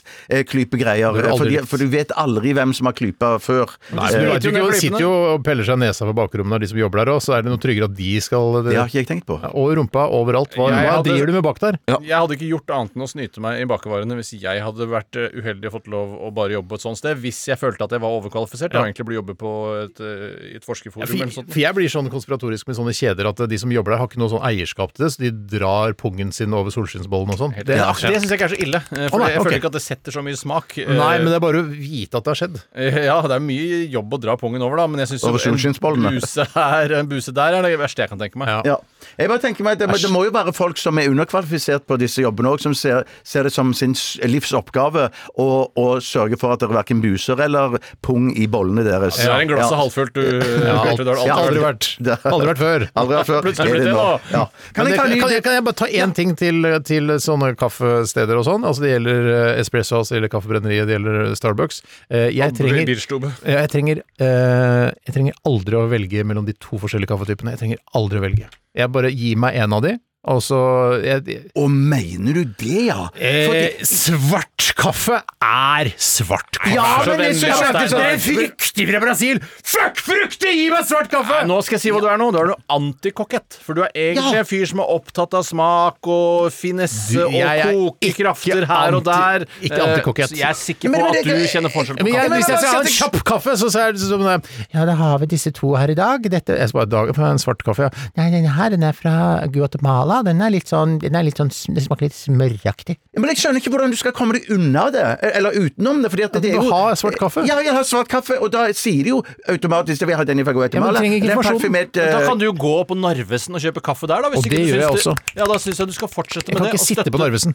Speaker 5: selvbetjeningsklypegreier,
Speaker 4: Det har du aldri
Speaker 5: eh, for,
Speaker 4: likt.
Speaker 5: for du vet aldri hvem som har klypa før.
Speaker 4: Nei,
Speaker 5: Eh,
Speaker 4: men du vet jo ikke,
Speaker 6: Klypene.
Speaker 4: de sitter jo og peller seg i nesa på bakrommet av de som jobber der òg, så er det noe tryggere at de skal
Speaker 5: det har ikke jeg tenkt på.
Speaker 4: Og rumpa overalt. Hva,
Speaker 6: Jeg
Speaker 4: hva
Speaker 6: hadde-
Speaker 4: driver du med bak der?
Speaker 6: Jeg hadde ikke gjort annet enn å snyte meg i bakervarene hvis jeg hadde vært eh, uheldig og fått lov å bare jobbe på et sånt sted. Hvis jeg følte at jeg var overkvalifisert. Jeg har egentlig blitt jobbe på et, eh, i et forskerforum
Speaker 4: For,
Speaker 6: eller noe sånt.
Speaker 4: for jeg blir sånn konspiratorisk med sånne kjeder at de som jobber der, har ikke noe sånn eierskap til det, så de drar pungen sin over solskinnsbollen og sånn. Det,
Speaker 6: Ja,
Speaker 4: ja.
Speaker 6: det syns jeg ikke er så ille. eh, For
Speaker 4: Å, nei,
Speaker 6: jeg
Speaker 4: ok.
Speaker 6: føler ikke at det setter så mye smak. eh,
Speaker 4: Nei, men det er bare å vite at det har skjedd.
Speaker 6: eh, Ja, det er mye jobb å dra pungen over, da, men jeg syns
Speaker 5: Over solskinnsbollene.
Speaker 6: en buse her, en buse der, er det verste jeg kan tenke meg.
Speaker 5: Ja. Jeg bare tenker meg, at det, må- det må jo være folk som er underkvalifisert på disse jobbene òg, som ser, ser det som sin s- livsoppgave å, å sørge for at det verken buser eller pung i bollene deres.
Speaker 6: Så er en glass halvfullt, du. Bjarte, det har du
Speaker 4: Ja,
Speaker 6: alltid
Speaker 4: aldri
Speaker 6: vært.
Speaker 4: vært. Aldri vært før.
Speaker 5: Aldri har før.
Speaker 6: Plutselig blitt
Speaker 5: Er
Speaker 6: det
Speaker 5: nå?
Speaker 6: nå.
Speaker 5: Ja.
Speaker 4: Kan
Speaker 5: Men
Speaker 4: jeg,
Speaker 5: det-
Speaker 4: kan, jeg, kan jeg bare ta én ting til, til sånne kaffesteder og sånn? Altså Det gjelder eh, Espresso House, det gjelder Kaffebrenneriet, det gjelder Starbucks. Eh, Jeg trenger,
Speaker 6: Bierstube.
Speaker 4: Ja, jeg, trenger eh, jeg trenger aldri å velge mellom de to forskjellige kaffetypene. Jeg trenger aldri å velge. Jeg bare gir meg en av de, og så jeg,
Speaker 5: Å, mener du det, ja?
Speaker 6: Eh.
Speaker 5: Fordi-
Speaker 4: Eh, Svart kaffe er svart kaffe! Ja,
Speaker 6: Så
Speaker 4: men jeg
Speaker 6: vennlig,
Speaker 4: skjønner ikke
Speaker 6: Stein.
Speaker 4: sånn Det er fruktig fra Brasil! Fuck fruktig! Gi meg svart kaffe!
Speaker 6: Nå skal jeg si hva du er nå. Du er noe antikokett. For du er egentlig en fyr som er opptatt av smak og finesse
Speaker 4: Du,
Speaker 6: og
Speaker 4: jeg er
Speaker 6: kokekrafter
Speaker 4: ikke
Speaker 6: her og der.
Speaker 4: anti- ikke antikokett.
Speaker 6: Eh, Så jeg er sikker
Speaker 5: Men-
Speaker 6: på
Speaker 5: men
Speaker 6: at
Speaker 5: det-
Speaker 6: du kjenner forskjell på
Speaker 4: Men jeg,
Speaker 6: kaffe.
Speaker 4: hvis jeg skal ha en kjapp kaffe, så er det sånn Ja, da har vi disse to her i dag. Dette Jeg skal bare dag, en svart kaffe, ja. Nei, denne her den er fra Guatemala. Mala, den er litt sånn, den er litt sånn Det smaker litt smøraktig.
Speaker 5: Men jeg skjønner ikke hvordan du skal komme deg unna det, e-, eller utenom det. fordi at det
Speaker 4: du
Speaker 5: er jo...
Speaker 4: har svart kaffe?
Speaker 5: Ja, jeg har svart kaffe, og da sier de jo automatisk at vi har den fra Guatemala.
Speaker 4: Ja, men trenger ikke
Speaker 5: Det er
Speaker 4: informasjon.
Speaker 5: parfymert,
Speaker 6: Men Da
Speaker 5: eh,
Speaker 6: kan du jo gå på Narvesen og kjøpe kaffe der, da.
Speaker 4: Og det
Speaker 6: ikke du
Speaker 4: gjør jeg
Speaker 6: syns det-
Speaker 4: også.
Speaker 6: Ja, da syns jeg du skal fortsette
Speaker 4: Jeg
Speaker 6: med
Speaker 4: kan
Speaker 6: det.
Speaker 4: ikke
Speaker 6: og
Speaker 4: sitte
Speaker 6: støtte-
Speaker 4: på Narvesen.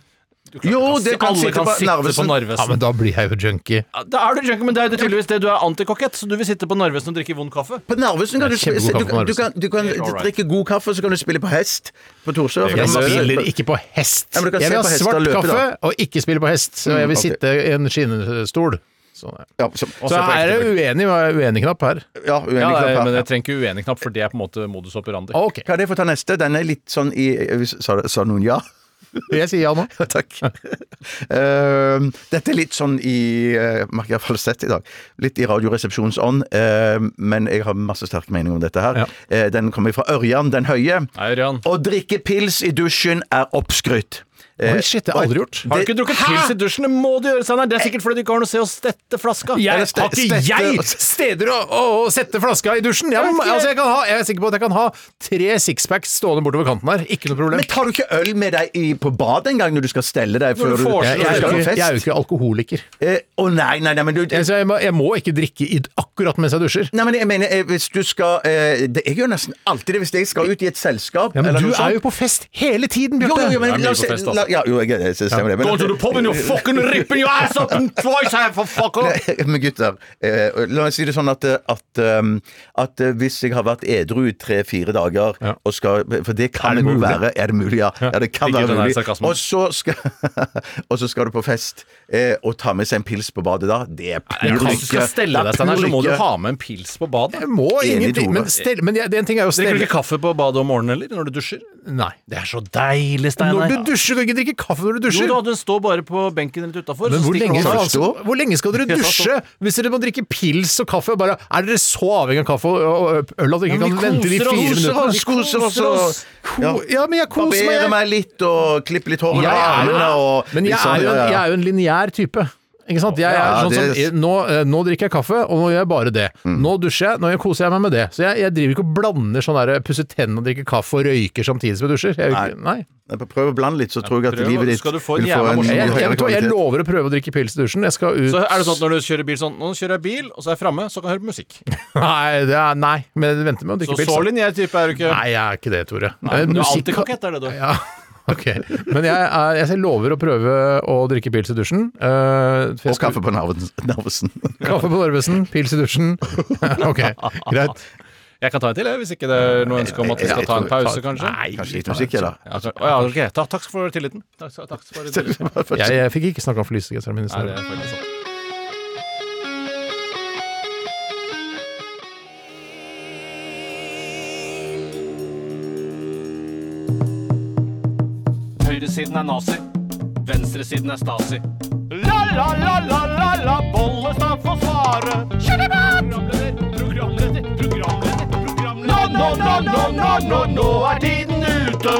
Speaker 5: Jo, det kan
Speaker 6: Alle
Speaker 5: sitte
Speaker 6: kan
Speaker 5: på
Speaker 6: sitte på
Speaker 5: Narvesen.
Speaker 6: Narvesen.
Speaker 4: Ja, men da blir jeg jo junkie.
Speaker 6: Ja, Da er du junkie, men det er jo tydeligvis det du er antikokett, så du vil sitte på Narvesen og drikke vond kaffe.
Speaker 5: På Narvesen kan du,
Speaker 4: Det er kjempegod
Speaker 5: spise- du,
Speaker 4: kaffe på
Speaker 5: kan- du, kan,
Speaker 4: Narvesen.
Speaker 5: du kan
Speaker 6: Alright.
Speaker 5: drikke god kaffe, så kan du spille på hest på Torsø.
Speaker 4: Jeg spiller ikke på hest.
Speaker 5: Ja, men du kan
Speaker 4: Jeg
Speaker 5: se
Speaker 4: vil
Speaker 5: på
Speaker 4: ha
Speaker 5: hester
Speaker 4: svart
Speaker 5: løpe,
Speaker 4: kaffe
Speaker 5: da. Mm,
Speaker 4: og ikke spille på hest. Så jeg vil
Speaker 5: ok.
Speaker 4: sitte i en skinnestol. Sånn, ja.
Speaker 5: Ja, som,
Speaker 4: Så her er det uenig, uenig knapp her.
Speaker 5: ja, uenig
Speaker 6: Ja,
Speaker 5: knapp her.
Speaker 6: men jeg trenger ikke uenig-knapp, for det er på en måte modus operandi.
Speaker 4: Ok,
Speaker 5: Kan jeg få ta neste? Den er litt sånn i Sa, sa noen ja? <laughs>
Speaker 4: jeg sier ja nå. <laughs>
Speaker 5: Takk. Ehm, dette er litt sånn i uh, Merker jeg falsett i dag. Litt i Radioresepsjonens ånd, ehm, men jeg har masse sterk mening om dette her.
Speaker 4: Ja.
Speaker 5: Eh, den kommer fra Ørjan den høye.
Speaker 6: Nei, Ørjan.
Speaker 5: Å drikke pils i dusjen er oppskrytt. Eh,
Speaker 4: Oi, shit, det har jeg aldri gjort.
Speaker 6: Har du ikke drukket pils i dusjen? Det må du gjøre, Steinar. Det er sikkert fordi du ikke har noe sted å stette flaska.
Speaker 4: Jeg,
Speaker 5: Eller ste-
Speaker 4: har ikke jeg
Speaker 5: stette-
Speaker 4: Altså, steder å, å, å sette flaska i dusjen? Jeg, må- altså, jeg, kan ha, jeg er sikker på at jeg kan ha tre sixpacks stående bortover kanten her. Ikke noe problem.
Speaker 5: Men tar du ikke øl med deg i, på badet engang når du skal stelle deg før
Speaker 6: du får
Speaker 4: Jeg,
Speaker 6: seg
Speaker 4: jeg, er,
Speaker 5: skal
Speaker 4: jo
Speaker 5: på
Speaker 4: ikke,
Speaker 5: fest?
Speaker 4: jeg er jo ikke alkoholiker.
Speaker 5: Eh, Å nei, nei, nei, men du
Speaker 4: Jeg, så jeg, må, jeg må ikke drikke i, akkurat mens jeg dusjer.
Speaker 5: Nei, men jeg mener, eh, hvis du skal eh, det, Jeg gjør nesten alltid det hvis jeg skal ut i et selskap
Speaker 4: Ja, men
Speaker 5: eller
Speaker 4: du
Speaker 5: noe sånt.
Speaker 4: er jo på fest hele tiden,
Speaker 5: Jo,
Speaker 4: Bjarte!
Speaker 5: jo, jo,
Speaker 6: Det
Speaker 5: men la
Speaker 6: er mye
Speaker 5: oss
Speaker 6: på
Speaker 5: se
Speaker 6: fest, altså.
Speaker 5: la- Ja, jo, jeg, jeg stemmer det. Men,
Speaker 6: Go to the pub and you're fucking ripping your ass up and twice I have for fucker.
Speaker 5: <laughs> men gutter, eh, la meg si det sånn at, eh, at, um, at eh, hvis jeg har vært edru i tre-fire dager
Speaker 4: Ja.
Speaker 5: og skal, For det
Speaker 4: Er
Speaker 5: kan
Speaker 4: det
Speaker 5: det jo
Speaker 4: mulig?
Speaker 5: være. Er det mulig, ja. ja det kan
Speaker 6: Ikke
Speaker 5: være
Speaker 6: den her
Speaker 5: mulig.
Speaker 6: sarkasmen.
Speaker 5: Og så, skal, <laughs> og så skal du på fest eh, og ta med seg en pils på badet da. Det er pur lykke.
Speaker 6: Hvis du skal stelle
Speaker 5: Det er pur
Speaker 6: deg, Steinar, så må du
Speaker 5: lykke.
Speaker 6: ha med en pils på badet.
Speaker 4: Jeg må
Speaker 5: Enig,
Speaker 4: ingenting.
Speaker 5: Tore.
Speaker 4: Men, stell, men jeg, det en ting er jo å
Speaker 6: Drikker du
Speaker 4: stelle
Speaker 6: ikke kaffe på badet om morgenen eller når du dusjer?
Speaker 4: Nei.
Speaker 6: Det er så deilig,
Speaker 4: Når du dusjer, du kan ikke drikke kaffe når du
Speaker 6: Jo
Speaker 4: dusjer!
Speaker 6: da, den står bare på benken rett utafor.
Speaker 4: Men hvor lenge,
Speaker 5: Skal det
Speaker 4: altså,
Speaker 5: stå?
Speaker 4: hvor lenge skal dere
Speaker 6: Skal det
Speaker 4: dusje hvis dere må drikke pils og kaffe? og Bare, er dere så avhengig av kaffe og- og øl at dere ikke
Speaker 6: Ja, men
Speaker 4: kan
Speaker 6: vi
Speaker 4: vente de
Speaker 6: koser
Speaker 4: fire
Speaker 6: oss,
Speaker 4: minuttene?
Speaker 6: vi koser oss, oss.
Speaker 4: Ko- Ja, men jeg koser
Speaker 5: Barbere
Speaker 4: meg.
Speaker 5: meg litt og klippe litt hår
Speaker 4: Jeg
Speaker 5: under
Speaker 4: er
Speaker 5: armene
Speaker 4: jo,
Speaker 5: og
Speaker 4: men jeg
Speaker 5: liksom,
Speaker 4: er jo en,
Speaker 5: ja, ja.
Speaker 4: jeg er jo en lineær type. Ikke sant? Jeg er
Speaker 5: Ja,
Speaker 4: sånn som,
Speaker 5: det- Mm.
Speaker 4: jeg- nå, eh, nå drikker jeg kaffe, og nå gjør jeg bare det. Nå dusjer jeg, nå koser jeg meg med det. Så jeg, jeg driver ikke og blander sånn der pusser tennene og drikker kaffe og røyker samtidig som jeg dusjer. Jeg, er jo ikke- nei.
Speaker 5: Prøv å blande litt, så tror jeg at
Speaker 6: prøv,
Speaker 5: livet ditt
Speaker 6: skal du få en
Speaker 5: vil
Speaker 6: jævla morsom-
Speaker 4: Jeg, jeg, jeg,
Speaker 5: høyere
Speaker 4: vet hva, jeg
Speaker 5: kvalitet.
Speaker 4: lover å prøve å drikke pils i dusjen. Jeg skal ut
Speaker 6: Så er det sånn at når du kjører bil sånn Nå kjører jeg bil, og så er jeg framme, så kan jeg høre på musikk.
Speaker 4: Nei, det er, nei, men venter med å
Speaker 6: Så
Speaker 4: drikke pils.
Speaker 6: så
Speaker 4: da.
Speaker 6: linjær type er du ikke.
Speaker 4: Nei, jeg er ikke det, Tore. Eh,
Speaker 6: Du er
Speaker 4: musikk-
Speaker 6: antikokett, er det du.
Speaker 4: Ja, ok. Men jeg, er, jeg lover å prøve å drikke pils i dusjen. Eh, for jeg
Speaker 5: Og
Speaker 4: skal-
Speaker 5: kaffe på Narvesen. Narvesen.
Speaker 4: Kaffe på Narvesen, pils i dusjen. <laughs> ok, greit.
Speaker 6: Jeg kan ta en til, jeg, hvis ikke det er noe ønske om at vi skal ta en pause, kanskje.
Speaker 5: Kanskje litt musikk, eller? <laughs>
Speaker 6: Ja, så- å ja, ok. Ta, takk for tilliten. Takk, takk for tilliten.
Speaker 4: Jeg, jeg fikk ikke snakka om flysegeseren min i
Speaker 6: Nei, det
Speaker 4: stad.
Speaker 6: er faktisk sant.
Speaker 8: Høyresiden er nazi. Venstresiden er stasi. La, la, la, la, la, la, Bollestad får svare. Programleder, programleder, programleder, programleder. Nå, nå, nå, nå, nå, nå, nå er tiden ute.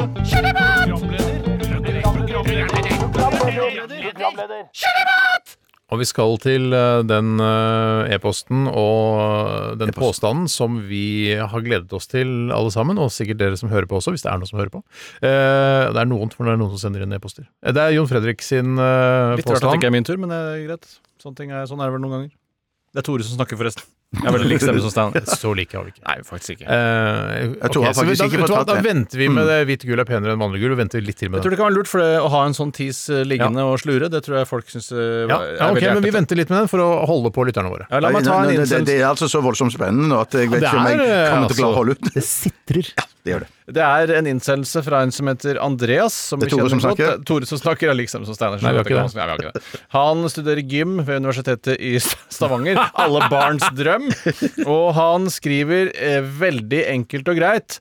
Speaker 8: Programleder, programleder, programleder.
Speaker 4: Og vi skal til eh, den eh, e-posten og eh, den påstanden som vi har gledet oss til alle sammen, og sikkert dere som hører på også, hvis det er noen som hører på. Eh, det er noen, for det er noen som sender inn e-poster. Eh, Det er Jon Fredrik sin eh,
Speaker 6: Litt rart at det
Speaker 4: påstand.
Speaker 6: ikke er min tur, men det er greit. Sånne ting er, sånn er det vel noen ganger. Det er Tore som snakker, forresten. Jeg er veldig lik stemme som <laughs> Steinar.
Speaker 4: Så like har vi ikke.
Speaker 6: Nei, faktisk ikke.
Speaker 4: Eh,
Speaker 5: Jeg tror
Speaker 4: ok,
Speaker 5: han
Speaker 4: så vi-
Speaker 5: faktisk
Speaker 4: da, vet
Speaker 5: ikke
Speaker 4: du hva,
Speaker 5: fortalte
Speaker 4: da
Speaker 5: det.
Speaker 4: venter vi med det hvite gull er penere enn vanlig gull, og venter litt til med
Speaker 6: Mm. Jeg tror
Speaker 4: det.
Speaker 6: det kan være lurt, for det, å ha en sånn tis eh, liggende og slure, det tror jeg folk syns
Speaker 4: Ja,
Speaker 6: eh, er
Speaker 4: ja, ok,
Speaker 6: veldig
Speaker 4: men vi
Speaker 6: hjertete.
Speaker 4: venter litt med den for å holde på lytterne våre.
Speaker 6: Ja, la meg ta en
Speaker 5: Nei, nei, det,
Speaker 6: innsendt
Speaker 5: det er altså så voldsomt spennende nå at jeg vet
Speaker 4: Det
Speaker 5: ikke om jeg
Speaker 4: er, eh,
Speaker 5: kommer til å
Speaker 4: altså-
Speaker 5: klare å holde ut.
Speaker 4: Det sitrer.
Speaker 5: Det gjør det.
Speaker 6: Det er en innsendelse fra en som heter Andreas. Som
Speaker 5: Det er Tore
Speaker 6: vi kjenner
Speaker 5: som
Speaker 6: godt.
Speaker 5: snakker.
Speaker 6: Det er Tore som snakker, er lik stemme som Steinar. så
Speaker 4: Nei, vi har
Speaker 6: dette kan
Speaker 4: ikke det.
Speaker 6: vanskelig- Nei, vi har ikke det. Han studerer gym ved Universitetet i Stavanger. Alle barns drøm. Og han skriver eh, veldig enkelt og greit.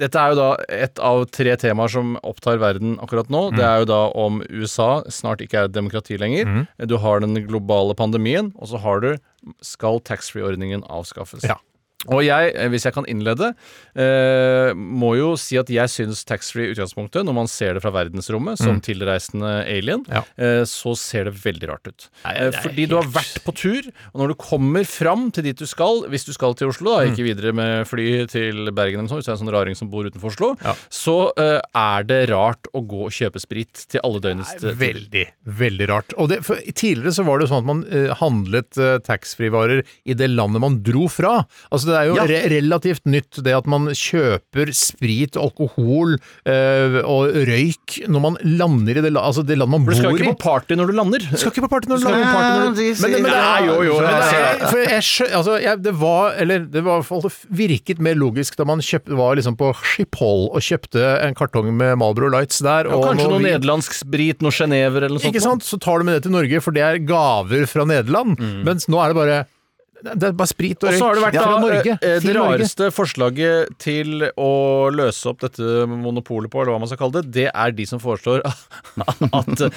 Speaker 6: Dette er jo da et av tre temaer som opptar verden akkurat nå. Det er jo da om USA snart ikke er et demokrati lenger.
Speaker 4: Mm.
Speaker 6: Du har den globale pandemien, og så har du skal taxfree-ordningen avskaffes.
Speaker 4: Ja.
Speaker 6: Og jeg, eh, hvis jeg kan innlede, eh, må jo si at jeg syns taxfree i utgangspunktet, når man ser det fra verdensrommet som tilreisende alien,
Speaker 4: Mm. Ja.
Speaker 6: eh, så ser det veldig rart ut. Eh, Fordi du har vært på tur, og når du kommer fram til dit du skal, hvis du skal til
Speaker 4: Mm.
Speaker 6: Oslo, da, ikke videre med fly til Bergen eller noe sånt, hvis det er en sånn raring som bor utenfor Oslo, så eh, er det rart å gå og kjøpe sprit til alle døgnets
Speaker 4: Det er Veldig, veldig rart. Og det, for tidligere så var det jo sånn at man eh, handlet eh, taxfree-varer i det landet man dro fra. Altså det er jo
Speaker 5: Ja.
Speaker 4: re relativt nytt det at man kjøper sprit, alkohol eh, og røyk når man lander i det, la altså det landet man
Speaker 6: For du skal jo
Speaker 4: bor i.
Speaker 6: ikke på party når du lander.
Speaker 4: Du skal ikke på party når du
Speaker 5: Skal
Speaker 4: lander.
Speaker 5: ikke på party når du-
Speaker 4: Men- men- men-
Speaker 5: Nei, jo, jo,
Speaker 4: Men
Speaker 5: jeg
Speaker 4: det-
Speaker 5: ser
Speaker 4: for jeg skjø- altså, jeg, det var, eller det var i hvert fall det virket mer logisk da man kjøpt, var liksom på Schiphol og kjøpte en kartong med Marlboro Lights der.
Speaker 6: Og kanskje noe
Speaker 4: vin.
Speaker 6: nederlandsk sprit, noe sjenever eller noe sånt.
Speaker 4: Ikke sant? Så tar du med det til Norge, for det er gaver fra Nederland. Mens nå er det bare det er bare sprit og
Speaker 6: Og
Speaker 4: røyk
Speaker 6: så har det vært
Speaker 4: fra
Speaker 6: da,
Speaker 4: Norge.
Speaker 6: eh,
Speaker 4: Til
Speaker 6: eh, det
Speaker 4: Norge.
Speaker 6: rareste forslaget til å løse opp dette monopolet på, eller hva man skal kalle det, det er de som foreslår <laughs> at eh,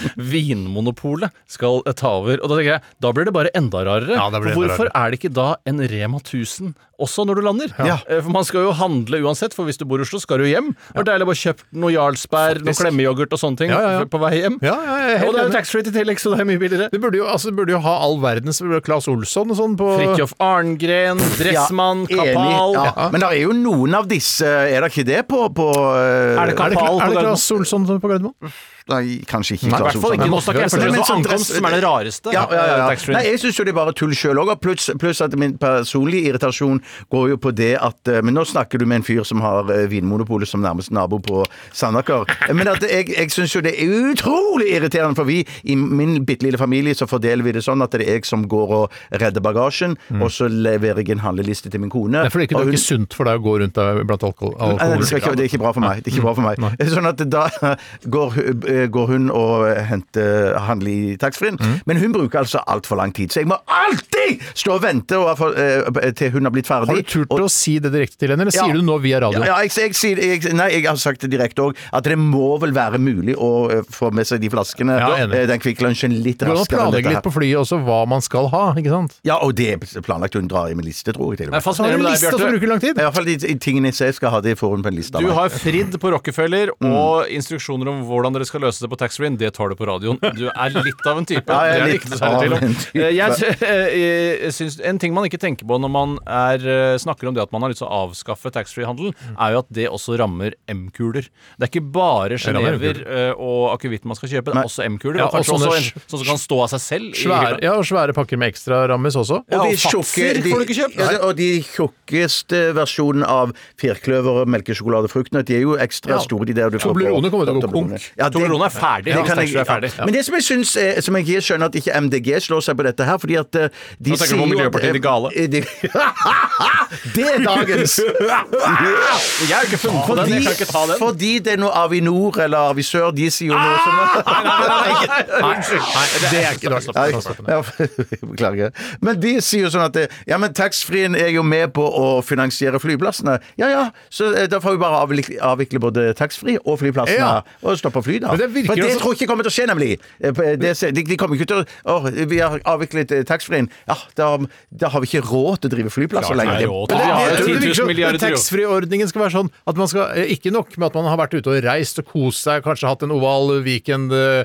Speaker 6: vinmonopolet skal eh, ta over. Og da tenker jeg, da blir det bare enda rarere.
Speaker 4: Ja, da blir det
Speaker 6: for
Speaker 4: enda
Speaker 6: hvorfor er det ikke da en Rema 1000 også når du lander?
Speaker 5: Ja.
Speaker 6: Eh, For man skal jo handle uansett, for hvis du bor i Oslo, skal du hjem. Det var deilig å bare kjøpe noe Jarlsberg, noe klemmeyoghurt og sånne ting
Speaker 4: Ja, ja, ja.
Speaker 6: på vei hjem.
Speaker 4: Ja, ja, jeg er helt
Speaker 6: og det er jo
Speaker 4: enig.
Speaker 6: taxfree til tillegg, så det er mye billigere.
Speaker 4: Du burde jo, altså, du burde jo ha all verdens Claes Olsson og sånn på
Speaker 6: Fridtjof Arngren, Dressmann,
Speaker 5: Ja, enig.
Speaker 6: Kapal.
Speaker 5: Ja. Men det er jo noen av disse Er det ikke det på, på eh,
Speaker 6: Er det
Speaker 4: Er det,
Speaker 6: Kapal
Speaker 4: er
Speaker 6: på
Speaker 4: det
Speaker 6: Gardermoen?
Speaker 4: Class Olsson som er på Gardermoen?
Speaker 5: Nei, kanskje ikke.
Speaker 6: I hvert fall ikke. Nå snakker jeg
Speaker 4: Nei,
Speaker 6: først
Speaker 4: men
Speaker 6: og fremst om
Speaker 5: så dress-
Speaker 6: ankomst, som sånn er det rareste.
Speaker 5: Ja, ja, ja,
Speaker 6: eh,
Speaker 5: ja.
Speaker 6: taxfree.
Speaker 5: Nei, jeg syns jo det er bare tull sjøl òg. Pluss pluss at min personlige irritasjon går jo på det at eh, Men nå snakker du med en fyr som har eh, Vinmonopolet som nærmeste nabo på Sandaker. Men at jeg, jeg syns jo det er utrolig irriterende, for vi i min bitte lille familie så fordeler vi det sånn at det er jeg som går og redder bagasjen, og så leverer jeg en handleliste til min kone.
Speaker 4: Det er fordi det ikke-
Speaker 5: og
Speaker 4: det er
Speaker 5: hun-
Speaker 4: ikke sunt Mm. for deg å gå rundt der blant alkohol.
Speaker 5: Nei, nei, det,
Speaker 4: alkohol.
Speaker 5: skal ikke, det er ikke bra for meg. Det er ikke bra for meg. Sånn at da <laughs> går, hun- eh, går hun og henter eh, handler i taxfree-en,
Speaker 4: Mm.
Speaker 5: men hun bruker altså altfor lang tid. Så jeg må alltid stå og vente og, for, eh, til hun har blitt ferdig.
Speaker 4: Har du turt
Speaker 5: og,
Speaker 4: å si det direkte til henne, eller sier
Speaker 5: Ja.
Speaker 4: du det nå via radio?
Speaker 5: ja, ja, jeg, jeg, sier- jeg, nei, jeg har sagt det direkte òg, at det må vel være mulig å eh, få med seg de flaskene,
Speaker 4: Ja, enig.
Speaker 5: eh, den Kvikk Lunsjen, litt
Speaker 4: Du kan
Speaker 5: raskere enn
Speaker 4: planlegge
Speaker 5: dette
Speaker 4: litt på
Speaker 5: her.
Speaker 4: flyet også hva man skal ha, ikke sant?
Speaker 5: Ja, og det er planlagt. Hun drar i med liste, tror jeg. til og
Speaker 6: Jeg er
Speaker 5: med.
Speaker 4: Så har du en
Speaker 6: fascinert med deg,
Speaker 4: liste som
Speaker 6: Bjarte.
Speaker 4: bruker lang tid.
Speaker 5: I hvert fall de de tingene jeg ser skal ha, det får hun på en liste. av
Speaker 6: Du
Speaker 5: meg.
Speaker 6: har fridd på Rockefeller,
Speaker 5: Mm.
Speaker 6: og instruksjoner om hvordan dere skal løse det på taxfree-en, det tar du på radioen. Du er litt av en type.
Speaker 5: Ja, jeg er
Speaker 6: det er det
Speaker 5: litt
Speaker 6: ikke noe særlig tvil
Speaker 5: av en
Speaker 6: om.
Speaker 5: type.
Speaker 6: Eh, Jeg, sy- eh, jeg syns En ting man ikke tenker på når man er, eh, snakker om det at man har lyst til å avskaffe taxfree-handelen,
Speaker 5: Mm.
Speaker 6: er jo at det også rammer M-kuler. Det er ikke
Speaker 4: rammer
Speaker 6: bare sjenever eh, og akevitt man skal kjøpe, det er også M-kuler.
Speaker 4: Ja,
Speaker 6: og kanskje
Speaker 4: og sånne
Speaker 6: også en
Speaker 4: sj-
Speaker 6: sånn som kan stå av seg selv. i
Speaker 4: Svære,
Speaker 6: hylla.
Speaker 4: ja, og svære pakker med ekstra rammes også.
Speaker 6: Ja,
Speaker 5: de
Speaker 6: og Fatser
Speaker 5: tjukke- de-
Speaker 6: får du ikke kjøpt.
Speaker 5: Ja, det- og de tjukkeste versjonen av firkløver, melkesjokolade og fruktene, de er jo ekstra
Speaker 4: Ja.
Speaker 5: store, de der du får
Speaker 4: Toblerone
Speaker 5: på.
Speaker 4: kommer til å gå
Speaker 5: Toblerone.
Speaker 4: konk.
Speaker 5: Ja, det-
Speaker 6: Toblerone er ferdig,
Speaker 5: det
Speaker 6: hvis
Speaker 5: kan
Speaker 6: Thatcher er
Speaker 5: ja.
Speaker 6: ferdig.
Speaker 5: Men det som jeg syns eh, Som jeg ikke skjønner at ikke MDG slår seg på dette her, fordi at eh, de
Speaker 6: Nå tenker du på
Speaker 5: jo at,
Speaker 6: Miljøpartiet
Speaker 5: eh,
Speaker 6: De Gale.
Speaker 5: eh, de- <laughs> det er
Speaker 6: <laughs>
Speaker 5: dagens!
Speaker 6: Jeg har jo ikke funnet på den. Jeg kan ikke ta den.
Speaker 5: fordi det er noe Avinor eller Avisør, de sier jo noe
Speaker 6: Ah!
Speaker 5: som
Speaker 4: det er ikke
Speaker 5: Nei,
Speaker 4: det.
Speaker 5: ja, <laughs> Beklager. Men de sier jo sånn at det- Ja, men taxfree-en er jo med på å finansiere flyplassene. Ja ja, så eh, da får vi bare avvikle, avvikle både taxfree og flyplassene.
Speaker 4: Ja.
Speaker 5: Og stoppe fly, da.
Speaker 4: Men det virker
Speaker 5: For det
Speaker 4: også-
Speaker 5: tror jeg ikke kommer til å skje, nemlig. Eh, på- eh, Det, ser- de, de kommer ikke til å Å, vi har avviklet eh, taxfree-en. Ja, da, da har vi ikke råd til å drive flyplasser
Speaker 6: Klart det
Speaker 5: lenger.
Speaker 6: er
Speaker 5: Men
Speaker 6: råd til å
Speaker 5: det-
Speaker 6: ha
Speaker 5: det-
Speaker 6: det.
Speaker 5: det-
Speaker 6: virker som milliarder til, jo.
Speaker 4: Taxfree-ordningen skal være sånn at man skal eh, Ikke nok med at man har vært ute og reist og kost seg, kanskje hatt en oval weekend eh,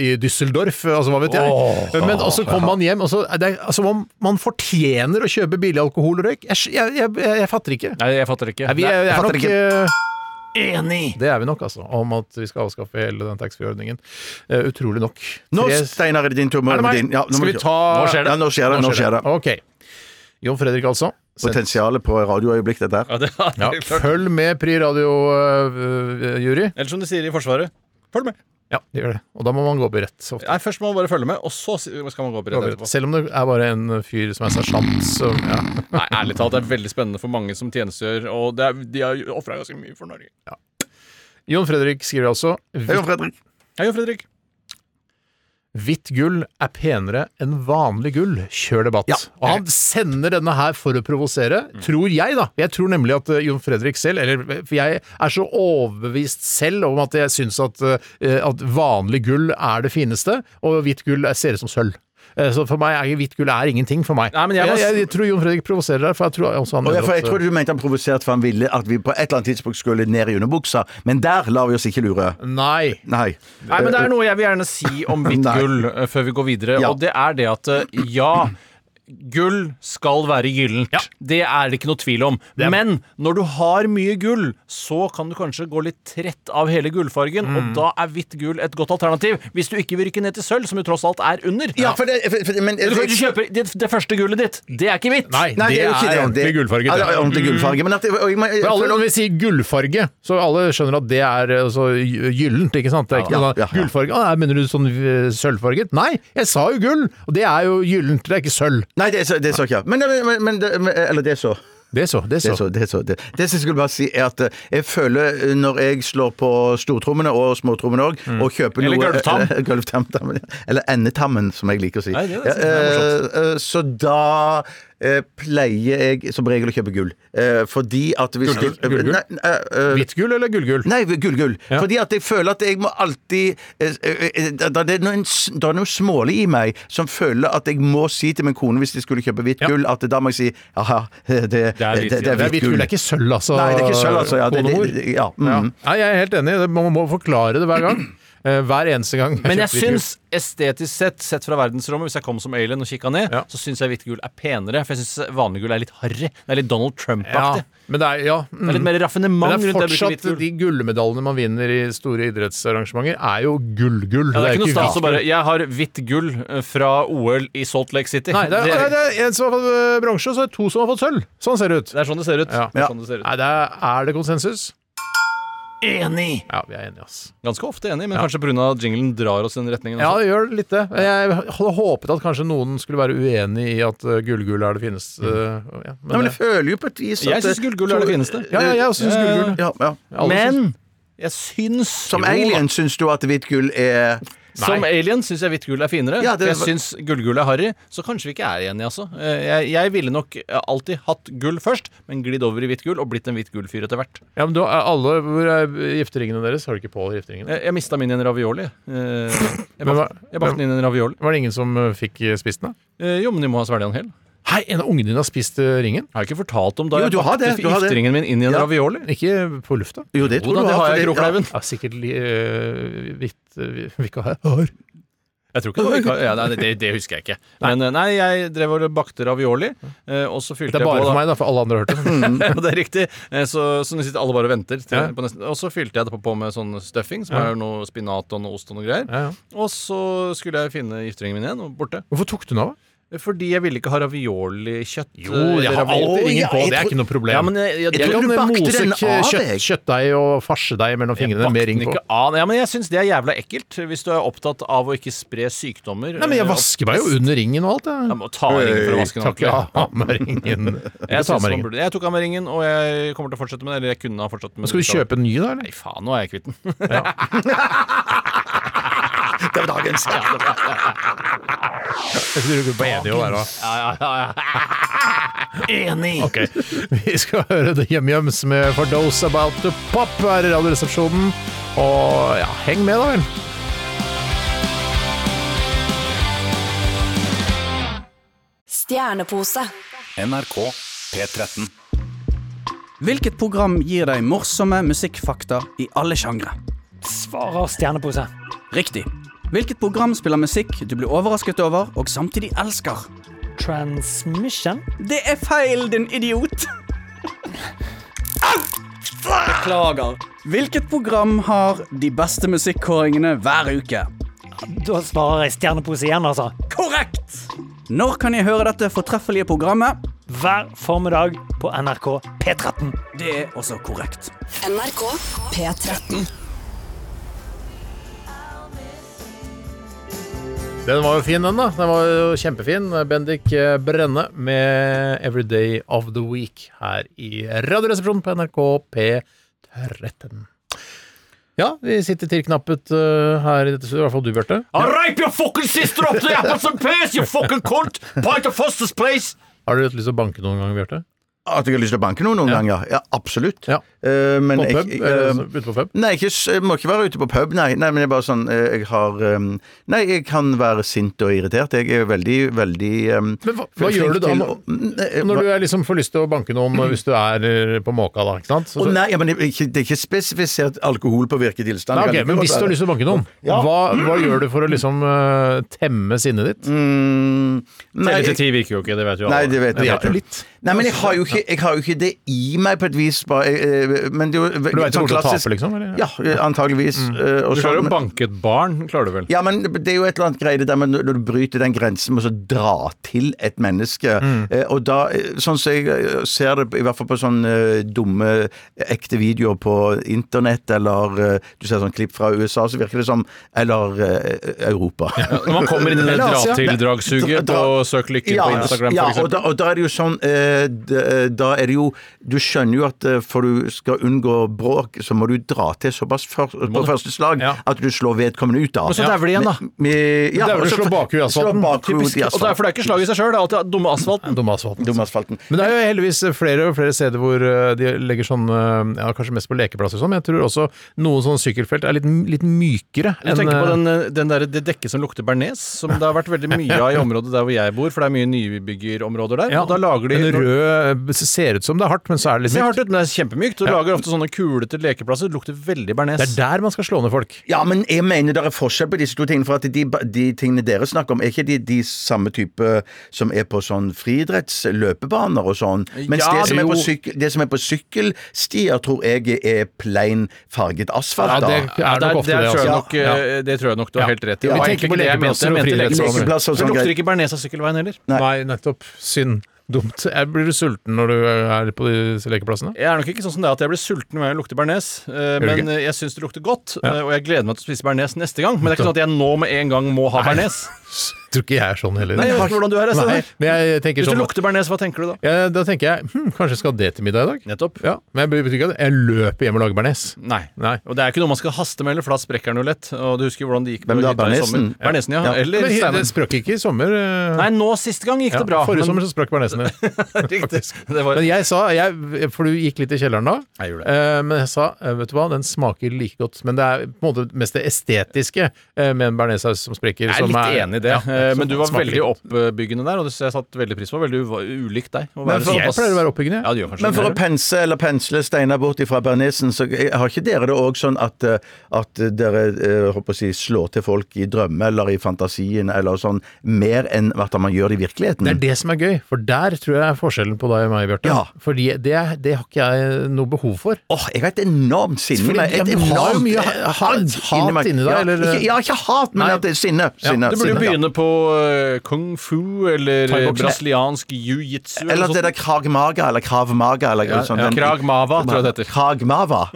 Speaker 4: i Düsseldorf, eh, altså hva vet jeg. Men også kommer man hjem, og så er det er som om man fortjener å kjøpe billig alkohol og røyk. Jeg, sk- jeg, jeg, jeg, jeg fatter ikke.
Speaker 6: Nei, jeg fatter ikke.
Speaker 4: Nei, vi
Speaker 6: Nei.
Speaker 4: er,
Speaker 5: jeg
Speaker 4: er
Speaker 5: fatter
Speaker 4: nok eh,
Speaker 5: ikke.
Speaker 6: Enig!
Speaker 4: Det er vi nok, altså. Om at vi skal avskaffe hele den taxfree-ordningen. Eh, utrolig nok.
Speaker 5: Nå,
Speaker 4: Tre-
Speaker 5: Steinar, er det din tur.
Speaker 4: Er det meg?
Speaker 5: Din. Ja, nå må
Speaker 4: Skal vi
Speaker 5: du-
Speaker 4: ta-
Speaker 6: Nå skjer det.
Speaker 5: Ja, nå skjer det. Nå skjer det.
Speaker 4: Ok. Jon Fredrik, altså.
Speaker 5: Potensialet på radioøyeblikk, dette her.
Speaker 6: Ja, det er
Speaker 4: Ja,
Speaker 6: helt klart.
Speaker 4: følg med Pri eh, Radio-jury.
Speaker 6: Eller som de sier i Forsvaret Følg med!
Speaker 4: ja, det gjør det. Og da må man gå opp i rett. så ofte.
Speaker 6: Nei, Først må man bare følge med, og så si- skal man gå opp i
Speaker 4: Gå
Speaker 6: redd
Speaker 4: opp i rett.
Speaker 6: etterpå.
Speaker 4: Selv om det er bare en fyr som er sersjant, så ja.
Speaker 6: Nei, Ærlig talt, det er veldig spennende for mange som tjenestegjør, og det er, de har ofra ganske mye for Norge.
Speaker 4: Jon Fredrik skriver altså
Speaker 5: Hei, Jon
Speaker 4: hvitt,
Speaker 5: Fredrik.
Speaker 6: Hei, Jon Fredrik.
Speaker 4: hvitt gull er penere enn vanlig gull. Kjør debatt. Og han sender denne her for å provosere, tror jeg, da. Jeg tror nemlig at eh, Jon Fredrik selv Eller for jeg er så overbevist selv om at jeg syns at, eh, at vanlig gull er det fineste, og hvitt gull er- ser ut som sølv. Eh, Så for meg er hvitt gull er ingenting for meg.
Speaker 6: Nei, men jeg må
Speaker 4: jeg,
Speaker 6: s-
Speaker 4: jeg, tror Jon Fredrik provoserer deg, for jeg tror også han
Speaker 5: Og jeg, for jeg
Speaker 4: at-
Speaker 5: trodde du mente han provoserte for han ville at vi på et eller annet tidspunkt skulle ned i underbuksa, men der lar vi oss ikke lure.
Speaker 4: eh, Nei.
Speaker 5: Nei.
Speaker 6: Nei, men det er noe jeg vil gjerne si om hvitt
Speaker 5: Nei.
Speaker 6: gull eh, før vi går videre,
Speaker 5: Ja.
Speaker 6: og det er det at eh, ja Gull skal være gyllent. Det er det ikke noe tvil om. Men når du har mye gull, så kan du kanskje gå litt trett av hele gullfargen, og da er hvitt gull et godt alternativ. Hvis du ikke vil rykke ned til sølv, som jo tross alt er under.
Speaker 5: Ja, for det, for, for, men,
Speaker 6: Du kan ikke kjøpe det, det første gullet ditt. Det er ikke hvitt.
Speaker 4: Nei,
Speaker 5: Nei, det er jo ikke det.
Speaker 4: ordentlig gullfarge.
Speaker 5: Ja,
Speaker 4: det.
Speaker 5: det er ordentlig gullfarge. Men at det, og jeg, må- jeg,
Speaker 4: For alle, når vi sier gullfarge, så alle skjønner at det er eh, altså, gy- gyllent, ikke sant? Det er ikke
Speaker 5: Ja,
Speaker 4: noe
Speaker 5: ja, ja.
Speaker 4: gullfarge. Ah, mener du sånn eh, sølvfarget? Nei, jeg sa jo gull! Og det er jo gyllent, det er ikke sølv.
Speaker 5: nei, det, er så- det er så ikke jeg. Men, men, men, men det- men- Eller det er så.
Speaker 4: Det så, det
Speaker 5: Det, er
Speaker 4: så.
Speaker 5: så, det, er så, det. det som jeg skulle bare si, er at eh, jeg føler eh, når jeg slår på stortrommene og småtrommene òg, og kjøper
Speaker 6: Mm. Eller
Speaker 5: noe eh,
Speaker 6: gulvtam.
Speaker 5: Eller gulvtamtam, Eller endetammen, som jeg liker å si.
Speaker 6: Nei, det er-
Speaker 5: Ja,
Speaker 6: det er
Speaker 5: eh, eh, så da eh, pleier jeg som regel å kjøpe gull. Eh, fordi at hvis
Speaker 4: Gullgull? Gullgull?
Speaker 5: Nei, eh, eh,
Speaker 4: Hvitt gull eller gullgull?
Speaker 5: Nei, gullgull. Fordi at jeg føler at jeg må alltid eh, eh, da- da- Det er noen s- da er noe smålig i meg som føler at jeg må si til min kone hvis de skulle kjøpe hvitt gull, at da må jeg si jaha, det, det,
Speaker 6: er hvitt,
Speaker 5: det,
Speaker 6: ja.
Speaker 5: det er hvitt gull.
Speaker 4: det er ikke sølv, altså.
Speaker 5: Nei, det er ikke sølv, altså. Ja, det, det,
Speaker 4: konemor.
Speaker 5: det, ja. Mm.
Speaker 4: Ja. Nei, jeg er helt enig. Det- Man må forklare det hver gang. <clears throat> Eh, Hver eneste gang.
Speaker 6: Men
Speaker 4: kjøper
Speaker 6: jeg
Speaker 4: hvitt gull.
Speaker 6: syns estetisk sett, sett fra verdensrommet, hvis jeg kom som alien og kikka ned,
Speaker 4: Ja.
Speaker 6: så syns jeg hvitt gull er penere. For jeg syns vanlig gull er litt harry. Det er litt Donald
Speaker 4: ja,
Speaker 6: Trump-aktig.
Speaker 4: men det er, ja, mm.
Speaker 6: Det er litt mer raffinement
Speaker 4: Men det er
Speaker 6: rundt det å bruke hvitt
Speaker 4: fortsatt
Speaker 6: gull.
Speaker 4: de gullmedaljene man vinner i store idrettsarrangementer, er jo gullgull.
Speaker 6: Ja, det er ikke noe stas å
Speaker 4: hvitt gull.
Speaker 6: bare Jeg har hvitt gull eh, fra OL i Salt Lake City.
Speaker 4: Nei, det er, nei, det er en som har fått øh, bronse, og så er det to som har fått sølv. Sånn ser det ut.
Speaker 6: det er sånn det ser ut.
Speaker 4: Ja.
Speaker 6: Det er sånn det ser ut.
Speaker 4: Nei, det er, er det konsensus?
Speaker 3: Enig.
Speaker 4: Ja, vi er enige, ass.
Speaker 6: Ganske ofte enig, men kanskje pga. jinglen drar oss i den retningen.
Speaker 4: Ja,
Speaker 6: Også.
Speaker 4: det gjør litt det. Jeg hadde håpet at kanskje noen skulle være uenig i at øh, gullgull er det fineste. øh, Ja,
Speaker 5: Nei,
Speaker 4: men,
Speaker 5: men
Speaker 4: det-
Speaker 5: jeg føler jo på et vis at
Speaker 6: Jeg syns
Speaker 5: det-
Speaker 6: gullgull er det fineste.
Speaker 4: ja, ja, jeg også syns
Speaker 6: Ja, ja, ja.
Speaker 4: gullgull.
Speaker 5: Ja, ja.
Speaker 4: Alle syns-
Speaker 6: Men jeg syns
Speaker 5: Som
Speaker 6: jo-
Speaker 5: alien syns du at hvitt gull er
Speaker 6: Som alien syns jeg hvitt gull er finere.
Speaker 5: Ja, det-
Speaker 6: Jeg syns gullgull er harry, så kanskje vi ikke er enige, altså. Eh, Jeg, jeg ville nok eh, alltid hatt gull først, men glidd over i hvitt gull og blitt en hvitt gull-fyr etter hvert.
Speaker 4: ja, men du, har- alle Hvor er gifteringene deres? Har du ikke på alle gifteringene?
Speaker 6: Jeg, jeg mista min i en ravioli. Eh,
Speaker 4: Men
Speaker 6: Jeg bakte
Speaker 4: hva-
Speaker 6: jeg bakte den inn i en ravioli.
Speaker 4: Var det ingen som øh, fikk øh, spist den? da?
Speaker 6: Eh, Jo, men de må ha svelget den hel.
Speaker 4: Hei, en av ungene dine har spist øh, ringen?
Speaker 6: Jeg har ikke fortalt om da
Speaker 5: Jo,
Speaker 6: jeg
Speaker 5: du har
Speaker 6: bakte
Speaker 5: det, du har det.
Speaker 6: gifteringen min inn i en
Speaker 5: Ja.
Speaker 6: ravioli.
Speaker 4: Ikke på lufta?
Speaker 5: Jo, det tror
Speaker 6: Hvordan,
Speaker 5: du
Speaker 6: det har jeg i
Speaker 5: fordi-
Speaker 6: Krokleiven.
Speaker 4: Ja, sikkert li- øh, hvitt øh, vikar. Har.
Speaker 6: Jeg tror ikke det, var vikar- ja, nei, det, det husker jeg ikke. Men eh, nei, jeg drev og bakte ravioli, eh, og så fylte
Speaker 4: Det er bare
Speaker 6: jeg på da-
Speaker 4: for meg, da, for alle andre har hørt det.
Speaker 6: <laughs> Ja, det er riktig. Eh, Så, så nå sitter alle bare og venter. Til,
Speaker 4: Ja.
Speaker 6: på nesten. Og så fylte jeg det på, på med sånn stuffing, som er noe spinat og noe ost og noe greier.
Speaker 4: Ja, ja.
Speaker 6: Og så skulle jeg finne gifteringen min igjen, og borte.
Speaker 4: Hvorfor tok du den av?
Speaker 6: Fordi jeg ville ikke ha raviolikjøtt. eh,
Speaker 4: Jo, jeg har alltid ringen på, det er ikke noe problem.
Speaker 6: Ja, men jeg, jeg,
Speaker 5: Jeg
Speaker 4: jeg
Speaker 5: trodde
Speaker 4: kan
Speaker 5: du bakte
Speaker 4: mose
Speaker 5: den
Speaker 4: kjø-
Speaker 5: av,
Speaker 4: kjøtt,
Speaker 5: jeg.
Speaker 4: kjøttdeig og farsedeig mellom fingrene med ring på.
Speaker 6: ikke av. Ja, men jeg syns det er jævla ekkelt, hvis du er opptatt av å ikke spre sykdommer.
Speaker 4: Nei, men jeg
Speaker 6: eh,
Speaker 4: vasker meg jo under ringen og alt,
Speaker 6: Jeg
Speaker 4: jeg.
Speaker 6: må ta ringen for å vaske den
Speaker 4: Takk,
Speaker 6: ordentlig.
Speaker 4: jeg har med ringen.
Speaker 6: Jeg,
Speaker 4: Jeg tar
Speaker 6: synes
Speaker 4: med
Speaker 6: man
Speaker 4: ringen.
Speaker 6: burde, jeg tok av meg ringen, og jeg kommer til å fortsette med det. Eller jeg kunne ha fortsatt med det.
Speaker 4: Skal du kjøpe en ny, da?
Speaker 6: Nei,
Speaker 4: eller?
Speaker 6: faen, nå er jeg kvitt den. <laughs>
Speaker 5: Det var dagens.
Speaker 4: Jeg tror du er enig i å være <laughs>
Speaker 3: Enig.
Speaker 4: Ok. Vi skal høre The Yum Yums med For Those About To Pop her i Radioresepsjonen. Og ja, heng med, da vel.
Speaker 1: Stjernepose.
Speaker 2: NRK P13.
Speaker 10: Hvilket program gir deg morsomme musikkfakta i alle sjangre?
Speaker 3: Svarer stjernepose.
Speaker 10: Riktig. Hvilket program spiller musikk du blir overrasket over og samtidig elsker?
Speaker 3: Transmission.
Speaker 10: Det er feil, din idiot! Au! Beklager. Hvilket program har de beste musikkåringene hver uke?
Speaker 3: Da svarer jeg stjernepose igjen, altså.
Speaker 10: Korrekt! Når kan jeg høre dette fortreffelige programmet?
Speaker 3: Hver formiddag på NRK P13.
Speaker 10: Det er også korrekt.
Speaker 1: NRK P13.
Speaker 4: Den var jo fin, den, da. Den var jo kjempefin. Bendik eh, Brenne med 'Everyday of the Week' her i Radioresepsjonen på NRK P13. Ja, vi sitter tilknappet eh, her i dette studioet, i hvert fall du, Bjarte.
Speaker 6: Rape your fucking sister up the apple some pears, you fucking cunt! Point of first place!
Speaker 4: Har du hatt lyst til å banke noen gang, Bjarte?
Speaker 5: At jeg har lyst til å banke noen noen ganger? Ja, absolutt.
Speaker 4: Ja.
Speaker 5: Eh, men
Speaker 4: På
Speaker 5: jeg-
Speaker 4: pub?
Speaker 5: jeg-
Speaker 4: eh, Ute på pub?
Speaker 5: Nei, ikke, s- jeg må ikke være ute på pub, nei. nei men jeg er bare sånn eh, Jeg har um, Nei, jeg kan være sint og irritert. Jeg er veldig, veldig um,
Speaker 4: Men hva, hva gjør du da når, når du er liksom får lyst til å banke noen hvis du er eh, på måka, da? ikke sant? Så,
Speaker 5: Å
Speaker 4: så,
Speaker 5: nei, ja, men det er ikke, det er ikke spesifisert alkoholpåvirket tilstand.
Speaker 4: Nei,
Speaker 5: Kan
Speaker 4: ok,
Speaker 5: det
Speaker 4: men
Speaker 5: godt
Speaker 4: hvis du liksom har lyst
Speaker 5: være?
Speaker 4: til å banke noen,
Speaker 5: Ja.
Speaker 4: hva, hva gjør du for å liksom eh, temme sinnet ditt?
Speaker 5: Mm, nei,
Speaker 4: Telle
Speaker 5: jeg-
Speaker 4: til ti virker jo ikke, det vet jo
Speaker 5: Nei, det vet
Speaker 4: Men
Speaker 5: jeg
Speaker 4: hjelper
Speaker 5: ikke.
Speaker 4: litt.
Speaker 5: Nei, men jeg har jo ikke, jeg har jo ikke det i meg på et vis. Bare, eh, men det er jo
Speaker 4: For du vet ikke
Speaker 5: sånn
Speaker 4: hvor du
Speaker 5: klassisk-
Speaker 4: taper, liksom? Eller? Mm.
Speaker 5: Ja, antageligvis. eh, og
Speaker 8: Du klarer
Speaker 5: sånn,
Speaker 8: jo å
Speaker 5: men-
Speaker 8: banke et barn, klarer du vel?
Speaker 5: Ja, men det er jo et eller annet greie det der med når du bryter den grensen med å så dra til et menneske.
Speaker 8: Mm.
Speaker 5: Eh, og da, eh, sånn som jeg eh, ser det, i hvert fall på sånne eh, dumme ekte videoer på internett, eller eh, du ser sånn klipp fra USA, så virker det som Eller eh, Europa.
Speaker 8: Når man kommer inn i det
Speaker 5: <laughs> Eller Asia.
Speaker 8: dra-til-dragsuget
Speaker 5: Dra-
Speaker 8: på Søk lykke på Instagram,
Speaker 5: ja,
Speaker 8: for
Speaker 5: og, da,
Speaker 8: eksempel.
Speaker 5: og da er det jo sånn eh, d- eh, Da er det jo Du skjønner jo at eh, for du skal unngå bråk, så må du dra til såpass før, på første slag
Speaker 4: Ja.
Speaker 5: at du slår vedkommende ut av.
Speaker 8: Men så dauer de igjen, da.
Speaker 5: Med- med- ja,
Speaker 4: Det er vel
Speaker 5: og
Speaker 4: å
Speaker 5: så-
Speaker 4: slå bakhuet i asfalten.
Speaker 5: slå bakhuet i
Speaker 8: Og det er, for
Speaker 5: asfalten.
Speaker 8: det er ikke slag i seg sjøl, det er alltid dumme asfalten.
Speaker 4: Dum asfalten.
Speaker 5: Dum asfalten.
Speaker 4: Men det er jo heldigvis flere og flere steder hvor eh, de legger sånn eh, ja, Kanskje mest på lekeplasser og sånn, men jeg tror også noen sånne sykkelfelt er litt, litt mykere
Speaker 6: Jeg tenker på
Speaker 4: eh,
Speaker 6: den, eh, den der, det dekket som lukter bearnés, som det har vært veldig
Speaker 4: <laughs>
Speaker 6: mye av i området der hvor jeg bor, for det er mye nybyggerområder der.
Speaker 4: eh, ja,
Speaker 6: og da lager de
Speaker 4: En rød eh, Ser ut som det er hardt, men så er det litt
Speaker 6: ser hardt
Speaker 4: mykt.
Speaker 6: ut, men det er kjempemykt. Og lager ofte sånne kulete lekeplasser. Det lukter veldig
Speaker 4: Det
Speaker 6: bearnés.
Speaker 4: er der man skal slå ned folk.
Speaker 5: Ja, men jeg mener det er forskjell på disse to tingene. For at de, ba- de tingene dere snakker om, er ikke de, de samme type som er på sånn friidrettsløpebaner og sånn? Mens
Speaker 6: Ja,
Speaker 5: det, som er på
Speaker 6: jo.
Speaker 5: sykkel, det som er på sykkelstier, tror jeg er plain farget asfalt.
Speaker 4: Ja, det-
Speaker 5: da.
Speaker 4: er nok ofte det,
Speaker 6: tror jeg
Speaker 4: altså.
Speaker 6: nok, eh, det tror jeg nok du har
Speaker 4: Ja.
Speaker 6: helt rett i.
Speaker 4: Ja,
Speaker 6: Det var
Speaker 4: vi
Speaker 6: egentlig
Speaker 4: tenker på
Speaker 6: ikke det jeg
Speaker 4: lekeplasser
Speaker 6: mente.
Speaker 4: og
Speaker 6: Jeg mente
Speaker 4: friidrettsbaner.
Speaker 6: lekeplasser.
Speaker 5: Lekeplasser og
Speaker 6: Det
Speaker 5: sånn
Speaker 6: lukter
Speaker 5: greit.
Speaker 6: ikke bearnés av sykkelveien heller.
Speaker 5: Nei.
Speaker 4: Nei, nettopp. Synd. Dumt. Jeg blir du sulten når du eh, er på disse lekeplassene?
Speaker 6: Jeg er nok ikke sånn som det at jeg blir sulten hver gang jeg lukter bearnés, eh,
Speaker 4: du
Speaker 6: men
Speaker 4: ikke?
Speaker 6: eh, jeg syns det lukter godt, eh, og jeg gleder meg til å spise bearnés neste gang. Men det er ikke sånn at jeg nå med en gang må ha bearnés.
Speaker 4: Tror ikke jeg er sånn heller.
Speaker 6: <laughs> Nei, jeg vet ikke hvordan du er.
Speaker 4: Nei,
Speaker 6: Steinar.
Speaker 4: men jeg tenker
Speaker 6: Hvis du
Speaker 4: sånn
Speaker 6: lukter bearnés, hva tenker du da?
Speaker 4: ja, Da tenker jeg hm, kanskje jeg skal ha det til middag i dag.
Speaker 6: Nettopp.
Speaker 4: Ja, Men jeg betyr ikke at jeg løper hjem og lager bearnés.
Speaker 6: Nei.
Speaker 4: Nei.
Speaker 6: Og det er ikke noe man skal haste med, eller for da sprekker den jo lett. Og du husker hvordan det gikk på
Speaker 5: Hvem da?
Speaker 6: hytta i sommer.
Speaker 5: Bernesen?
Speaker 6: Bernesen, ja.
Speaker 5: Ja.
Speaker 6: Eller
Speaker 4: Men det
Speaker 6: Steinar.
Speaker 4: sprakk ikke i sommer. eh,
Speaker 6: Nei, nå siste gang gikk
Speaker 4: ja,
Speaker 6: det bra.
Speaker 4: Forrige
Speaker 6: men-
Speaker 4: sommer så sprakk bearnesen
Speaker 6: <laughs>
Speaker 4: din.
Speaker 6: Riktig. Det var,
Speaker 4: Men jeg sa jeg, For du gikk litt i kjelleren da.
Speaker 6: Jeg gjorde det.
Speaker 4: eh, Men jeg sa eh, vet du hva, den smaker like godt. Men det er på en måte mest det estetiske eh, med en bearnéssaus som sprekker.
Speaker 6: jeg er
Speaker 4: som
Speaker 6: litt enig i det,
Speaker 4: ja,
Speaker 6: eh, men
Speaker 4: som
Speaker 6: du var
Speaker 4: smaker
Speaker 6: veldig
Speaker 4: like godt.
Speaker 6: oppbyggende der, og det jeg satte veldig pris på. Veldig u- ulikt deg. å være
Speaker 5: for-
Speaker 4: Jeg
Speaker 6: såpass-
Speaker 4: pleier å være oppbyggende.
Speaker 6: Ja, du gjør kanskje
Speaker 5: Men for å
Speaker 6: det.
Speaker 5: pense eller pensle Steinar bort ifra bearnesen, så har ikke dere det òg sånn at, eh, at dere eh, håper å si, slår til folk i drømme eller i fantasien eller sånn, mer enn at man gjør det i virkeligheten?
Speaker 4: Det er det som er gøy, for der tror jeg er forskjellen på deg og meg, Bjarte.
Speaker 5: Ja.
Speaker 4: Fordi det, det har ikke jeg noe behov for.
Speaker 5: Åh, jeg har et enormt sinne.
Speaker 4: Fordi-
Speaker 5: med-
Speaker 4: ja,
Speaker 5: Et
Speaker 4: men du har jo
Speaker 5: enormt
Speaker 4: mye ha- hat-
Speaker 5: agg
Speaker 4: hat
Speaker 5: meg.
Speaker 4: inni deg,
Speaker 5: ja,
Speaker 4: eller-
Speaker 5: Ikke, ja, ikke hat, men
Speaker 4: Nei.
Speaker 5: at det er sinne.
Speaker 4: Ja,
Speaker 5: sinne
Speaker 4: du
Speaker 6: Du burde jo
Speaker 5: sinne, ja.
Speaker 6: begynne på eh, kung fu eller
Speaker 4: Thai-boksing.
Speaker 6: brasiliansk jiu-jitsu.
Speaker 5: Eller
Speaker 4: sånn-
Speaker 5: det der Krag Maga, eller Krav Maga, eller
Speaker 6: Ja,
Speaker 5: sånn.
Speaker 6: ja,
Speaker 5: den-
Speaker 6: Krav Maga, tror jeg det heter.
Speaker 5: Krag Mava.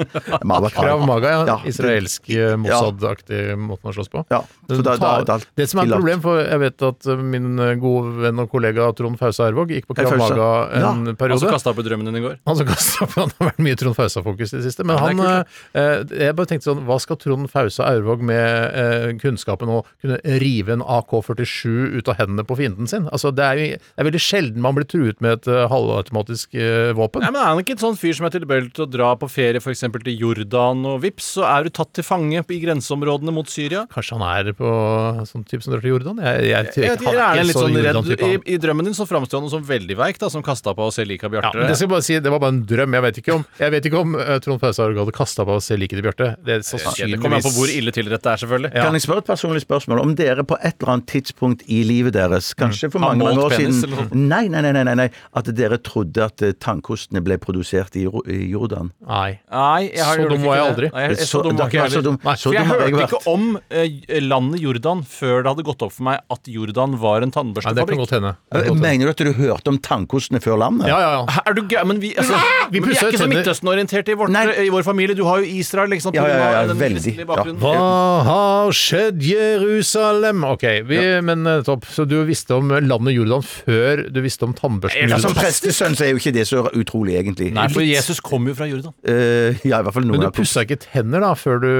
Speaker 5: Mava,
Speaker 4: <laughs>
Speaker 5: Krag.
Speaker 4: Krav Maga, ja.
Speaker 5: Ja.
Speaker 4: Israelsk eh, Mossad-aktig måten å slåss på.
Speaker 5: Ja, så da- da- da-
Speaker 4: det som er et
Speaker 5: tillatt.
Speaker 4: problem, for jeg vet at eh, min eh, gode venn og kollega Trond Fausa Ervåg gikk på Krav
Speaker 5: Fausa.
Speaker 4: Maga en
Speaker 5: Ja.
Speaker 6: Han som
Speaker 4: periode.
Speaker 6: kasta opp i drømmen din i går.
Speaker 4: Han som kastet opp, han har vært mye Trond Fausa-fokus i det siste. Men
Speaker 6: Ja, det
Speaker 4: han,
Speaker 6: er
Speaker 4: eh, eh, jeg bare tenkte sånn, hva skal Trond Fausa Aurvåg med eh, kunnskapen å kunne rive en AK-47 ut av hendene på fienden sin? Altså, det er, jo- det er veldig sjelden man blir truet med et eh, halvautomatisk eh, våpen.
Speaker 6: Nei, men Er han ikke en sånn fyr som er tilbøyelig til å dra på ferie for eksempel til Jordan, og vips, så er du tatt til fange i grenseområdene mot Syria?
Speaker 4: Kanskje han er på sånn type som drar til Jordan? Jeg, jeg, jeg,
Speaker 6: Jeg vet, ikke, er
Speaker 4: han
Speaker 6: han
Speaker 4: er
Speaker 6: litt
Speaker 4: ikke så
Speaker 6: sånn redd.
Speaker 4: Jordan-type.
Speaker 6: I,
Speaker 4: han.
Speaker 6: I drømmen din så framstår han som veldig veik, da, som kasta på å se lika
Speaker 4: Ja,
Speaker 6: Bjarte.
Speaker 4: men det skal jeg bare si, det var bare en drøm. Jeg vet ikke om, jeg vet ikke om eh, Trond Fausa Aurvåg hadde kasta på å se liket til Bjarte. Det er
Speaker 6: Ja, det kommer an på hvor
Speaker 4: sannsynligvis
Speaker 6: ille tilrett det er, selvfølgelig.
Speaker 4: Ja.
Speaker 5: Kan jeg spørre et personlig spørsmål? Om dere på et eller annet tidspunkt i livet deres, kanskje for
Speaker 6: Har
Speaker 5: mange, mange
Speaker 6: målt
Speaker 5: år
Speaker 6: penis
Speaker 5: siden
Speaker 6: eller noe sånt?
Speaker 5: nei, nei, nei, nei, nei, nei, At dere trodde at eh, tannkostene ble produsert i Ro- i Jordan?
Speaker 4: Nei.
Speaker 6: Nei, jeg
Speaker 4: Så
Speaker 6: har gjorde
Speaker 4: dum
Speaker 6: ikke
Speaker 4: var jeg
Speaker 6: det.
Speaker 4: aldri.
Speaker 6: Nei, jeg, jeg, så dum
Speaker 5: det
Speaker 6: var
Speaker 5: har
Speaker 6: ikke jeg
Speaker 5: vært så
Speaker 6: heller.
Speaker 5: dum.
Speaker 4: Nei,
Speaker 5: så
Speaker 6: For jeg
Speaker 5: dum har
Speaker 6: hørte
Speaker 5: vært.
Speaker 6: ikke om eh, landet Jordan før det hadde gått opp for meg at Jordan var en
Speaker 4: Nei, det kan
Speaker 6: tannbørstefabrikk.
Speaker 4: godt hende. Det kan
Speaker 5: Eh,
Speaker 4: godt hende.
Speaker 5: Mener du at du hørte om tannkostene før landet?
Speaker 4: Ja, ja, ja.
Speaker 6: Hæ, Er du gæ- Men vi, altså,
Speaker 4: Vi
Speaker 6: men vi
Speaker 4: pusser
Speaker 6: er ikke så
Speaker 4: tenner.
Speaker 6: Midtøsten-orienterte i, vårt- eh,
Speaker 5: Nei.
Speaker 6: i vår familie. Du har jo Israel, ikke sant?
Speaker 5: Ja, ja, ja, ja,
Speaker 6: Du har den
Speaker 5: veldig.
Speaker 6: kristelige
Speaker 5: Ja.
Speaker 6: bakgrunnen.
Speaker 4: Hva har skjedd Jerusalem? Ok, vi, men eh, topp. Så du visste om landet Jordan før du visste om tannbørsten
Speaker 5: Ja, som
Speaker 6: sånn
Speaker 4: Jordan?
Speaker 5: prestesønn så er jo ikke det så utrolig, egentlig.
Speaker 6: Nei, for Jesus kom jo fra Jordan.
Speaker 5: Eh, ja, i hvert fall
Speaker 4: Men
Speaker 5: noen
Speaker 4: du
Speaker 5: av
Speaker 4: pussa ikke tenner da før du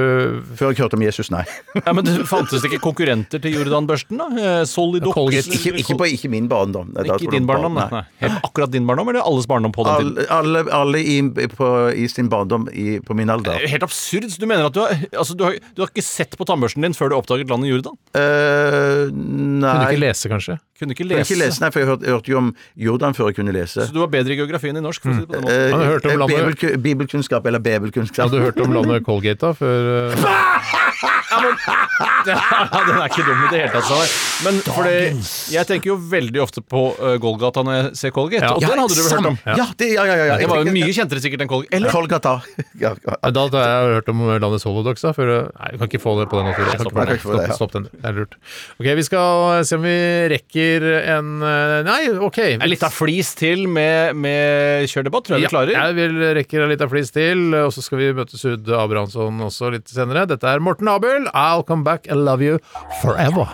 Speaker 5: Før jeg ikke hørte om Jesus, nei.
Speaker 6: Ja, Men det fantes det ikke konkurrenter til Jordan-børsten, da? Eh, Solidox?
Speaker 4: Colgate.
Speaker 5: Ikke, ikke, på, ikke min barndom. Nei, da
Speaker 6: Ikke
Speaker 5: tror
Speaker 6: din
Speaker 5: jeg
Speaker 6: barndom,
Speaker 5: barn-
Speaker 6: nei. Helt akkurat din barndom, eller alles barndom på den tiden?
Speaker 5: Alle, alle, alle i, på, i sin barndom i, på min alder.
Speaker 6: Det er jo Helt absurd. så Du mener at du har, altså, du, har, du har ikke sett på tannbørsten din før du oppdaget landet Jordan?
Speaker 5: Eh,
Speaker 4: Kunne du
Speaker 5: nei
Speaker 4: ikke lese, kanskje?
Speaker 6: Kunne ikke
Speaker 5: Jeg
Speaker 6: lese.
Speaker 5: kunne ikke lese, nei, for jeg hørte, jeg hørte jo om Jordan før jeg kunne lese.
Speaker 6: Så du var bedre i geografien i norsk? For å si det på den måten.
Speaker 5: Eh,
Speaker 4: Han har hørt om
Speaker 5: eh,
Speaker 4: landet-
Speaker 5: bibelku- bibelkunnskap eller bebelkunnskap.
Speaker 4: Hadde du hørt om landet Colgate da før eh,
Speaker 6: <laughs> Ja, den er ikke dum i det hele tatt. Sanne. Men fordi, jeg tenker jo veldig ofte på eh, Golgata når jeg ser Colgate, og den hadde du vel hørt om?
Speaker 5: Ja, det, ja, ja, ja, ja.
Speaker 6: Det var jo mye kjentere sikkert enn Colgate. Eller
Speaker 5: Kolgata. <laughs> Ja, ja.
Speaker 4: Nei, Da hadde jeg hørt om landets holodox, da. Før, nei, vi kan ikke få det på den måten. Jeg kan ikke få det.
Speaker 5: Jeg kan ikke få det, ja.
Speaker 4: Stopp, stopp den. Det er lurt. Ok, vi skal se om vi rekker en eh, Nei, ok.
Speaker 6: en liten flis til med, med kjør debatt, tror jeg vi klarer.
Speaker 4: Ja, jeg vil rekker en liten flis til, og så skal vi møte Sud Abrahamsson også litt senere. Dette er Morten Abel. I'll come back and love you forever.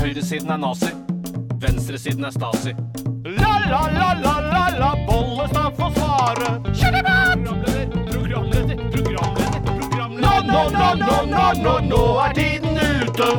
Speaker 8: Høyresiden er nazi. Venstresiden er stasi. La-la-la-la-la-la, Bollestad får svare. Programleder, programleder, programleder, programleder. Nå, nå, nå, nå, nå, nå, nå er tiden ute.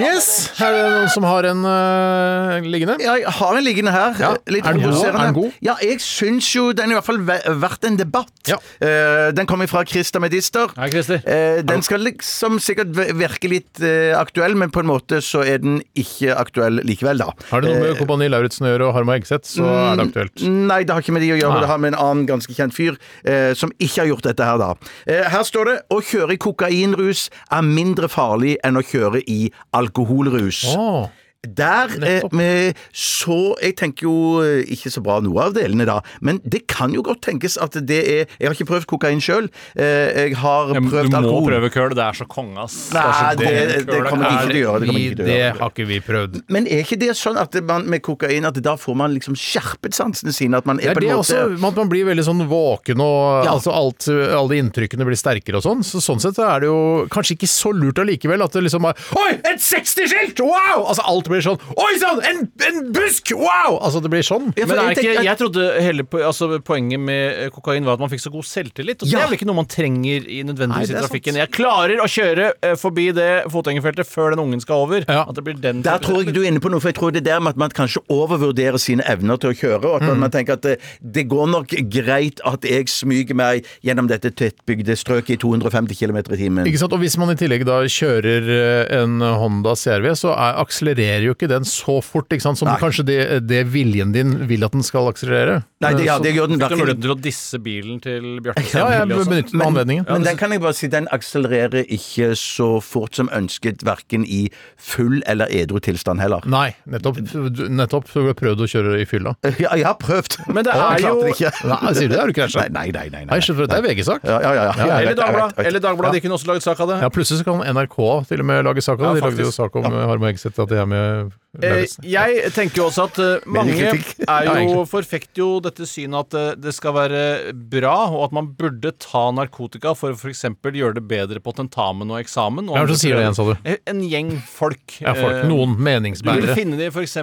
Speaker 4: Yes! Er det noen som har en eh, liggende?
Speaker 5: Ja, jeg har en liggende her. Eh, Litt
Speaker 4: Er den god?
Speaker 5: provoserende.
Speaker 4: Er den god?
Speaker 5: Ja, jeg syns jo den er i hvert fall ve- verdt en debatt.
Speaker 4: Ja.
Speaker 5: Eh, den kommer fra Christer Medister.
Speaker 6: Hei, Christer.
Speaker 5: Eh, den skal liksom sikkert ve- virke litt eh, aktuell, men på en måte så er den ikke aktuell likevel, da.
Speaker 4: Har det noe med Kompani Lauritzen å gjøre og Harma Egseth, så er det aktuelt.
Speaker 5: Nei, det har ikke med de å
Speaker 6: Ah.
Speaker 5: gjøre. Det har med en annen ganske kjent fyr eh, som ikke har gjort dette her, da. Eh, her står det 'Å kjøre i kokainrus er mindre farlig enn å kjøre i alkoholrus'.
Speaker 4: Åh,
Speaker 5: Der eh,
Speaker 4: Nettopp.
Speaker 5: med- Så jeg tenker jo eh, ikke så bra noe av delene, da. Men det kan jo godt tenkes at det er Jeg har ikke prøvd kokain sjøl. Eh, jeg har
Speaker 6: Du
Speaker 5: prøvd
Speaker 6: må
Speaker 5: alkohol.
Speaker 6: prøve køl, det er så konge, ass.
Speaker 5: Nei, det, det kommer jeg ikke til å gjøre. Det
Speaker 4: vi,
Speaker 5: kommer jeg ikke til å
Speaker 4: det
Speaker 5: gjøre.
Speaker 4: har ikke vi prøvd.
Speaker 5: Men er ikke det sånn at man med kokain at da får man liksom skjerpet sansene sine? At man
Speaker 4: Det
Speaker 5: er
Speaker 4: er
Speaker 5: på
Speaker 4: det
Speaker 5: en måte
Speaker 4: også, at man blir veldig sånn våken og
Speaker 5: Ja.
Speaker 4: altså alt, alle inntrykkene blir sterkere og sånn. Så sånn sett så er det jo kanskje ikke så lurt allikevel at det liksom er Oi, et 60-skilt! Wow! Altså alt blir sånn Oi sann, en, en busk! Wow! Altså det blir sånn.
Speaker 5: Ja, for
Speaker 6: Men er
Speaker 5: jeg
Speaker 6: ikke,
Speaker 5: tenker-
Speaker 6: jeg trodde hele po- altså, poenget med eh, kokain var at man fikk så god selvtillit. Og
Speaker 5: Ja.
Speaker 6: Det er vel ikke noe man trenger i nødvendigvis
Speaker 5: Nei, det
Speaker 6: i
Speaker 5: er
Speaker 6: trafikken.
Speaker 5: sant.
Speaker 6: Jeg klarer å kjøre eh, forbi det fotgjengerfeltet før den ungen skal over.
Speaker 4: Ja.
Speaker 6: At det blir den
Speaker 5: Der
Speaker 6: type-
Speaker 5: tror jeg du er inne på noe, for jeg tror det er der med at man kanskje overvurderer sine evner til å kjøre, og at man-
Speaker 4: Mm.
Speaker 5: man tenker at det, det går nok greit at jeg smyger meg gjennom dette tettbygde strøket i 250 km i timen.
Speaker 4: Ikke sant? Og hvis man i tillegg da kjører eh, en Honda CRV, så er, akselererer jo ikke den så fort, ikke sant? som kanskje det, det viljen din vil at den skal akselerere.
Speaker 5: Nei, det, ja, det gjør den
Speaker 6: Fikk du muligheten
Speaker 5: virkelig.
Speaker 6: til å disse bilen til Bjarte?
Speaker 4: Ja, jeg
Speaker 6: Sandberg også?
Speaker 4: benyttet meg av anledningen.
Speaker 5: Men den kan jeg bare si, den akselererer ikke så fort som ønsket, verken i full eller edru tilstand heller.
Speaker 4: Nei, nettopp. Du- Nettopp. Du har prøvd å kjøre i fylla.
Speaker 5: Ja, jeg har prøvd.
Speaker 6: Men det
Speaker 5: Og jeg
Speaker 6: er
Speaker 5: klarte
Speaker 6: jo-
Speaker 5: det ikke.
Speaker 4: Nei, sier du det? Har du krasja?
Speaker 5: Nei, nei, nei. nei,
Speaker 4: Nei,
Speaker 5: nei.
Speaker 4: skjønner for det er VG-sak.
Speaker 5: Ja, ja, ja, ja. Jeg
Speaker 6: Eller
Speaker 5: vet, jeg vet, jeg
Speaker 6: Dagbladet.
Speaker 5: vet.
Speaker 6: Eller Dagbladet, de kunne også laget sak av det.
Speaker 4: Ja, plutselig så kan NRK til og med lage sak av det.
Speaker 6: Ja,
Speaker 4: De lagde jo
Speaker 6: faktisk.
Speaker 4: sak om eh, Harm og Hegseth, at de er med
Speaker 6: Eh,
Speaker 4: Lauritzen.
Speaker 6: jeg tenker jo også at eh, mange
Speaker 5: kritikk.
Speaker 6: <laughs>
Speaker 4: Ja,
Speaker 6: er jo
Speaker 4: egentlig.
Speaker 6: forfekter jo dette synet at eh, det skal være bra, og at man burde ta narkotika for å f.eks. gjøre det bedre på tentamen og eksamen. Og
Speaker 4: Hvem er det som sier det igjen, sa du?
Speaker 6: Eh, En gjeng folk.
Speaker 4: Ja, folk.
Speaker 6: eh,
Speaker 4: Noen
Speaker 6: Du vil
Speaker 4: meningsbærere.
Speaker 6: finne dem f.eks.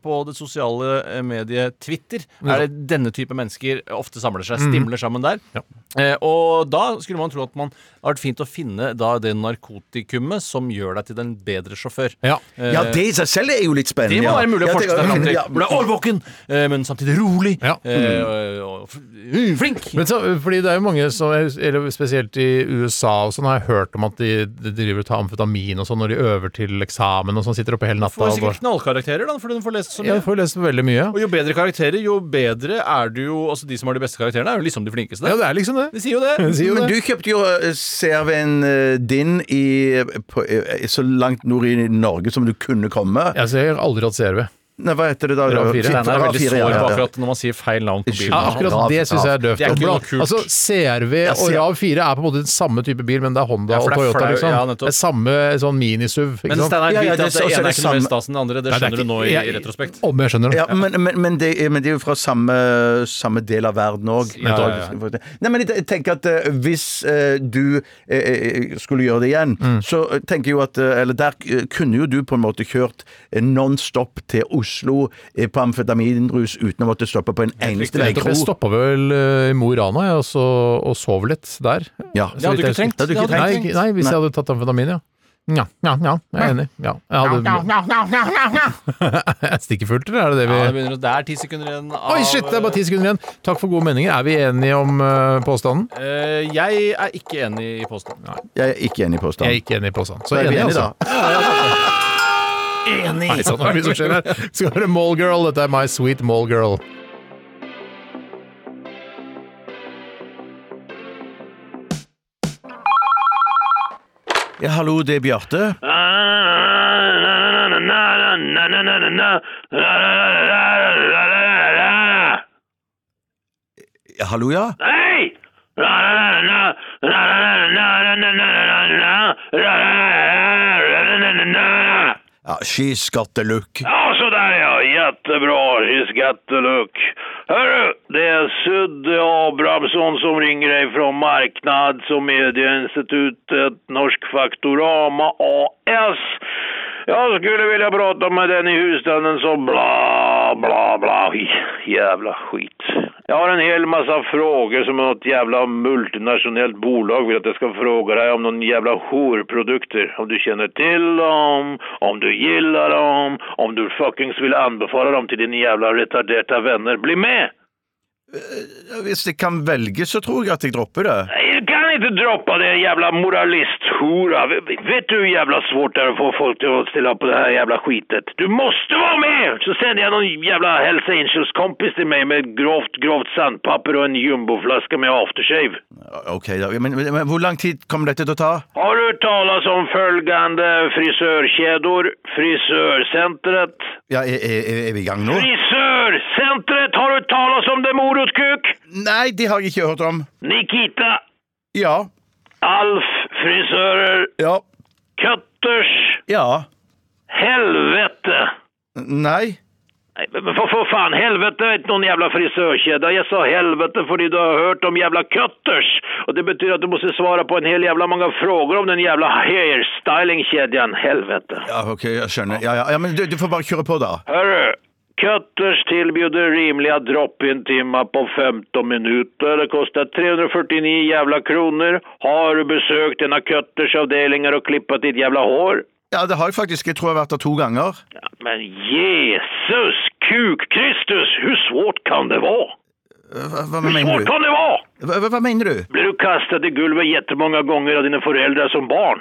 Speaker 6: på det sosiale eh, mediet Twitter. Er det denne type mennesker ofte samler seg, stimler sammen der.
Speaker 4: Mhm. Ja.
Speaker 6: Eh, og da skulle man tro at man det har vært fint å finne da det narkotikumet som gjør deg til en bedre sjåfør.
Speaker 4: Ja.
Speaker 5: Ja, det i seg selv er jo litt spennende.
Speaker 6: Det må
Speaker 5: ja.
Speaker 6: være mulig å
Speaker 5: Ja, det-
Speaker 6: forske seg fram til.
Speaker 5: Ja,
Speaker 6: Hvor det er årvåken, eh, men samtidig rolig.
Speaker 4: Ja.
Speaker 6: eh, og- og f- mm, Flink!
Speaker 4: Men så, fordi det er jo mange som, eller spesielt i USA og sånn, har jeg hørt om at de, de driver og tar amfetamin og sånn når de øver til eksamen og sånn, sitter oppe hele natta
Speaker 6: Får
Speaker 4: og bare
Speaker 6: sikkert knallkarakterer, da, fordi hun får lest så
Speaker 4: Ja,
Speaker 6: mye.
Speaker 4: jeg får lest veldig mye.
Speaker 6: Og jo bedre karakterer, jo bedre er du jo Altså, de som har de beste karakterene, er jo liksom de flinkeste.
Speaker 4: Ja, det er liksom
Speaker 6: De
Speaker 4: det.
Speaker 6: sier jo det.
Speaker 4: Jeg sier jo
Speaker 5: Men
Speaker 4: det.
Speaker 5: du kjøpte jo eh, CRV-en eh, din eh, i, på, eh, så langt nord i Norge som du kunne komme.
Speaker 4: Jeg ser aldri hatt CRV.
Speaker 5: Nei, hva heter det da?
Speaker 4: Rav fire.
Speaker 5: Rav
Speaker 6: Steinar er veldig
Speaker 5: fire, ja,
Speaker 6: sår på
Speaker 5: ja.
Speaker 6: akkurat når man sier feil navn på bilen.
Speaker 4: Ja, akkurat
Speaker 5: Rav-
Speaker 4: det syns jeg er døvt.
Speaker 6: Det er ikke noe
Speaker 4: Blant-
Speaker 6: kult.
Speaker 4: Altså, CRV og
Speaker 5: ser-
Speaker 4: RAV 4 er på en måte den samme type bil, men det er Honda
Speaker 6: Ja, for
Speaker 4: og
Speaker 6: det er
Speaker 4: Toyota.
Speaker 6: flau-
Speaker 4: Liksom.
Speaker 6: ja, nettopp.
Speaker 4: det er samme sånn mini-SUV. ikke
Speaker 6: Men
Speaker 4: sant?
Speaker 6: Steinar,
Speaker 5: Ja, ja, det er- også
Speaker 6: grunnen til at det
Speaker 5: er det
Speaker 6: ene er ikke noe mer
Speaker 5: samme-
Speaker 6: stas enn det andre, det
Speaker 4: Nei, det er
Speaker 6: skjønner du nå
Speaker 4: ikke-
Speaker 6: i,
Speaker 4: jeg-
Speaker 6: i retrospekt.
Speaker 4: Om jeg skjønner det.
Speaker 5: <laughs> Ja, men, men, men, det, er- men det er jo fra samme, samme del av verden òg.
Speaker 6: Ja, ja,
Speaker 5: Nei, men jeg tenker at eh, hvis eh, du eh, eh, skulle gjøre det igjen,
Speaker 4: Mm.
Speaker 5: så tenker jeg jo at eh, Eller der eh, kunne jo du på en måte kjørt eh, non stop til Oslo eh, på amfetaminrus uten å måtte stoppe på en eneste
Speaker 4: Jeg tror jeg
Speaker 5: veikro.
Speaker 4: stoppa vel eh, i Mo i Rana jeg, og, så, og sov litt der.
Speaker 5: Ja.
Speaker 4: Så vidt
Speaker 6: hadde
Speaker 4: jeg
Speaker 6: du ikke
Speaker 4: husker.
Speaker 6: trengt. Det hadde du ikke
Speaker 4: Nei,
Speaker 6: trengt.
Speaker 4: ikke- Nei, hvis jeg hadde tatt amfetamin, ja. Nja, nja, nja. Jeg er enig. Ja. Jeg hadde... Jeg stikker fullt, eller er det det vi
Speaker 6: Ja, det, begynner, å- det er ti sekunder igjen av
Speaker 4: Oi, shit, det er bare ti sekunder igjen. Takk for gode meninger. Er vi enige om eh, påstanden?
Speaker 6: Eh, Jeg er ikke enig i påstanden.
Speaker 5: Jeg er ikke enig i påstanden.
Speaker 4: Jeg er ikke enig i påstanden. Så
Speaker 5: Så er vi
Speaker 4: enig,
Speaker 5: enige,
Speaker 4: altså.
Speaker 5: da.
Speaker 4: Enig! Nei, sånn, det er mye som skjer her. Skal høre Mallgirl. Dette er My Sweet Mallgirl.
Speaker 5: Ja, hallo, det er Bjarte. Ja, hallo, ja. ja she's got the look.
Speaker 7: Ja, så där ja. Jättebra. He's got the look. Hörru, det är Sudde Abrahamsson som ringer dig från Marknads och medieinstitutet Norsk Faktorama AS. Jag skulle vilja prata med den i husstanden som bla, bla, bla. Jävla skit. Jag har en hel massa frågor som något jävla multinationellt bolag vill att jag ska fråga dig om någon jävla horprodukter. Om du känner till dem, om du gillar dem, om du fuckings vill anbefala dem till dina jävla retarderta vänner. Bli med!
Speaker 5: Hvis jeg kan velge, så tror jeg at jeg dropper det.
Speaker 7: Nej, Du kan inte droppa det jävla moralisthora. V- Vet du hur jävla svårt det är att få folk till att ställa upp på det här jävla skitet? Du måste vara med! Så sänder jag någon jävla Hells Angels-kompis till mig med grovt, grovt sandpapper och en jumboflaska med aftershave.
Speaker 5: Ok, da. Men, men, men hvor lang tid kommer dette til å ta?
Speaker 7: Har du hört talas om följande frisörkedjor? Frisörcentret?
Speaker 5: Ja, er, er, er vi i gang nå?
Speaker 7: Frisörcentret! Har du hört talas om det morotkuk?
Speaker 5: Nei, det har jeg ikke hørt om.
Speaker 7: Nikita,
Speaker 5: Ja.
Speaker 7: Alf, frisörer,
Speaker 5: Ja.
Speaker 7: Cutters,
Speaker 5: Ja.
Speaker 7: helvete!
Speaker 5: Nei.
Speaker 7: Nej, men för, för fan, helvete är inte någon jävla frisörkedja. Jag sa helvete för du har hört om jävla cutters. Och det betyder att du måste svara på en hel jävla många frågor om den jävla hairstylingkedjan. Helvete.
Speaker 5: Ja, ok, jeg skjønner. Ja, ja, ja men du, du får bare kjøre på, da.
Speaker 7: Hörru, Cutters tillbjuder rimliga drop-in-timmar på 15 minuter. Det kostar 349 jävla kronor. Har du besökt en av Cutters avdelningar och klippat ditt jävla hår?
Speaker 5: Ja, det har jeg faktisk. Jeg tror jeg har vært der to ganger.
Speaker 7: Men Jesus kuk Kristus, hur svårt kan det vara?
Speaker 5: Hva, hva
Speaker 7: Hur
Speaker 5: mener
Speaker 7: svårt
Speaker 5: du?
Speaker 7: kan det vara?
Speaker 5: Hva, hva- hva mener du?
Speaker 7: Blir du kastad i gulvet jättemånga gånger av dina föräldrar som barn?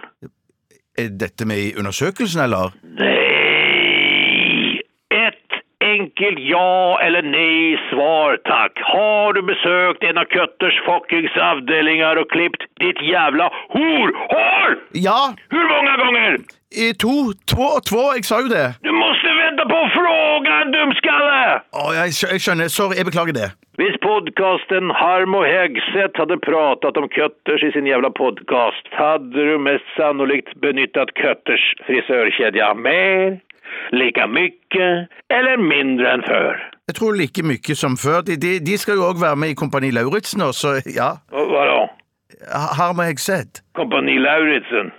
Speaker 5: Er dette med i undersøkelsen, eller?
Speaker 7: Nej! Ett enkelt ja eller nej svar tack. Har du besökt en av Kötters fuckings avdelningar och klippt ditt jävla horhår?
Speaker 5: Ja,
Speaker 7: Hur många gånger?
Speaker 5: i to. Två og två, jeg sa jo det.
Speaker 7: Du måste vänta på frågan, dumskalle!
Speaker 5: Å, jeg, skjø- jeg skjønner. Sorry, jeg beklager det.
Speaker 7: Visst podcasten Harm och Häggstedt hade pratat om Kötters i sin jävla podcast hade du mest sannolikt benyttat Kötters frisörkedja mer, lika mycket eller mindre än förr.
Speaker 5: Jeg tror like mye som før. De, de, de skal jo òg være med i Kompani Lauritzen, og så ja.
Speaker 7: Och vadå?
Speaker 5: Harm og Hegseth.
Speaker 7: Kompani Lauritsen.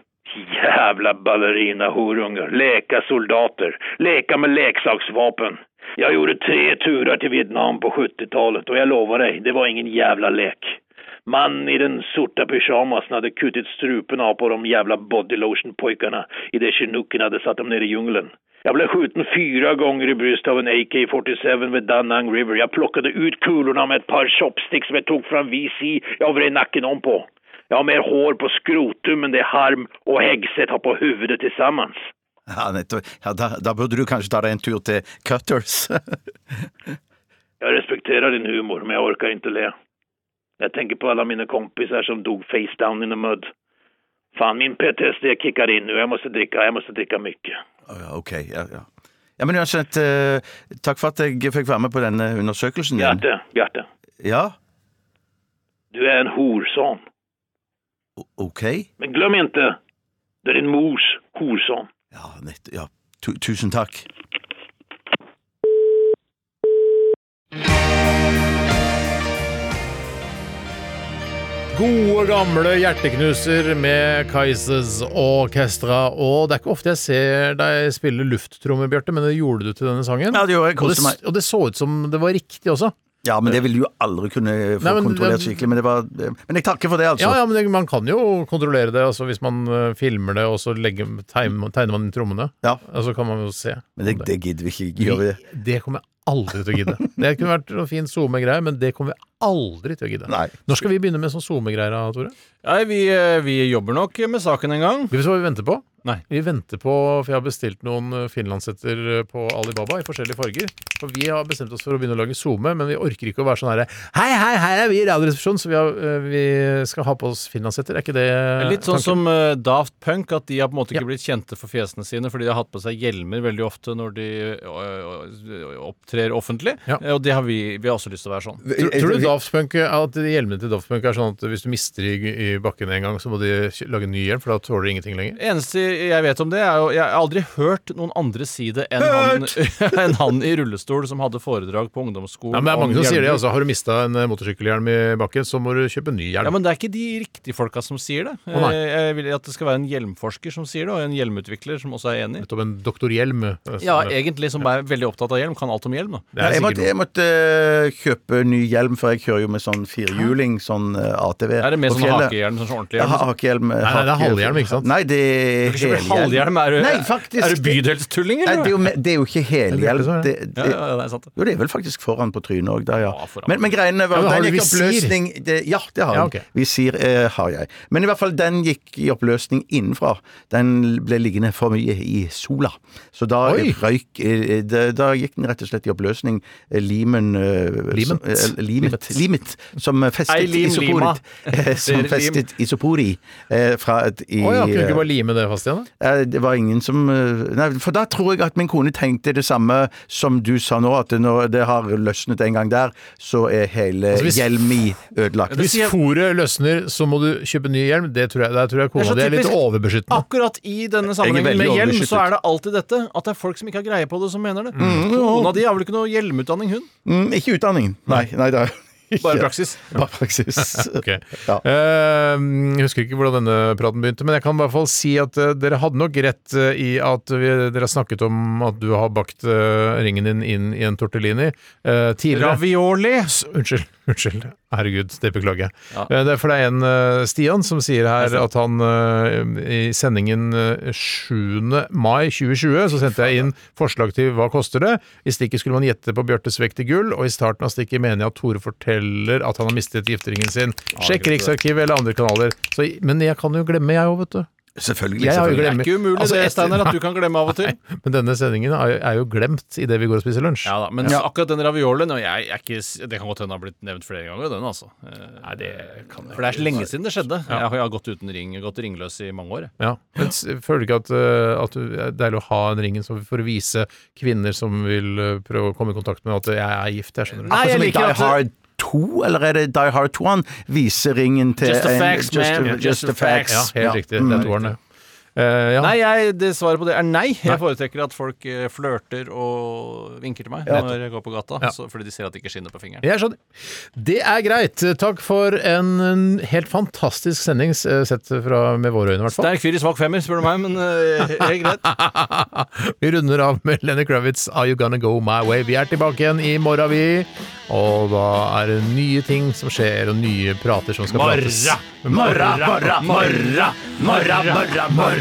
Speaker 7: Jävla ballerina horungar. Leka soldater. Leka med leksaksvapen. Jag gjorde tre turer till Vietnam på 70-talet och jag lovar dig, det var ingen jävla lek. Man i den sorta pyjamasen hade kutit strupen av på de jävla bodylotion-pojkarna i det chinooken hade satt dem nere i djungeln. Jag blev skjuten fyra gånger i bröstet av en AK-47 vid Danang River. Jag plockade ut kulorna med ett par chopsticks som jag tog från VC. Jag vred nacken om på. Jag har mer hår på skrotum än det Harm och Häggstedt har på huvudet tillsammans.
Speaker 5: <laughs> Ja, nettopp. Ja, da, da burde du kanskje ta deg en tur til Cutters. <laughs>
Speaker 7: Jag respekterar din humor, men jag orkar inte le. Jag tänker på alla mina kompisar som dog face down in the mud. Fan, min PTSD kickar in nu. Jag måste dricka, jag måste dricka mycket.
Speaker 5: Å, ja, ok, ja, ja. Ja, men uansett, eh, takk for at jeg fikk være med på denne undersøkelsen din.
Speaker 7: Bjarte, Bjarte.
Speaker 5: Ja,
Speaker 7: Du är en horson.
Speaker 5: O- ok.
Speaker 7: Men glöm inte, det är din mors horson.
Speaker 5: Ja, nett, ja. Tu tusen takk.
Speaker 4: Gode, gamle hjerteknuser med Kaizers Orkestra. Og det er ikke ofte jeg ser deg spille lufttromme, Bjarte, men det gjorde du til denne sangen.
Speaker 5: Ja, det gjorde jeg.
Speaker 4: og,
Speaker 5: Koste
Speaker 4: det,
Speaker 5: meg.
Speaker 4: og det så ut som det var riktig også.
Speaker 5: Ja, men det vil du jo aldri kunne få
Speaker 4: Nei, men-
Speaker 5: kontrollert skikkelig. Men, det var, eh, men jeg takker for det, altså.
Speaker 4: Ja, ja, men det, man kan jo kontrollere det. Altså, hvis man øh, filmer det, og så legger, tegner, tegner man inn trommene,
Speaker 5: Ja.
Speaker 4: og så kan man jo se.
Speaker 5: Men det, det gidder vi ikke gjøre. det.
Speaker 4: Det kommer jeg aldri til å gidde. Det kunne vært noen fin SoMe-greie, men det kommer jeg aldri til å gidde.
Speaker 5: Nei.
Speaker 4: Når skal vi begynne med sånn SoMe-greier, da, Tore?
Speaker 6: Nei, vi, eh, vi jobber nok med saken en gang.
Speaker 4: Skal vi se hva vi venter på?
Speaker 6: Nei.
Speaker 4: Vi venter på, for jeg har bestilt noen eh, finlandshetter eh, på Alibaba i forskjellige farger. For vi har bestemt oss for å begynne å lage SoMe, men vi orker ikke å være sånn herre Hei, hei, her er vi i Radioresepsjonen, så vi, har, eh, vi skal ha på oss finlandshetter. Er ikke det
Speaker 6: Litt sånn
Speaker 4: tanken?
Speaker 6: som eh, Daft Punk, at de har på en måte
Speaker 4: Ja.
Speaker 6: ikke blitt kjente for fjesene sine fordi de har hatt på seg hjelmer veldig ofte når de eh, opptrer offentlig.
Speaker 4: Ja.
Speaker 6: Eh, Og det har vi, vi har også lyst til å være sånn.
Speaker 4: Tror, tror du Daft Punk, at de hjelmene til Daft Punk er sånn at hvis du mister i, i bakken en gang, så må de kj- lage en ny hjelm, for da tåler de ingenting lenger?
Speaker 6: Det eneste jeg vet om det, er jo Jeg har aldri hørt noen andre si det enn han, <laughs> enn han i rullestol som hadde foredrag på ungdomsskolen.
Speaker 4: Ja, men det er mange
Speaker 6: om
Speaker 4: som sier det.
Speaker 6: hjelmer.
Speaker 4: altså Har du mista en eh, motorsykkelhjelm i bakken, så må du kjøpe en ny hjelm.
Speaker 6: Ja, men det er ikke de riktige folka som sier det.
Speaker 4: Å, nei.
Speaker 6: Eh, jeg vil at det skal være en hjelmforsker som sier det, og en hjelmutvikler som også er enig.
Speaker 4: Nettopp en doktorhjelm. eh, som-
Speaker 6: Ja, egentlig, som er veldig opptatt av hjelm, kan alt om hjelm, da.
Speaker 4: det er
Speaker 5: jeg
Speaker 4: sikkert
Speaker 5: måtte, jeg
Speaker 4: noe.
Speaker 5: måtte eh, kjøpe ny hjelm, for jeg kjører jo med sånn firhjuling, sånn eh, ATV.
Speaker 6: Er det mer
Speaker 5: på
Speaker 6: sånn
Speaker 5: fjellet.
Speaker 6: hakehjelm, sånn ordentlig
Speaker 5: Ja,
Speaker 6: hjelm?
Speaker 5: ha- hakehjelm. Nei,
Speaker 4: nei, det er halvhjelm, ikke sant?
Speaker 5: Nei, det er
Speaker 6: Kjøper
Speaker 5: helhjelm.
Speaker 6: halvhjelm? Er du,
Speaker 5: Nei, faktisk.
Speaker 6: er du bydelstulling,
Speaker 5: Nei,
Speaker 6: eller?
Speaker 5: det er jo, me- det er jo ikke helhjelm.
Speaker 4: sånn, ja.
Speaker 5: Det,
Speaker 6: ja,
Speaker 5: det,
Speaker 6: ja, ja, det er sant.
Speaker 5: jo, det er vel faktisk foran på trynet òg, der, ja.
Speaker 6: Ja, foran.
Speaker 5: Men, men greiene var
Speaker 4: Ja, men har
Speaker 5: Den
Speaker 4: du
Speaker 5: gikk i
Speaker 4: visir?
Speaker 5: oppløsning det, Ja, det har
Speaker 4: Ja,
Speaker 5: den.
Speaker 4: ok.
Speaker 5: Visir eh, har jeg. Men i hvert fall, den gikk i oppløsning innenfra. Den ble liggende for mye i sola. Så da
Speaker 4: Oi.
Speaker 5: røyk eh, da, da gikk den rett og slett i oppløsning. Eh, Limen eh,
Speaker 4: Limet.
Speaker 5: som- eh, limet, limet. Som
Speaker 6: Ei,
Speaker 5: festet
Speaker 6: lim, lima.
Speaker 5: isoporet. eh, <laughs> Som
Speaker 6: Det er lim.
Speaker 5: festet isopori eh, fra et i,
Speaker 4: Å ja, kunne du
Speaker 5: eh,
Speaker 4: ikke bare lime det fast igjen? da?
Speaker 5: Eh, Det var ingen som eh, Nei, for da tror jeg at min kone tenkte det samme som du sa nå, at når det har løsnet en gang der, så er hele
Speaker 4: Altså, hvis-
Speaker 5: Hjelmi ødelagt.
Speaker 4: Hvis fòret løsner, så må du kjøpe ny hjelm. Det tror jeg, der tror jeg
Speaker 6: Det er
Speaker 4: kona
Speaker 6: så
Speaker 4: di er litt
Speaker 6: typisk. Ah.
Speaker 4: overbeskyttende.
Speaker 6: Akkurat i denne
Speaker 5: Jeg
Speaker 6: sammenhengen
Speaker 5: er veldig
Speaker 6: med hjelm,
Speaker 5: overbeskyttet.
Speaker 6: så er det alltid dette. At det er folk som ikke har greie på det, som mener det. Kona di har vel ikke noe hjelmutdanning, hun?
Speaker 5: Mm, ikke utdanningen. Nei, nei det er <laughs>
Speaker 6: Bare praksis.
Speaker 5: bare praksis.
Speaker 4: <laughs> Ok.
Speaker 5: Ja.
Speaker 4: Eh, jeg husker ikke hvordan denne praten begynte, men jeg kan i hvert fall si at eh, dere hadde nok rett eh, i at vi, dere har snakket om at du har bakt eh, ringen din inn i en tortellini eh, tidligere.
Speaker 6: Ravioli.
Speaker 4: S- Unnskyld. unnskyld. Herregud, det beklager jeg.
Speaker 6: Ja.
Speaker 4: Eh, Det er for det er en eh, Stian som sier her at han eh, i sendingen eh, 7. mai 2020 så sendte jeg inn forslag til hva koster det. I stikket skulle man gjette på Bjørtes vekt i gull, og i starten av stikket mener jeg at Tore forteller at han har mistet gifteringen sin. Sjekk Riksarkivet eller andre kanaler. Så, men jeg kan jo glemme, jeg òg, vet du.
Speaker 5: Selvfølgelig.
Speaker 4: Jeg har jo
Speaker 5: selvfølgelig.
Speaker 6: Det er
Speaker 4: glemt.
Speaker 6: ikke umulig
Speaker 4: Altså,
Speaker 6: det,
Speaker 4: etter-
Speaker 6: Steiner, at du kan glemme av og til.
Speaker 4: Men denne sendingen er jo, er jo glemt idet vi går og spiser lunsj.
Speaker 6: Ja da, Men akkurat den raviolien og jeg, er ikke, s- Det kan godt hende har blitt nevnt flere ganger, den altså. Nei, det kan For det er så lenge siden det skjedde. Jeg, har, jeg har gått uten ring, gått ringløs i mange år. jeg.
Speaker 4: Ja. Men s- føler du ikke at, eh, at du- det er deilig å ha en ringen som- for å vise kvinner som vil eh, prøve å komme i kontakt med at jeg er gift? Jeg skjønner det.
Speaker 6: Nei,
Speaker 5: Akkurat Sånn som
Speaker 6: jeg
Speaker 5: i
Speaker 6: liker
Speaker 5: Die
Speaker 6: at-
Speaker 5: Hard 2, eller er det Die Hard 2 han viser ringen til
Speaker 6: Just the
Speaker 5: en-
Speaker 6: facts,
Speaker 5: just
Speaker 6: man.
Speaker 5: the-
Speaker 6: Yeah,
Speaker 5: Just,
Speaker 6: just
Speaker 5: the
Speaker 6: the facts.
Speaker 5: facts.
Speaker 4: Ja, helt riktig.
Speaker 5: Mm.
Speaker 4: Det er toeren, det. Eh, ja.
Speaker 6: Nei, jeg, det svaret på det er nei. Jeg foretrekker at folk eh, flørter og vinker til meg når jeg går på gata,
Speaker 4: Ja.
Speaker 6: så, fordi de ser at det ikke skinner på fingeren.
Speaker 4: Jeg skjønner. Det er greit. Takk for en en helt fantastisk sending, s- eh, sett fra med våre øyne, i hvert fall.
Speaker 6: Sterk fyr i svak femmer, spør du meg, men eh, helt greit.
Speaker 4: Vi runder av med Lenny Kravitz' Are You Gonna Go My Way. Vi er tilbake igjen i morgen, vi. Og da er det nye ting som skjer, og nye prater som skal prates.
Speaker 5: Morra, morra, morra, morra, morra, morra.